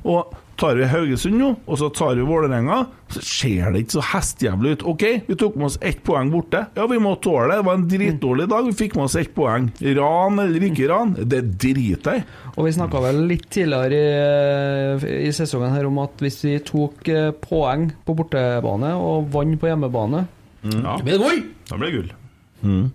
Speaker 2: Og tar vi Haugesund nå, og så tar vi Vålerenga, så ser det ikke så hestejævlig ut. OK, vi tok med oss ett poeng borte. Ja, vi må tåle det. Det var en dritdårlig dag, vi fikk med oss ett poeng. Ran eller ikke ran, det driter jeg i.
Speaker 6: Og vi snakka vel litt tidligere i, i sesongen her om at hvis vi tok eh, poeng på bortebane og vant på hjemmebane
Speaker 5: Ja,
Speaker 4: Det blir gull!
Speaker 5: da ble det gull.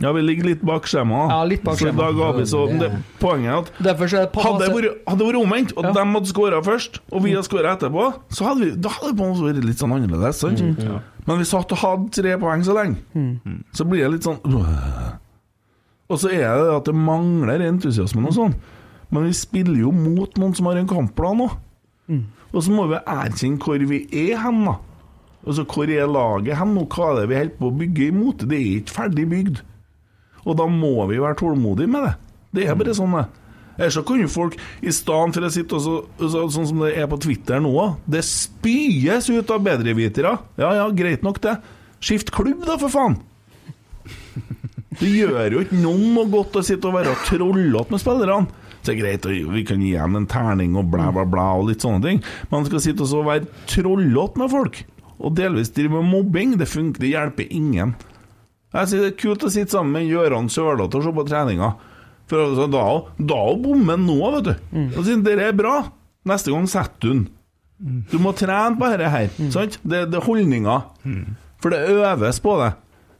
Speaker 2: Ja, vi ligger litt bak skjemaet.
Speaker 6: Ja, litt bak
Speaker 2: Så i dag
Speaker 4: skjemaet.
Speaker 2: har vi så det, Poenget er at
Speaker 6: Derfor så er det
Speaker 2: Hadde det
Speaker 6: passe-
Speaker 2: vært, hadde det vært omvendt, og
Speaker 6: Ja.
Speaker 2: de hadde skåra først, og vi hadde skåra etterpå, så hadde vi, da hadde det på en måte vært litt sånn annerledes. Sant? Men vi satt og hadde tre poeng så lenge. Så blir det litt sånn øh. Og så er det det at det mangler entusiasmen og sånn. Men vi spiller jo mot noen som har en kampplan òg. Og så må vi erkjenne hvor vi er hen, da. Altså, hvor er laget hen, og hva er det vi holder på å bygge imot? Det er ikke ferdig bygd. Og da må vi være tålmodige med det. Det er bare sånn, det. Ellers så kan jo folk, i stedet for å sitte og så, så, sånn som det er på Twitter nå, det spyes ut av bedrevitere. Ja ja, greit nok det. Skift klubb, da, for faen! Det gjør jo ikke noen noe godt å sitte og være trollete med spillerne. Så det er greit, og vi kan gi dem en terning og bla, bla, bla og litt sånne ting. Man skal sitte og så være trollete med folk, og delvis drive med mobbing. Det funker, det hjelper ingen. Jeg sier det er kult å sitte sammen med Gøran Sørloth og se på treninga. For altså, da, da bommer han nå, vet du. Og sier dere er bra. Neste gang setter du den. Du må trene på dette her. Sant? Det, det er holdninger. For det øves på det.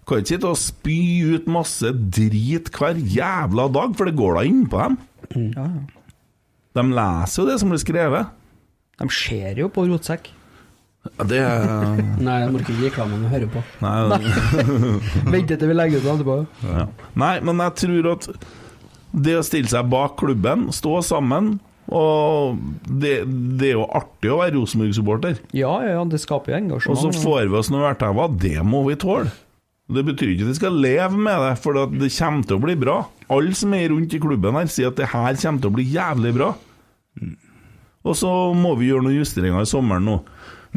Speaker 2: Kan ikke sitte og spy ut masse drit hver jævla dag, for det går da inn på dem. De leser jo det som blir skrevet.
Speaker 6: De ser jo på rotsekk.
Speaker 2: Ja, Det er
Speaker 4: Nei, jeg må ikke gi reklamen å høre på.
Speaker 2: Nei,
Speaker 6: Vent til vi legger ut det etterpå.
Speaker 2: Ja. Nei, men jeg tror at det å stille seg bak klubben, stå sammen og det, det er jo artig å være Rosenborg-supporter.
Speaker 6: Ja, ja, ja, det skaper jo
Speaker 2: Og så
Speaker 6: engasjement.
Speaker 2: får vi oss noe erteva. Det må vi tåle. Det betyr ikke at vi skal leve med det, for at det kommer til å bli bra. Alle som er rundt i klubben her, sier at det her kommer til å bli jævlig bra. Og så må vi gjøre noen justeringer i sommeren nå.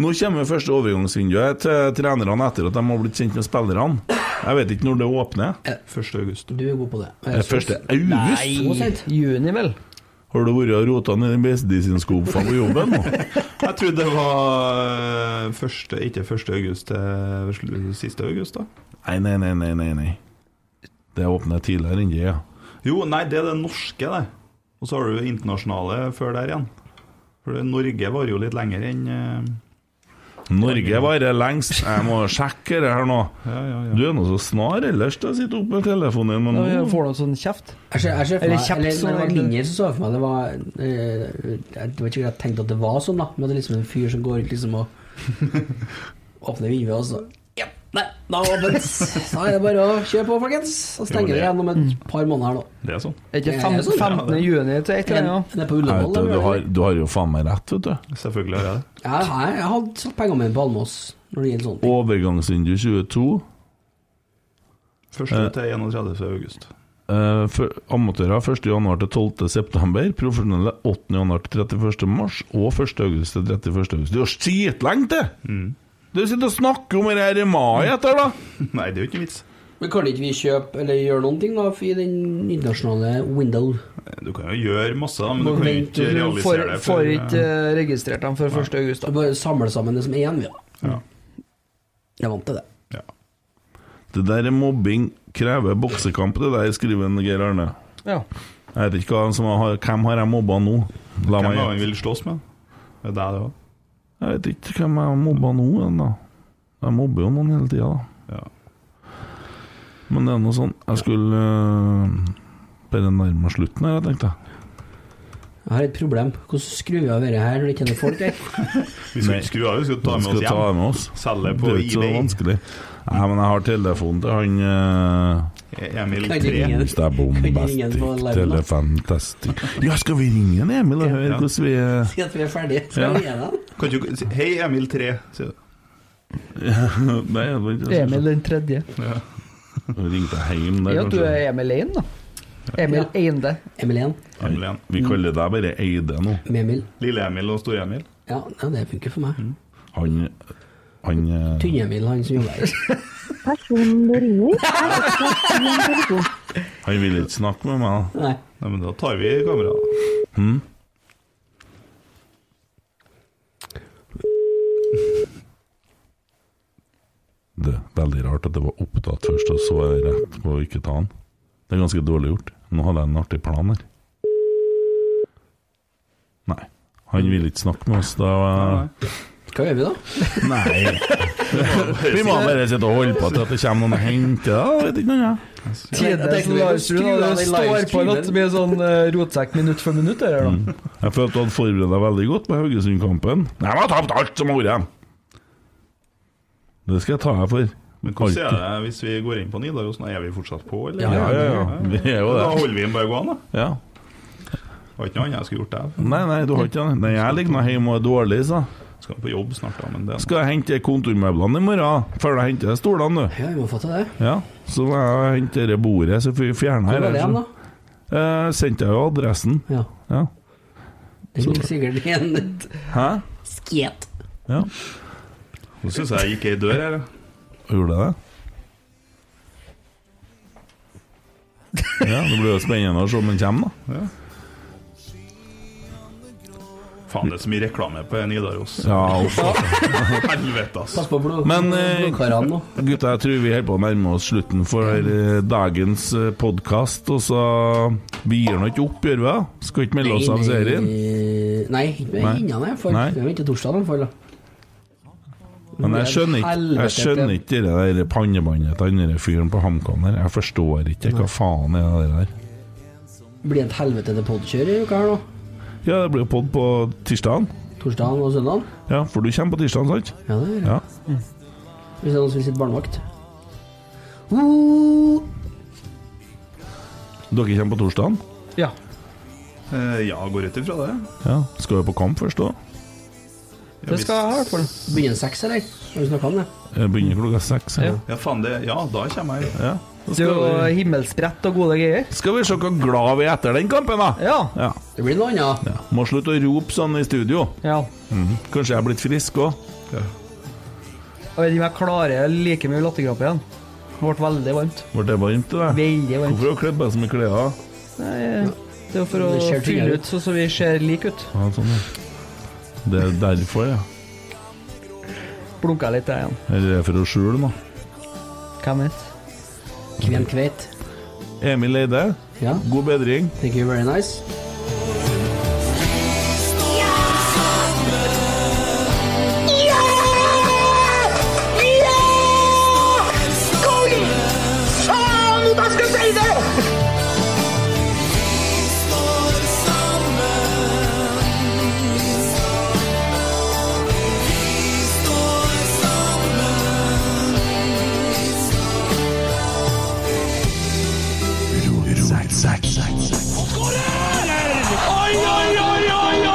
Speaker 2: Nå kommer første overgangsvinduet til trenerne etter at de har blitt kjent med spillerne. Jeg vet ikke når det åpner.
Speaker 5: 1. august.
Speaker 4: Du er god på det.
Speaker 2: Det er første august.
Speaker 4: Så sent.
Speaker 6: Juni, vel.
Speaker 2: Har du vært og rota ned den medisinskuffa på jobben nå?
Speaker 5: Jeg trodde det var øh, første, ikke 1. august til sl- siste august, da.
Speaker 2: Nei, nei, nei, nei, nei, nei. Det åpner tidligere enn det, ja.
Speaker 5: Jo, nei, det er det norske, det. Og så har du det internasjonale før der igjen. For det- Norge varer jo litt lenger enn øh,
Speaker 2: Norge varer lengst. Jeg må sjekke det her nå.
Speaker 5: Ja, ja, ja.
Speaker 2: Du er nå så snar ellers til å sitte oppe med telefonen din.
Speaker 6: Da
Speaker 2: Men nå
Speaker 6: får du en sånn kjeft.
Speaker 4: Jeg ser, jeg ser for
Speaker 6: Eller
Speaker 4: meg,
Speaker 6: kjapt,
Speaker 4: eller,
Speaker 6: så
Speaker 4: når det var
Speaker 6: egentlig.
Speaker 4: mindre, så så jeg for meg det var eh, Jeg vet ikke om jeg tenkte at det var sånn, da. Men det er liksom en fyr som går ut liksom og åpner vinduet, og så Ja, nei, da er det åpent! Så er det bare å kjøre på, folkens. Og
Speaker 5: Jo,
Speaker 4: stenger
Speaker 5: det-
Speaker 4: det igjen om et par måneder her nå.
Speaker 5: Det er sånn.
Speaker 6: Er ikke
Speaker 4: Ja,
Speaker 6: fem,
Speaker 4: ja, sånn, ja,
Speaker 6: 15. juni til et eller annet?
Speaker 4: Det er på
Speaker 2: Jeg vet
Speaker 4: Ullevål.
Speaker 2: det, du,
Speaker 4: eller?
Speaker 2: har, du har jo faen meg rett, vet du.
Speaker 5: Selvfølgelig har jeg det.
Speaker 4: Ja, Jeg, har- jeg har satt pengene mine på Almås når det gjelder sånne ting.
Speaker 2: Overgangsvindu 22.
Speaker 5: Første til 31. august.
Speaker 2: Eh, for- Amatører 1.1. til 12.9., profesjonelle 8.1. til 31.3 og 1.8. til 31.8. Det er jo skitlenge til!
Speaker 5: Mm.
Speaker 2: Du sitter og snakker om det her i mai etter, da!
Speaker 5: Nei, det er jo ikke noen vits.
Speaker 4: Men kan ikke vi kjøpe eller gjøre noen ting da i den internasjonale window?
Speaker 5: Du kan jo gjøre masse, da, men du
Speaker 6: Må
Speaker 5: kan jo
Speaker 6: vente
Speaker 5: ikke
Speaker 6: til Du får,
Speaker 5: realisere det
Speaker 6: får
Speaker 5: før
Speaker 6: ikke eh, registrert dem før 1. august.
Speaker 4: Så
Speaker 6: Da.
Speaker 4: bare samle sammen det som er igjen, vi da.
Speaker 5: Ja.
Speaker 4: Jeg er vant til det.
Speaker 5: ja.
Speaker 2: Det der er mobbing, krever boksekamp, det der, skriver en Geir Arne.
Speaker 6: Ja.
Speaker 2: Jeg vet ikke hva som har, hvem har jeg mobba nå. La
Speaker 5: Hvem
Speaker 2: meg,
Speaker 5: er det han vil slåss med? Det er deg, det òg.
Speaker 2: jeg vet ikke hvem jeg har mobba nå ennå. Jeg mobber jo noen hele tida, da.
Speaker 5: Ja.
Speaker 2: Men det er nå sånn Jeg skulle øh, bare nærme meg slutten her, jeg tenkte jeg.
Speaker 4: Jeg har et problem. Hvordan skrur vi av dette her når det ikke er noen folk her?
Speaker 5: Vi skal
Speaker 2: Nei.
Speaker 5: ikke skru av, vi skal ta med
Speaker 2: Skal
Speaker 5: oss
Speaker 2: ta
Speaker 5: hjem.
Speaker 2: med oss.
Speaker 5: Selge
Speaker 2: Det
Speaker 5: på
Speaker 2: er ikke så
Speaker 5: eBay.
Speaker 2: vanskelig. Nei, men jeg har telefonen til han øh,
Speaker 5: E-, Emil
Speaker 3: Kan ikke
Speaker 5: 3.
Speaker 3: ingen-
Speaker 2: Hvis det er
Speaker 3: kan ikke ingen
Speaker 2: bombastic,
Speaker 3: på live nå?
Speaker 2: telefantastic Ja, skal vi ringe en Emil og høre
Speaker 5: Ja.
Speaker 2: hvordan vi er
Speaker 3: Si at vi er ferdige, så
Speaker 2: Ja.
Speaker 3: er vi igjen.
Speaker 5: Kan du si 'Hei, Emil 3'? sier du.
Speaker 2: Nei, jeg vet ikke.
Speaker 6: Emil den tredje.
Speaker 5: Ja.
Speaker 2: Vi ringte hjem der,
Speaker 6: Ja, du
Speaker 2: kanskje.
Speaker 6: er Emil Ein, da. Emil
Speaker 3: Ja.
Speaker 6: Einde.
Speaker 3: Emil igjen.
Speaker 5: Emil igjen.
Speaker 2: Vi kaller deg bare Eide nå.
Speaker 3: Med Emil.
Speaker 5: Lille Emil og Store Emil.
Speaker 3: Ja, ja, det funker for meg.
Speaker 2: Mm. Han Han eh,
Speaker 3: Tynne-Emil, han som jobber her.
Speaker 8: Personen du ringer, er opptatt i en telefon.
Speaker 2: Han ville ikke snakke med meg.
Speaker 3: Nei.
Speaker 5: Nei, men da tar vi kameraet.
Speaker 2: Det er veldig rart at det var opptatt først, og så er det rett på å ikke ta han. Det er ganske dårlig gjort. Nå hadde jeg en artig plan her. Nei. Han ville ikke snakke med oss. Da var
Speaker 3: Hva gjør vi da?
Speaker 2: Nei. Vi må bare sitte og holde på til at det kommer noen og henter deg. da, Vet ikke noe, jeg.
Speaker 6: Tidens
Speaker 3: Tenk om vi kan skru
Speaker 6: livestream.
Speaker 3: av
Speaker 6: da.
Speaker 3: den
Speaker 6: Det står på
Speaker 3: livestreamen.
Speaker 6: at det blir sånn eh, rotsekk minutt for minutt. Her, da.
Speaker 2: Jeg følte du hadde forberedt deg veldig godt på Haugesund-kampen. Jeg har tapt alt som har vært! Det skal jeg ta deg for.
Speaker 5: Men hvordan er det hvis vi går inn på Nidarosen? Er vi fortsatt på, eller?
Speaker 2: Ja, ja, ja. Vi er jo
Speaker 5: Da
Speaker 2: det.
Speaker 5: holder vi den bare gående, da.
Speaker 2: Ja.
Speaker 5: Var ikke noe annet jeg skulle gjort der.
Speaker 2: Nei, nei, du har ikke det. Nei, jeg ligger nå hjemme og er dårlig, så.
Speaker 5: Skal på jobb snart, da, men det
Speaker 2: Skal jeg hente kontormøblene i morgen? Før jeg henter stolene, du.
Speaker 3: Ja, vi må få til det.
Speaker 2: Ja. Så må jeg hente dette bordet, så får vi fjerne
Speaker 3: Hvor
Speaker 2: her.
Speaker 3: var det igjen, da?
Speaker 2: Eh, sendte jeg jo adressen.
Speaker 3: Ja.
Speaker 2: Ja.
Speaker 3: Det ligger sikkert i en
Speaker 2: Hæ?
Speaker 3: sket.
Speaker 2: Ja.
Speaker 5: Nå syns jeg jeg gikk ei dør her. da.
Speaker 2: Gjorde jeg det? Ja, det blir jo spennende å se om den kommer, da.
Speaker 5: Faen, det er så mye reklame på Nidaros.
Speaker 2: Ja, altså.
Speaker 5: Helvete, ass.
Speaker 3: Pass på blod.
Speaker 2: Men, eh,
Speaker 3: blodkarene nå.
Speaker 2: Gutta, jeg tror vi holder på å nærme oss slutten for eh, dagens podkast. Og så Vi gir nå ikke opp, gjør vi? da? Skal ikke melde oss av serien?
Speaker 3: Nei, ikke
Speaker 2: Nei.
Speaker 3: innan jeg. For
Speaker 2: Nei.
Speaker 3: det er jo ikke torsdag den får, da.
Speaker 2: Men jeg skjønner ikke Jeg skjønner ikke det der pannebåndet til den der fyren på HamKam der. Jeg forstår ikke hva faen er det der.
Speaker 3: Blir det et helvete til podkjør i uka her nå?
Speaker 2: Ja, det blir jo pod på tirsdagen.
Speaker 3: Torsdagen og søndagen?
Speaker 2: Ja, for du kommer på tirsdagen, sant?
Speaker 3: Ja, det gjør jeg.
Speaker 2: Ja.
Speaker 3: Hvis det er noen som vil sitte barnevakt. Uh,
Speaker 2: Dere kommer på torsdagen?
Speaker 6: Ja.
Speaker 5: Eh, Ja, går ut ifra det.
Speaker 2: Ja. Skal jo på kamp først, da.
Speaker 5: Ja,
Speaker 6: Det
Speaker 5: hvis-
Speaker 6: skal jeg ha, i hvert fall.
Speaker 3: begynner seks, eller? Har vi snakka om det?
Speaker 2: Jeg Begynner klokka seks. Ja.
Speaker 5: Ja, faen, det Ja, da kommer jeg.
Speaker 2: Ja.
Speaker 6: Det er jo himmelsbrett og gode greier.
Speaker 2: Skal vi se hvor glad vi er etter den kampen, da?
Speaker 6: Ja.
Speaker 2: Ja.
Speaker 3: Det blir noe annet.
Speaker 2: ja. Må slutte å rope sånn i studio.
Speaker 6: ja.
Speaker 2: Mhm. Kanskje jeg er blitt frisk òg.
Speaker 6: Jeg vet ikke om jeg klarer like mye latterkrampe igjen. Det ble veldig varmt.
Speaker 2: Ble det varmt til deg?
Speaker 6: Veldig varmt.
Speaker 2: Hvorfor har du kledd deg som i klær? da?
Speaker 6: Nei, det er jo for å
Speaker 3: Det ser tyngre
Speaker 6: fylle
Speaker 3: ut.
Speaker 6: ut sånn så vi ser like ut.
Speaker 2: Ja, sånn, ja. Det er derfor, ja.
Speaker 6: Blunka litt, jeg igjen.
Speaker 2: Eller det er for å skjule, da.
Speaker 6: Hvem vet?
Speaker 3: Kven kveit.
Speaker 2: Emil Eide,
Speaker 3: Ja.
Speaker 2: god bedring.
Speaker 3: Thank you very nice.
Speaker 1: Rotsekk.
Speaker 7: Oi, oi, oi, oi, oi!